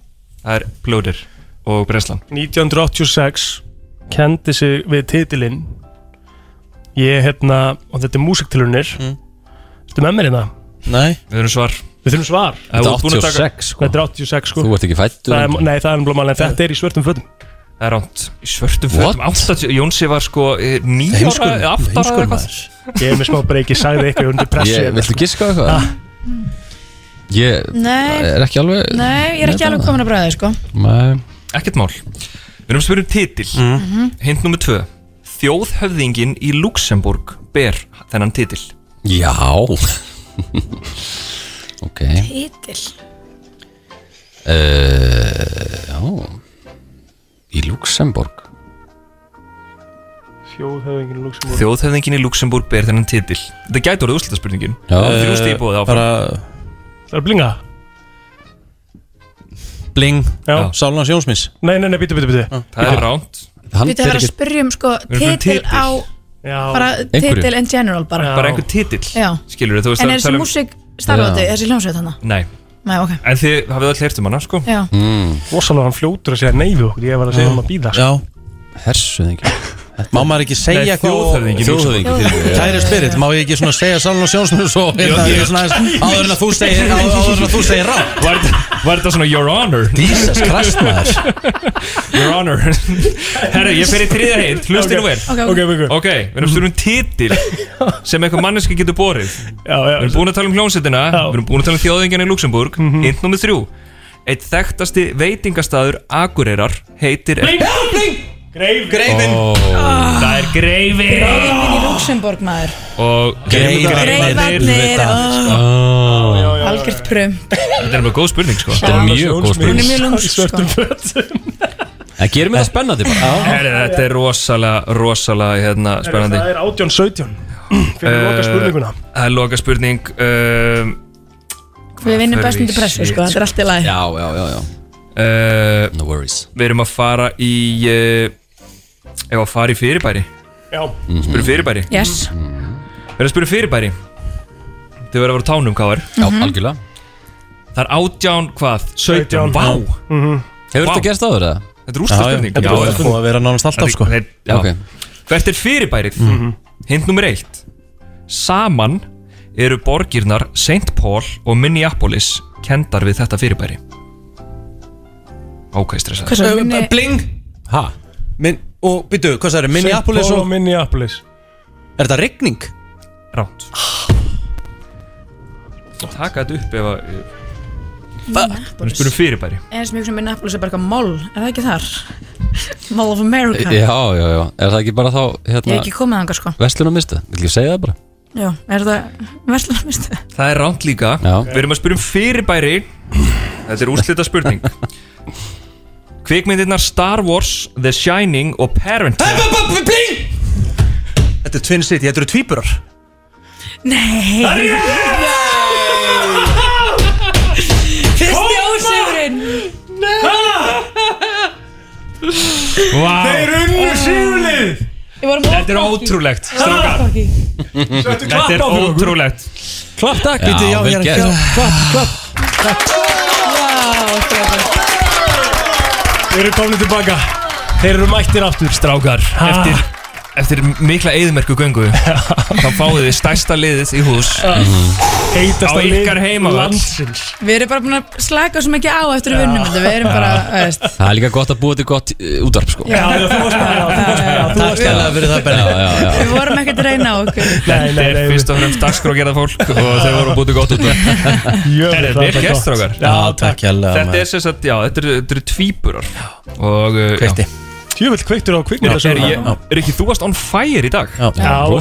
Það er Blóðir og Brenslan
1986 kendi sig við titilinn Ég hérna, og þetta er músiktilunir mm. Þetta með mér hérna
Nei
Við þurfum svar
Við þurfum svar
Ef þú ert búin að taka-
Þetta er 86 sko
Þú ert ekki fæddur
Það er-
ennþá.
Nei, það er umblóð mál En þetta er í svörtum fötum
Það er ránt Í svörtum fötum 80 Jónsi var sko 9 ára
Heimskur-
eða 8
heimskur
ára eða eitthvað
Ég er með smá breyki, sagði eitthvað undir pressu
Ég- viltu giska á eitthvað?
Ah,
Ég
Nei.
er ekki alveg
Nei, ég er ekki alveg komin að bræða sko
Nei
Mhm. Ekkert mál Við erum að spyrja um titill Hint nummer tvö þjóðhöfðingin í Luxemburg ber þennan titil
Já Ok
Ítil
uh, Já Í Luxemburg
Þjóðhöfingin Luxemburg
Þjóðhöfðingin í Luxemburg ber þennan titil Þetta gæti orðið úrslitaspurningin Þrjú stig í bóði áfram
Það er blinga
Bling, Sálunars Jónsmins
Nei, nei, nei, bítu, bítu, bítu
Það er ránt
Við þarfum að spyrja um sko
Við erum
titil
fyrir
á bara
Einhverju.
titil in general bara
Bara einhver titill
Já.
Skilur þú veist
En
það
er þessi
tala um-
músík starfandi, þessi hljómsveit hana?
Nei
Nei, ok
En þið hafið öll heyrt um hana sko
Já.
Rosalega hann fljótur að segja nei við okkur Ég var að segja um að býða
Já, hersuðingi [laughs] Má maður ekki segja
Nei, þjóðhöfðingi í
Þjóðhöfðingi,
Luxemburg.
fyrirgefðu. Kæri spirit, má ég ekki svona segja Sálunars Jónsmins og hérna,
Jú, jú.
svona
[laughs]
aðeins- áður en að þú segir áður en að þú segir rátt
Var þetta- var þetta svona your honor?
Jesus Christ, maður.
Your
[laughs]
honor Herru, ég fer í þriðja heitt, hlusti nú vel
Ok, ok. Ok, ok.
Ok, við erum stjórnum titil
[laughs]
sem einhver manneski getur borið já, já, Við erum búin að tala um hljónsettina Við erum búin að tala um þjóðingina í Luxemburg mm -hmm. Hint nummið þrjú Eitt þekktasti veitingastaður Akureyrar heitir
Bling! Bling!
Greifin
Greifin
Ó, Ah, Það er greifin
í Luxemburg maður
Og
Greifarnir, ó.
oh.
Algjört prum
Þetta er mjög góð spurning sko
Þetta er mjög góð
Hún er
spurning
mjög lúms sko
En gerum við það spennandi bara
Herri, þetta er rosalega, rosalega hérna, spennandi
Það er 18-17 Fyrir uh, loka spurninguna
Uh, Það er loka spurning um,
Við vinnum
Fyrir
best undir pressu
shit,
sko, þetta er allt í lagi
Já, já, já, já.
uh,
No worries
Við erum að fara í uh, Ef að fara í fyrirbæri
Já
Spyrir fyrirbæri
Yes
Við erum að spyrir fyrirbæri Þið verður að vera á tánum hvað var
Já, Mhm. algjörlega
Það er átján hvað? 17 Vá
Hefur þetta
Vá.
gerst áður eða?
Þetta er úrslitaspurning.
Já, já, þetta er búið að vera nánast alltaf, sko.
Þetta- já.
Ok.
Hvert er fyrirbærið? Mm
Mhm.
Hint nummer eitt Saman eru borgirnar St. Paul og Minneapolis kendar við þetta fyrirbæri Ok,
Hvað
stressað
Um-
sagði,
Ö,
minni-
Bling Ha? Min, og byrju, hvað sagður, Minneapolis
Paul
og
og Minneapolis
Er þetta rigning?
Ránt Taka þetta upp ef að Við spyrum fyrirbæri
En sem ég sem minna Apple er bara eitthvað moll Er það ekki þar? Mall of America
Já, já, já Er það ekki bara þá
Ég
hérna,
hef ekki komið þangað sko
Verslunarmiðstöð? Vil ekki segja það bara?
Já, er það Verslunarmistu?
Það er ránt líka
Já.
Við erum að spyrja um fyrirbæri Þetta er úrslita spurning Kvikmyndirnar Star Wars, The Shining og Parent
Bling! Þetta er Twin City, þetta eru tvíburar
Nei Það er ég Fyrsti ósigurinn
Vá.
Þeir unnu sigurlið
Þetta er ótrúlegt strákar. Þetta er
klapp á fyrir okkur.
ótrúlegt
Klapp, takk,
Já,
byrju, já,
vel
hérna,
gert.
hérna, klapp, klapp
Þeir eru komin tilbaka Þeir eru mættir aftur strákar
eftir, eftir mikla eðmerku [laughs] göngu Þá fáið þið stærsta liðið í hús
Heitast
Á ykkar heimavöll.
Við erum bara búin að slaka svo mikið á eftir að vinnum þetta Við erum bara, þú veist
Það er líka gott að búa til gott uh, útvarp sko
Já, já, þú
varst með
það Takk stæðlega fyrir það Benni Já, já, já
Við vorum ekkert að reyna á okkur
Þetta er fyrst og fremst dagskrógerða fólk og þau voru bútið gott út [laughs] Þetta er vel gert strákar
Já, takk hérlega
Þetta
maður.
er sem sagt, já, þetta eru- þetta eru tvíburar og uh, já.
Kveikti.
Tjöfull kveiktur á
Já,
kvikmyndasöguna.
er, ég, er ekki þú varst on fire í dag?
Já,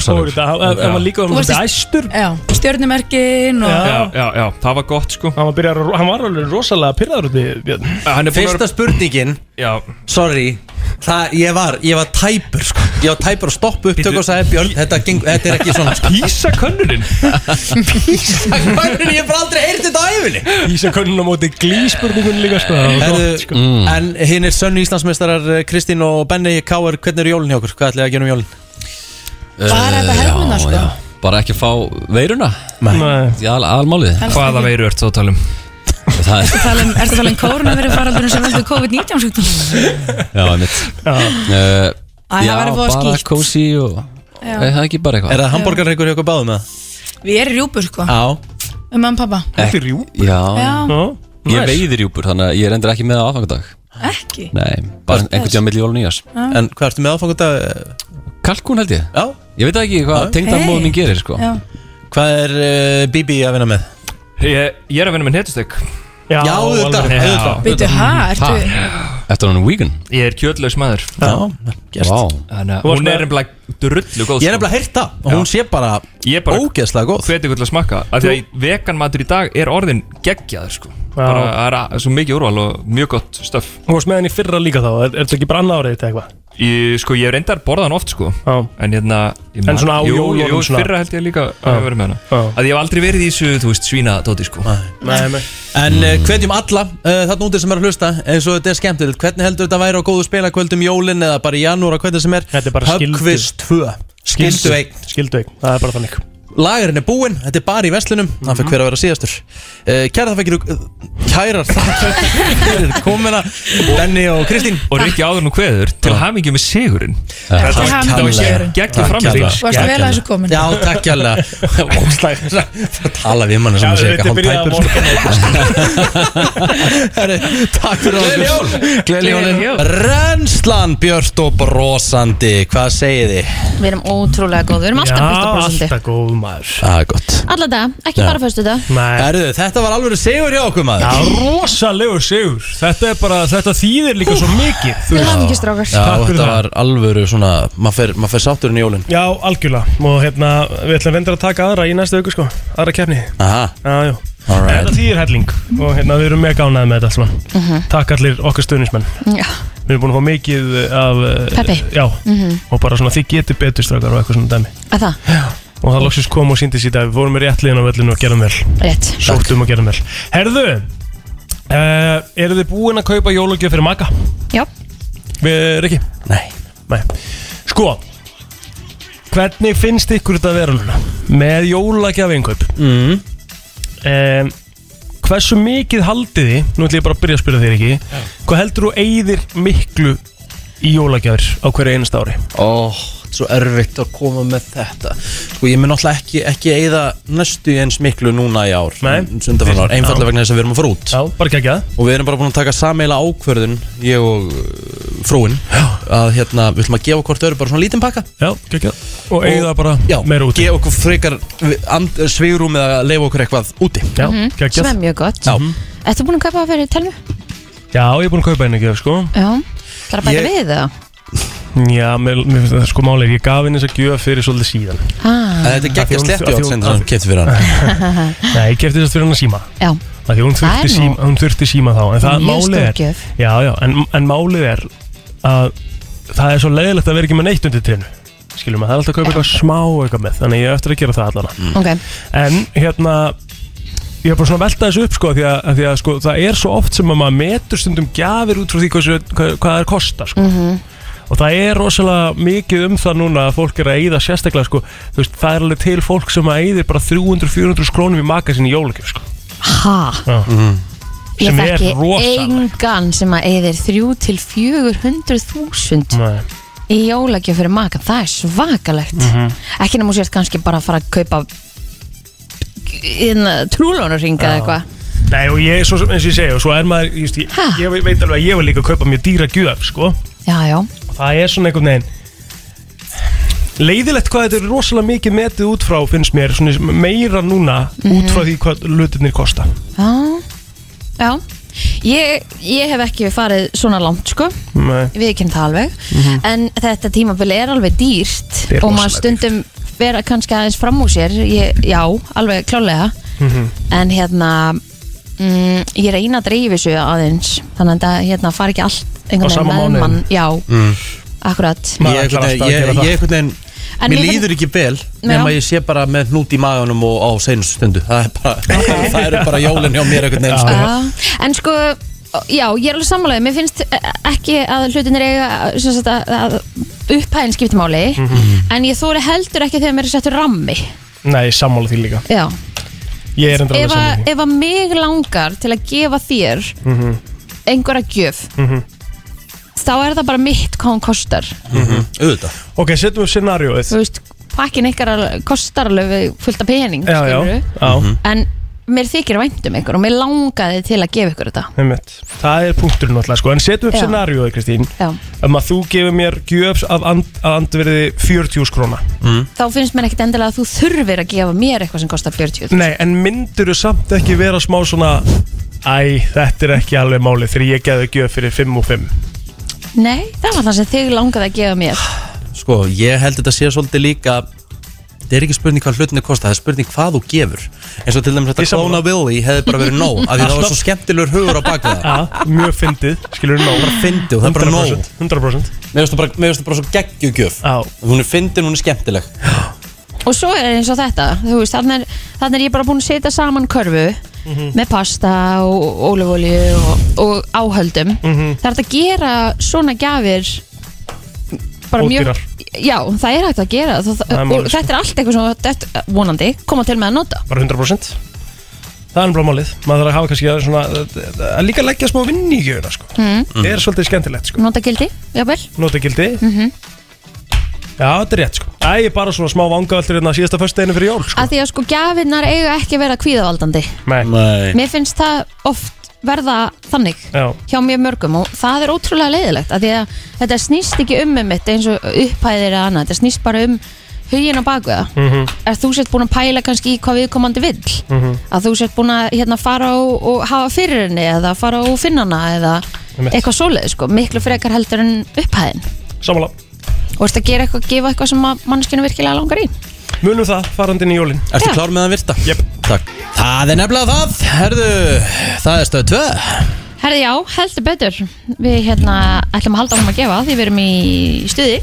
stóri þetta Það var
Þú
líka orðin
varst í-
svolítið æstur
Já, stjörnumerkin og
já, já, já, það var gott sko
Hann var, byrjar, að- hann var alveg rosalega pyrraður út í Björn
Fyrsta spurningin
Já
Sorry Það, ég var, ég var tæpur, sko Ég var tæpur að stoppa upptöku og sagði Björn, þetta, geng, þetta er ekki [laughs] svona, sko
Písa könnunin
Ég bara aldrei heyrti þetta á æfinni
Ísakönnun á móti glíspurningun líka sko Það
Herðu,
var
Mm.
gott, sko.
En hinn er sönnu Íslandsmeistarar eh, Kristín og Benni K.R. Hvernig eru jólun hjá okkur? Hvað ætlaði að gera um jólun?
Bara þetta helmuna, sko.
Bara ekki að fá veiruna Nei Það er al- almálið
Helst Hvaða ekki.
veiru ert þú að tala um?
Það er,
Ertu að tala um, ertu að tala um kórnaveru faraldurinn sem veldur COVID-19 sko? sjúkdómum?
já, einmitt uh,
Æ, það
Já,
væri voða
bara
skítt.
kósi og
Já.
Er það ekki bara eitthvað?
Er það hambúrgarreikur hjá okkur báðum með?
Við erum rjúpur sko,
Já
um mamma og pappa
Ekki rjúpur? Já,
Já.
Ég
Nice.
veiði rjúpur, þannig að ég er endur ekki með á aðfangadag
Ekki?
Nei, bara
Hvað-
einhvern tíma milli jól og nýjars
Ah.
Já.
En hvað ertu með aðfangandag?
Kalkún held ég
Já
Ég veit ekki hvað
Já.
tengdamóðum mín gerir sko
Já.
Hvað er uh, Bibi að vinna með?
Ég, ég er að vinna með netustök Já,
Já, auðvitað,
alveg.
auðvitað.
Bíddu, ha, ertu-
Eftir hann vegan?
Ég er kjötlaus maður
Já, gerst
Þannig að hún er nefnilega drullu góð sko.
Ég er nefnilega heyrt það og hún sé bara
Ég er bara
ógeðslega góð
Hveti ykkur til að smakka Af því að vegan matur í dag er orðin geggjaður sko Bara það er að- svo mikið úrval og mjög gott stöf
Þú varst með henni í fyrra líka þá, er, er þetta ekki branna árið þetta eitthvað?
Ég, sko, ég hef reyndar borðað hann oft sko
Já.
En hérna ég
En
man-
svona á
jú,
jólunum
jú,
svona.
Fyrra held ég líka
Já.
að hafa verið með hana Að ég hef aldrei verið í þessu, þú veist, svína dóti sko
Nei, nei.
En uh, hvetjum alla uh, þarna úti sem er að hlusta eins og þetta er skemmtilegt, hvernig heldur þetta væri á góðu spilakvöldum jólin eða bara í janúar að hvernig sem er Þetta er
bara skildu.
2, skildu eign
Skildu eign, það er bara þannig
Lagerinn er búinn, þetta er bara í vestlunum Það fyrir hver að vera síðastur uh, Kæra það fyrir Kærar það Komina Benni og Kristín
Og Rikki áður nú kveður Til hamingju með sigurinn
Til hamingju með sigurinn.
Gekkið
Takk
framist
kærlega.
Varstu vel að þessu komin?
Já, takk [laughs] alveg Það tala við manni sem að segja eitthvað hálf [laughs] tæpur Takk fyrir
Gleðileg
okkur Gleðileg jól Renslan Björst og brosandi Hvað segið þið?
Við erum ótrúlega góð, við erum alltaf fyrsta prosenti
góð maður
Það er gott
Alla dag, ekki
Já.
bara fyrstu dag
Herðu, þetta var alveg sigur hjá okkur maður
Já, rosalegur sigur Þetta er bara, þetta þýðir líka svo mikið þú
Til
veist.
hamingju, strákar.
Já,
Takk fyrir
þetta
það.
var alvöru svona Maður fer, maður fer sátturinn í jólin
Já, algjörlega Og hérna, við ætlum að vendur að taka aðra í næsta auku sko Aðra keppni
Aha
Já, já
Alright.
Þetta þýðir helling Og hérna, við erum mega gánað með þetta allt saman
Mhm.
Takk allir okkar stöðnismenn
Já,
Við erum búin að fá mikið af eh,
Peppi.
Já
Mhm.
Og bara svona, þið getur betur strákar og eitthvað svona dæmi
að það,
Og það loksist kom og síndist í dag Við vorum með rétt liðin á vellinu og gerðum vel
rétt
Sóttum og gerðum vel Herðu, uh, eru þið búin að kaupa jólugjöf fyrir maka?
Já.
Við erum ekki?
Nei.
Sko, hvernig finnst ykkur þetta vera núna? Með jólagjafingaup mm. Hversu mikið haldið þið, nú ætlum ég bara að byrja að spyrja þér ekki Hvað heldur þú eigðir miklu í jólagjafir á hverju einast ári?
Ó, þetta er svo erfitt að koma með þetta Sko, ég mun náttúrulega ekki, ekki eigða næstu eins miklu núna í ár
Nei.
Sundafann ár,
Já.
einfallega vegna þess að við erum að fara út
Já, bara ekki að
Og við erum bara búin að taka sameila ákvörðun, ég og uh, frúin Að hérna, við ætlum að gefa hvort öru bara svona lítinn pakka
Já, ekki að Og eigða bara
já,
meira úti.
Gefa okkur frekar svigrum eða leifa okkur eitthvað úti
Já,
Mhm. Sem er mjög gott
Já,
Ertu búin að kaupa það fyrir telmu?
Já, ég er búin að kaupa einu gjöf, sko
Já, það er að bæta
Ég-
við það
Já, mér, mér finnst það sko máli Ég gaf henni þess að gjöf fyrir svolítið síðan
ah.
Þetta er geggjast létti átt sem
hann
kefti fyrir [laughs] hann
Nei, ég kefti þess að fyrir hann að síma
Já,
Af Því hún
Það er
þurfti,
nú-
síma, hún þurfti síma þá En það
Mjög
málið
stór
er
gjöf.
Já, já, en, en málið er að það er svo leiðilegt að vera ekki með neitt undir trénu Skiljum að það er alltaf að kaupa eitthvað smá eitthvað með Þannig ég er eftir að gera það allan
ok
En hérna Ég er bara svona að velta þessu upp sko Því að, að, því að sko, það er svo oft sem að maður metur stundum gjafir út frá því hvað, hvað, hvað það er kosta sko.
Mhm.
og það er rosalega mikið um það núna að fólk er að eyða sérstaklega sko, þú veist, það er alveg til fólk sem að eyðir bara 300-400 skrónum í magasin í jólagjöf sko.
Ha,
Já.
ég
sem er
þekki
rosalega
engan sem að eigðir 3 til 400 þúsund
Nei.
í jólagjöf fyrir makan, það er svakalegt
Mhm.
ekki nema sér kannski bara að fara að kaupa trúlónurringa eða
Já.
eitthvað
Nei, og ég, svo, sem- eins og ég segja, og svo er maður just, ég, ég veit alveg að ég var líka að kaupa mjög dýra gjöf sko.
Já, já,
og það er svona einhvern veginn leiðilegt hvað þetta er rosalega mikið metið út frá finnst mér svona, meira núna
Mhm.
út frá því hvað lutinir kosta
já, já. Ég, ég hef ekki farið svona langt sko
Nei.
við kynum það alveg
Mhm.
en þetta tímabili er alveg dýrt
Þetta er
og maður
rosalega
stundum vera kannski aðeins fram úr sér ég, já, alveg klálega
Mhm.
en hérna mm, ég reyna að dreifu þessu aðeins þannig að þetta, hérna fari ekki allt einhvern
Á sama
með
mánuðinum.
mann já,
Mm.
akkurat
Ég einhvern veginn- ég- ég einhvern veginn
En
Mér
mér finn-
líður ekki vel
Já.
nema ég sé bara með hnút í maganum og á seinustu stundu Það er bara, [laughs] það eru bara jólin hjá mér einhvern veginn sko.
Já, en sko Já, ég er alveg sammálaðið, mér finnst eh, ekki að hlutinir eiga eh, sem sagt, að, að upphæðin skipti máli
Mhm.
en ég þóri heldur ekki þegar mér er settur rammi
Nei, ég sammála því líka
Já,
Ég er enda alveg
ef
sammála
að,
því
ef að mig langar til að gefa þér
Mhm,
einhverja gjöf
mhm,
þá er það bara mitt hvað hún kostar
mhm.
Auðvitað
Ok, setjum við scenarióið
Þú veist, pakkin ykkar al- kostar alveg við fullt af pening
Já, já,
Mm, skilurðu.
já
en mér þykir vænt um ykkur og mér langaði til að gefa ykkur þetta
Einmitt. Það er punkturinn alltaf sko En setjum upp
Já.
scenarióið Kristín
Já.
Um að þú gefur mér gjöfs af and, að andverði 40 skróna mm.
þá finnst mér ekkit endilega að þú þurfir að gefa mér eitthvað sem kostar 40
Nei, en myndur þú samt ekki vera smá svona Æ, þetta er ekki alveg málið Þegar ég geði gjöf fyrir 5 og 5
Nei, það var það sem þig langaði að gefa mér
Sko, ég held þetta sé svolítið líka Það er ekki spurning hvað hlutinni kosta Það er spurning hvað þú gefur eins og til dæmis þetta Klóna Willy hefði bara verið nóg af því það var svo skemmtilegur hugur á bak við það
Mjög fyndið, skilur nóg
Bara fyndið og það er bara nóg
100%, 100%.
Mér finnst það bara, mér finnst það bara svo geggjugjöf Hún er fyndin, hún er skemmtileg
Og svo er eins og þetta, þú veist, þannig er, þarna er ég bara búin að setja saman körfu
Mhm.
með pasta og ólefólju og, og áhöldum
Mhm.
Það er hægt að gera svona gjafir bara mjög
Ódýrar.
Já, það er hægt að gera það,
Það er
það,
málið,
og
sko.
þetta er allt eitthvað sem þetta, vonandi koma til með að nota
Bara 100% Það er bara málið Maður þarf að hafa kannski að, svona, að- að líka leggja smá vinn í gjöfuna sko.
Hmm.
mm.
Það er svolítið skemmtilegt sko.
Nota gildi, jável
Notagildi
mm
Mhm.
-hmm.
Já, þetta er rétt sko Æ, ég er bara svona smá vangaveltur hérna síðasta föstudeginu fyrir jól sko.
Af því að sko gjafinnar eiga ekki að vera kvíðavaldandi
Nei, Nei.
Mér finnst það oft verða þannig
Já,
hjá mjög mörgum og það er ótrúlega leiðilegt af því að þetta snýst ekki um um mitt eins og upphæðir eða annað, þetta snýst bara um hugin á baku það
Mhm.
er þú sett búin að pæla kannski í hvað viðkomandi vill
Mhm.
að þú sett búin að hérna, fara og, og hafa fyrir henni eða fara og finna hana eða
Einmitt.
eitthvað svoleið sko, miklu frekar heldur en upphæðin
sammála
og ertu að gera eitthvað, gefa eitthvað sem að mannskinu virkilega langar í
Munum það farandi inn í jólin
Ertu klár með að virta?
Jep
Takk Það er nefnilega það, herðu Það er stöð 2
Herði já, heldur betur við hérna ætlum að halda áfram að gefa því við erum í stuði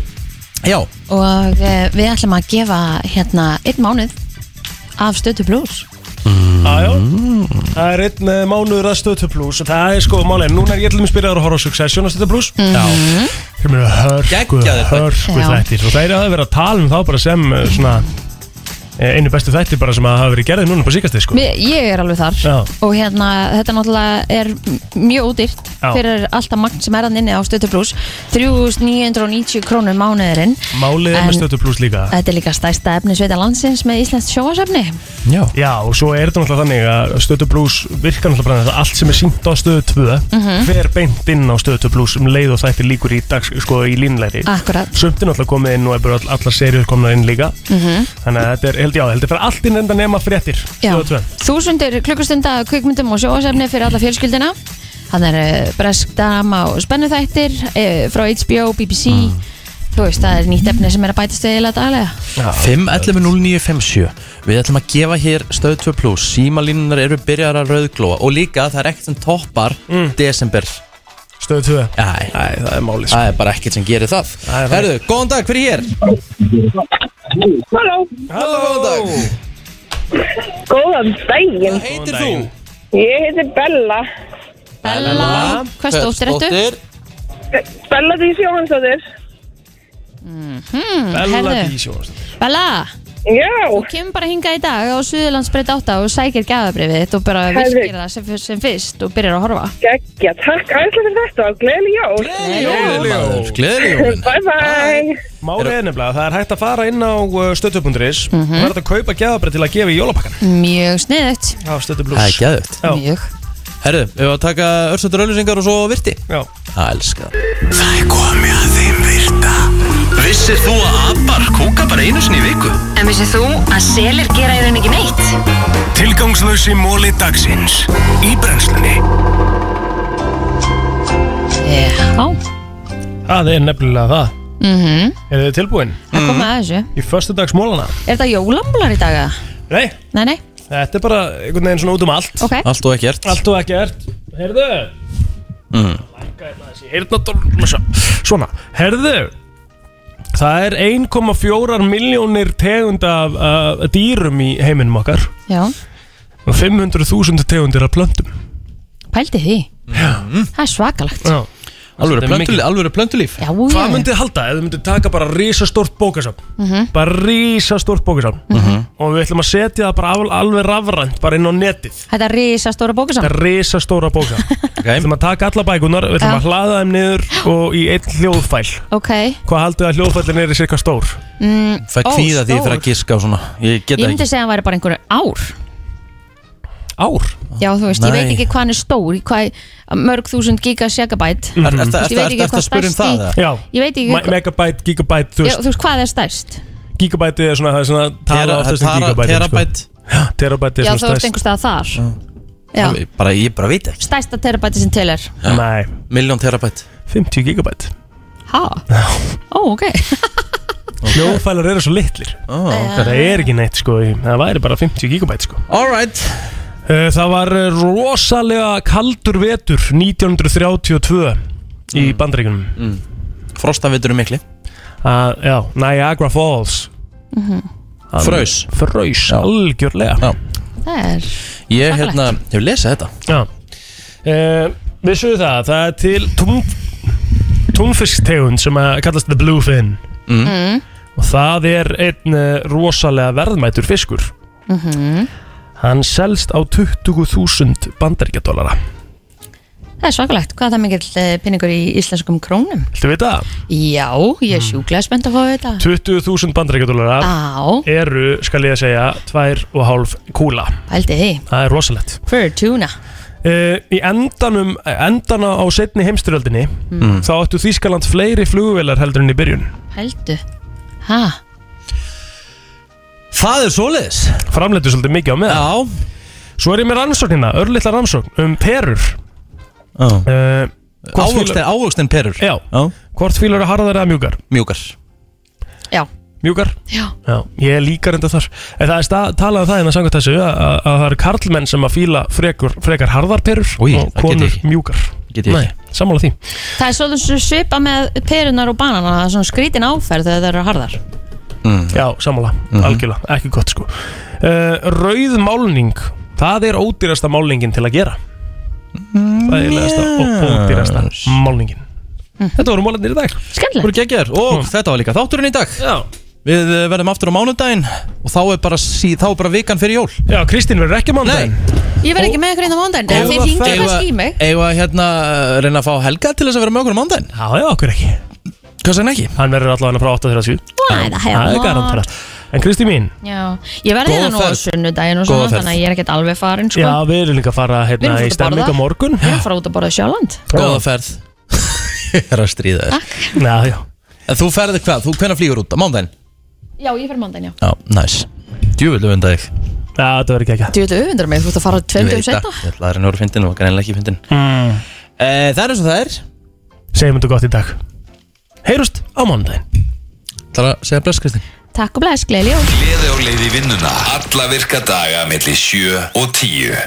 Já,
og eh, við ætlum að gefa hérna einn mánuð af stötu blues
Jájá,
Mm.
það er einn eh, mánuður að stötu pluss og það er sko málið, núna er ég til að spyrja að horfa á Succession að stötu pluss
Mhm. Já.
Þeir mér að hörku,
Geggjaðir þættir.
hörku
Já.
þættir og þeir hafa verið að tala um þá bara sem eh, svona eh, einu bestu þættir bara sem að hafa verið gerðið núna på síkastið sko
Mér, ég er alveg þar
Já.
og hérna þetta náttúrulega er m- mjög útýrt
Já.
fyrir alltaf magn sem er hann inni á stötu blues 3990 krónur mánuðurinn
Málið er
En-
með stötu pluss líka
Þetta er líka stærsta efni sveita landsins með Íslands sjóasefni
Já.
og svo er þetta náttúrulega þannig að Stötu Plus virkar náttúrulega bara þannig að allt sem er sínt á Stöðu 2
Mhm.
fer beint inn á Stöðu Plus um leið og þættir líkur í dag sko í línleiri
Akkurat.
Sumt er náttúrulega komið inn og er bara all, allar serjur komnar inn líka
Mhm.
Þannig að þetta er, held ég á, held ég fyrir allt inn enda nema fréttir
Já.
Stöðu 2
Þúsundir klukkustunda kvikmyndum og sjóasefni fyrir alla fjölskyldina Hann er eh, bresk drama og spennuþættir eh, frá HBO, BBC Þú veist, það er nýtt efni sem er að bæta stöðilega daglega
511-0957 Við ætlum að gefa hér stöð 2 plus Símalínunar eru byrjar að rauðglóa Og líka það er ekkert sem toppar Desember
Stöðu 2
Æ, það
er málið
Það er sko. bara ekkert sem gerir það
er
Herðu, góðan dag, hver er hér?
Halló
Halló, góðan dag
Góðan daginn Hvað
heitir þú?
Ég heiti Bella
Bella, hvað stóttir þetta?
Bella Dís Jóhansdóttir
Hmm, herðu.
sko.
Bella,
Já
þú kemur bara hingað í dag á Suðurlandsbreyt 8 og sækir gæðabrifið þitt og bara
Herðu.
virkir það sem, sem fyrst og byrjar að horfa
Gekkja, takk æsla fyrir þetta og gleðileg jól
Gleðileg jól.
Gleðileg jólin.
Bye bye
Málið er nefnilega, það er hægt að fara inn á stöðtöpunduris mm
Mhm.
-hmm. Það er hægt að kaupa geðabrið til að gefa í jólapakkan
Mjög sniðugt
Já, stöðtu
Það er geðugt
Mjög
Herðu, við varum að taka örsendur auðlýsingar og svo virti
Já
Það elskar
Það er komið að þeim virta Vissir þú að abar kúka bara einu sinni í viku?
En vissið þú að selir gera í raun ekki neitt?
Tilgangslösi móli dagsins Í brennslunni
eh, Já
Það er nefnilega það
Mhm.
Er þið tilbúin?
Það komið að þessu
Í föstudagsmólana?
Er þetta jólambúlar í dag? eða?
Nei,
Nei, nei,
þetta er bara einhvern veginn svona út um allt
ok
Allt og ekkert
Allt og ekkert Herðu
mm.
hérna Heyrnadólmessa Svona, herðu Það er 1,4 miljónir tegund af uh, dýrum í heiminum okkar
Já,
og 500.000 tegundir af plöntum
pældi því Það er svakalagt
Já.
Alvöru
Þetta er mikið.
plöntulíf, alvöru plöntulíf
Já,
Hvað
já.
myndið þið halda ef þið myndið taka bara risastórt bókasafn
Mhm.
bara risastórt bókasafn og við ætlum að setja það bara al- alveg rafrænt bara inn á netið
Þetta er risastóra bókasam
Þetta er risastóra bókasafn okay. Við ætlum að taka alla bækunar, við ætlum
Já.
að hlaða þeim niður og í einn hljóðfæl
Ok
Hvað haldið þið að hljóðfælin er í cirka stór?
mm, ó, stór.
giska og svona Ég
Ég myndi segja að hann væri bara einhverju ár
Ár?
Já, þú veist, ég
Nei.
veit ekki hvað hann er stór hvað, mörg þúsund gigasegabæt
Er- er- er-
Ég veit
er-
ekki
ertu
hvað
að spyrja um
stærsti-
það, eða?
Já,
Ég veit ekki
Me-
hvað-
megabyte, gigabyte, þú
Já,
veist
þú veist hvað er stærst
Gigabyte er svona, það er svona tala
Tera-
oftast um
tera-
gigabyte
terabyte.
Terabyte er
Já,
svona
þú veist
stærst
einhver stað þar Já.
Ég bara, ég bara veit ekki
Stærsta terabæti sem til er
Nei Miljón terabætt
50 gigabætt
Ha? Ó, ok
Hljóðfælar eru svo litlir
Ah.
oh,
ok.
Það er ekki neitt sko í- Það væri bara 50 gigabæt sko
Alright
Það var eh, rosalega kaldur vetur 1932 í bandaríkunum mm.
Frostaveturum mikli
Ah, Já, Niagara Falls Hann-
Fraus
Fraus, algjörlega
Já.
Það er
Ég
Svakalegt.
hérna, hefur lesað þetta
Já uh, Vissu það, það er til tún, túnfisktegund sem að kallast The Bluefin
Mm.
Mm.
og það er einn eh, rosalega verðmætur fiskur
Mhm.
Hann selst á 20.000 bandaríkjadólara
Það er svakalegt, hvað er það mikill eh, peningur í íslenskum krónum?
Þú veit það?
Já, ég er
Hmm.
sjúklega spennt að fá að vita
20.000
Ah.
bandaríkjadólara eru, skal ég segja, 2,5 kúla
Pældi því
Það er rosalegt
Fortuna
Uh, í endanum, endana á setni heimstyrjöldinni
Mm.
þá áttu Þýskaland fleiri flugvélar heldur en í byrjun
Pældu Ha?
Það er svoleiðis
Framleitu svolítið mikið á með Já Svo er ég með rannsóknina, örlítla rannsókn um perur
oh.
uh,
Ávöxtin, ávöxtin perur
Já,
oh.
hvort fílar eru harðar eða mjúkar?
Mjúkar
Já
Mjúkar?
Já
Já, ég er líka reynda þar En það er stað, talað um það en að sanga þessu að, að, að það eru karlmenn sem að fíla frekur, frekar harðar perur
Új,
og
það get ég
konur
ekki.
mjúkar
Get ég
Nei, sammála því
Það er svolítið svo svipa með perunar og banana Það er svona skrítin áferð þegar það eru harðar
Já, sammála, algjörlega, ekki gott sko uh, Rauð málning Það er ódýrasta málningin til að gera Það er leðasta og ódýrasta málningin Þetta voru málarnir í dag
Skemmtilegt
Voru geggjar Og þetta var líka þátturinn í dag
Já
Við eh, verðum aftur á mánudaginn Og þá er bara, sí, þá er bara vikan fyrir jól
Já, Kristín verður ekki á mánudaginn
Ég verð ekki með ykkur einn á mándaginn Þegar þeir hingja kannski í mig
Eða hérna eh, reyna að fá Helga til þess að vera með okkur á mánudaginn
Já, já, okkur ekki
Hvað segir hann ekki?
Hann verður allavega frá 8 til 7
Why the hell
Það er
not?
garanterat En Kristín mín
Já, ég verði
Góða
hérna nú á
ferð.
sunnudaginn og
Góða
svona
ferð.
Þannig að ég er ekkert alveg farin sko
Já, við erum líka að fara
Við
hérna
erum
í
fórt að
stemming á
borða.
morgun
Við erum að fara út að borða í Sjáland
Góða ferð [laughs] Ég er að stríða þér
Já, já
En þú ferði hvað? Þú hvenær flýgur út? Á mánudaginn?
Já, ég fer mándaginn, já
Já, næs Djúvillu venda þig
Já, þetta verður ekki
Þú veit að öfundur mig, þú ert að
Ég
fara tveim dögum
veit
setna
það. Ég ætla að reyna úr fyndin og var greinlega ekki fyndin
mm.
Eh, Það er eins og það er
Segjum þetta gott í dag Heyrust á mánudaginn
Það er að segja bless Kristín
Takk og blæs, gleyli jól
Gleði á leið í vinnuna Alla virka daga melli 7 og 10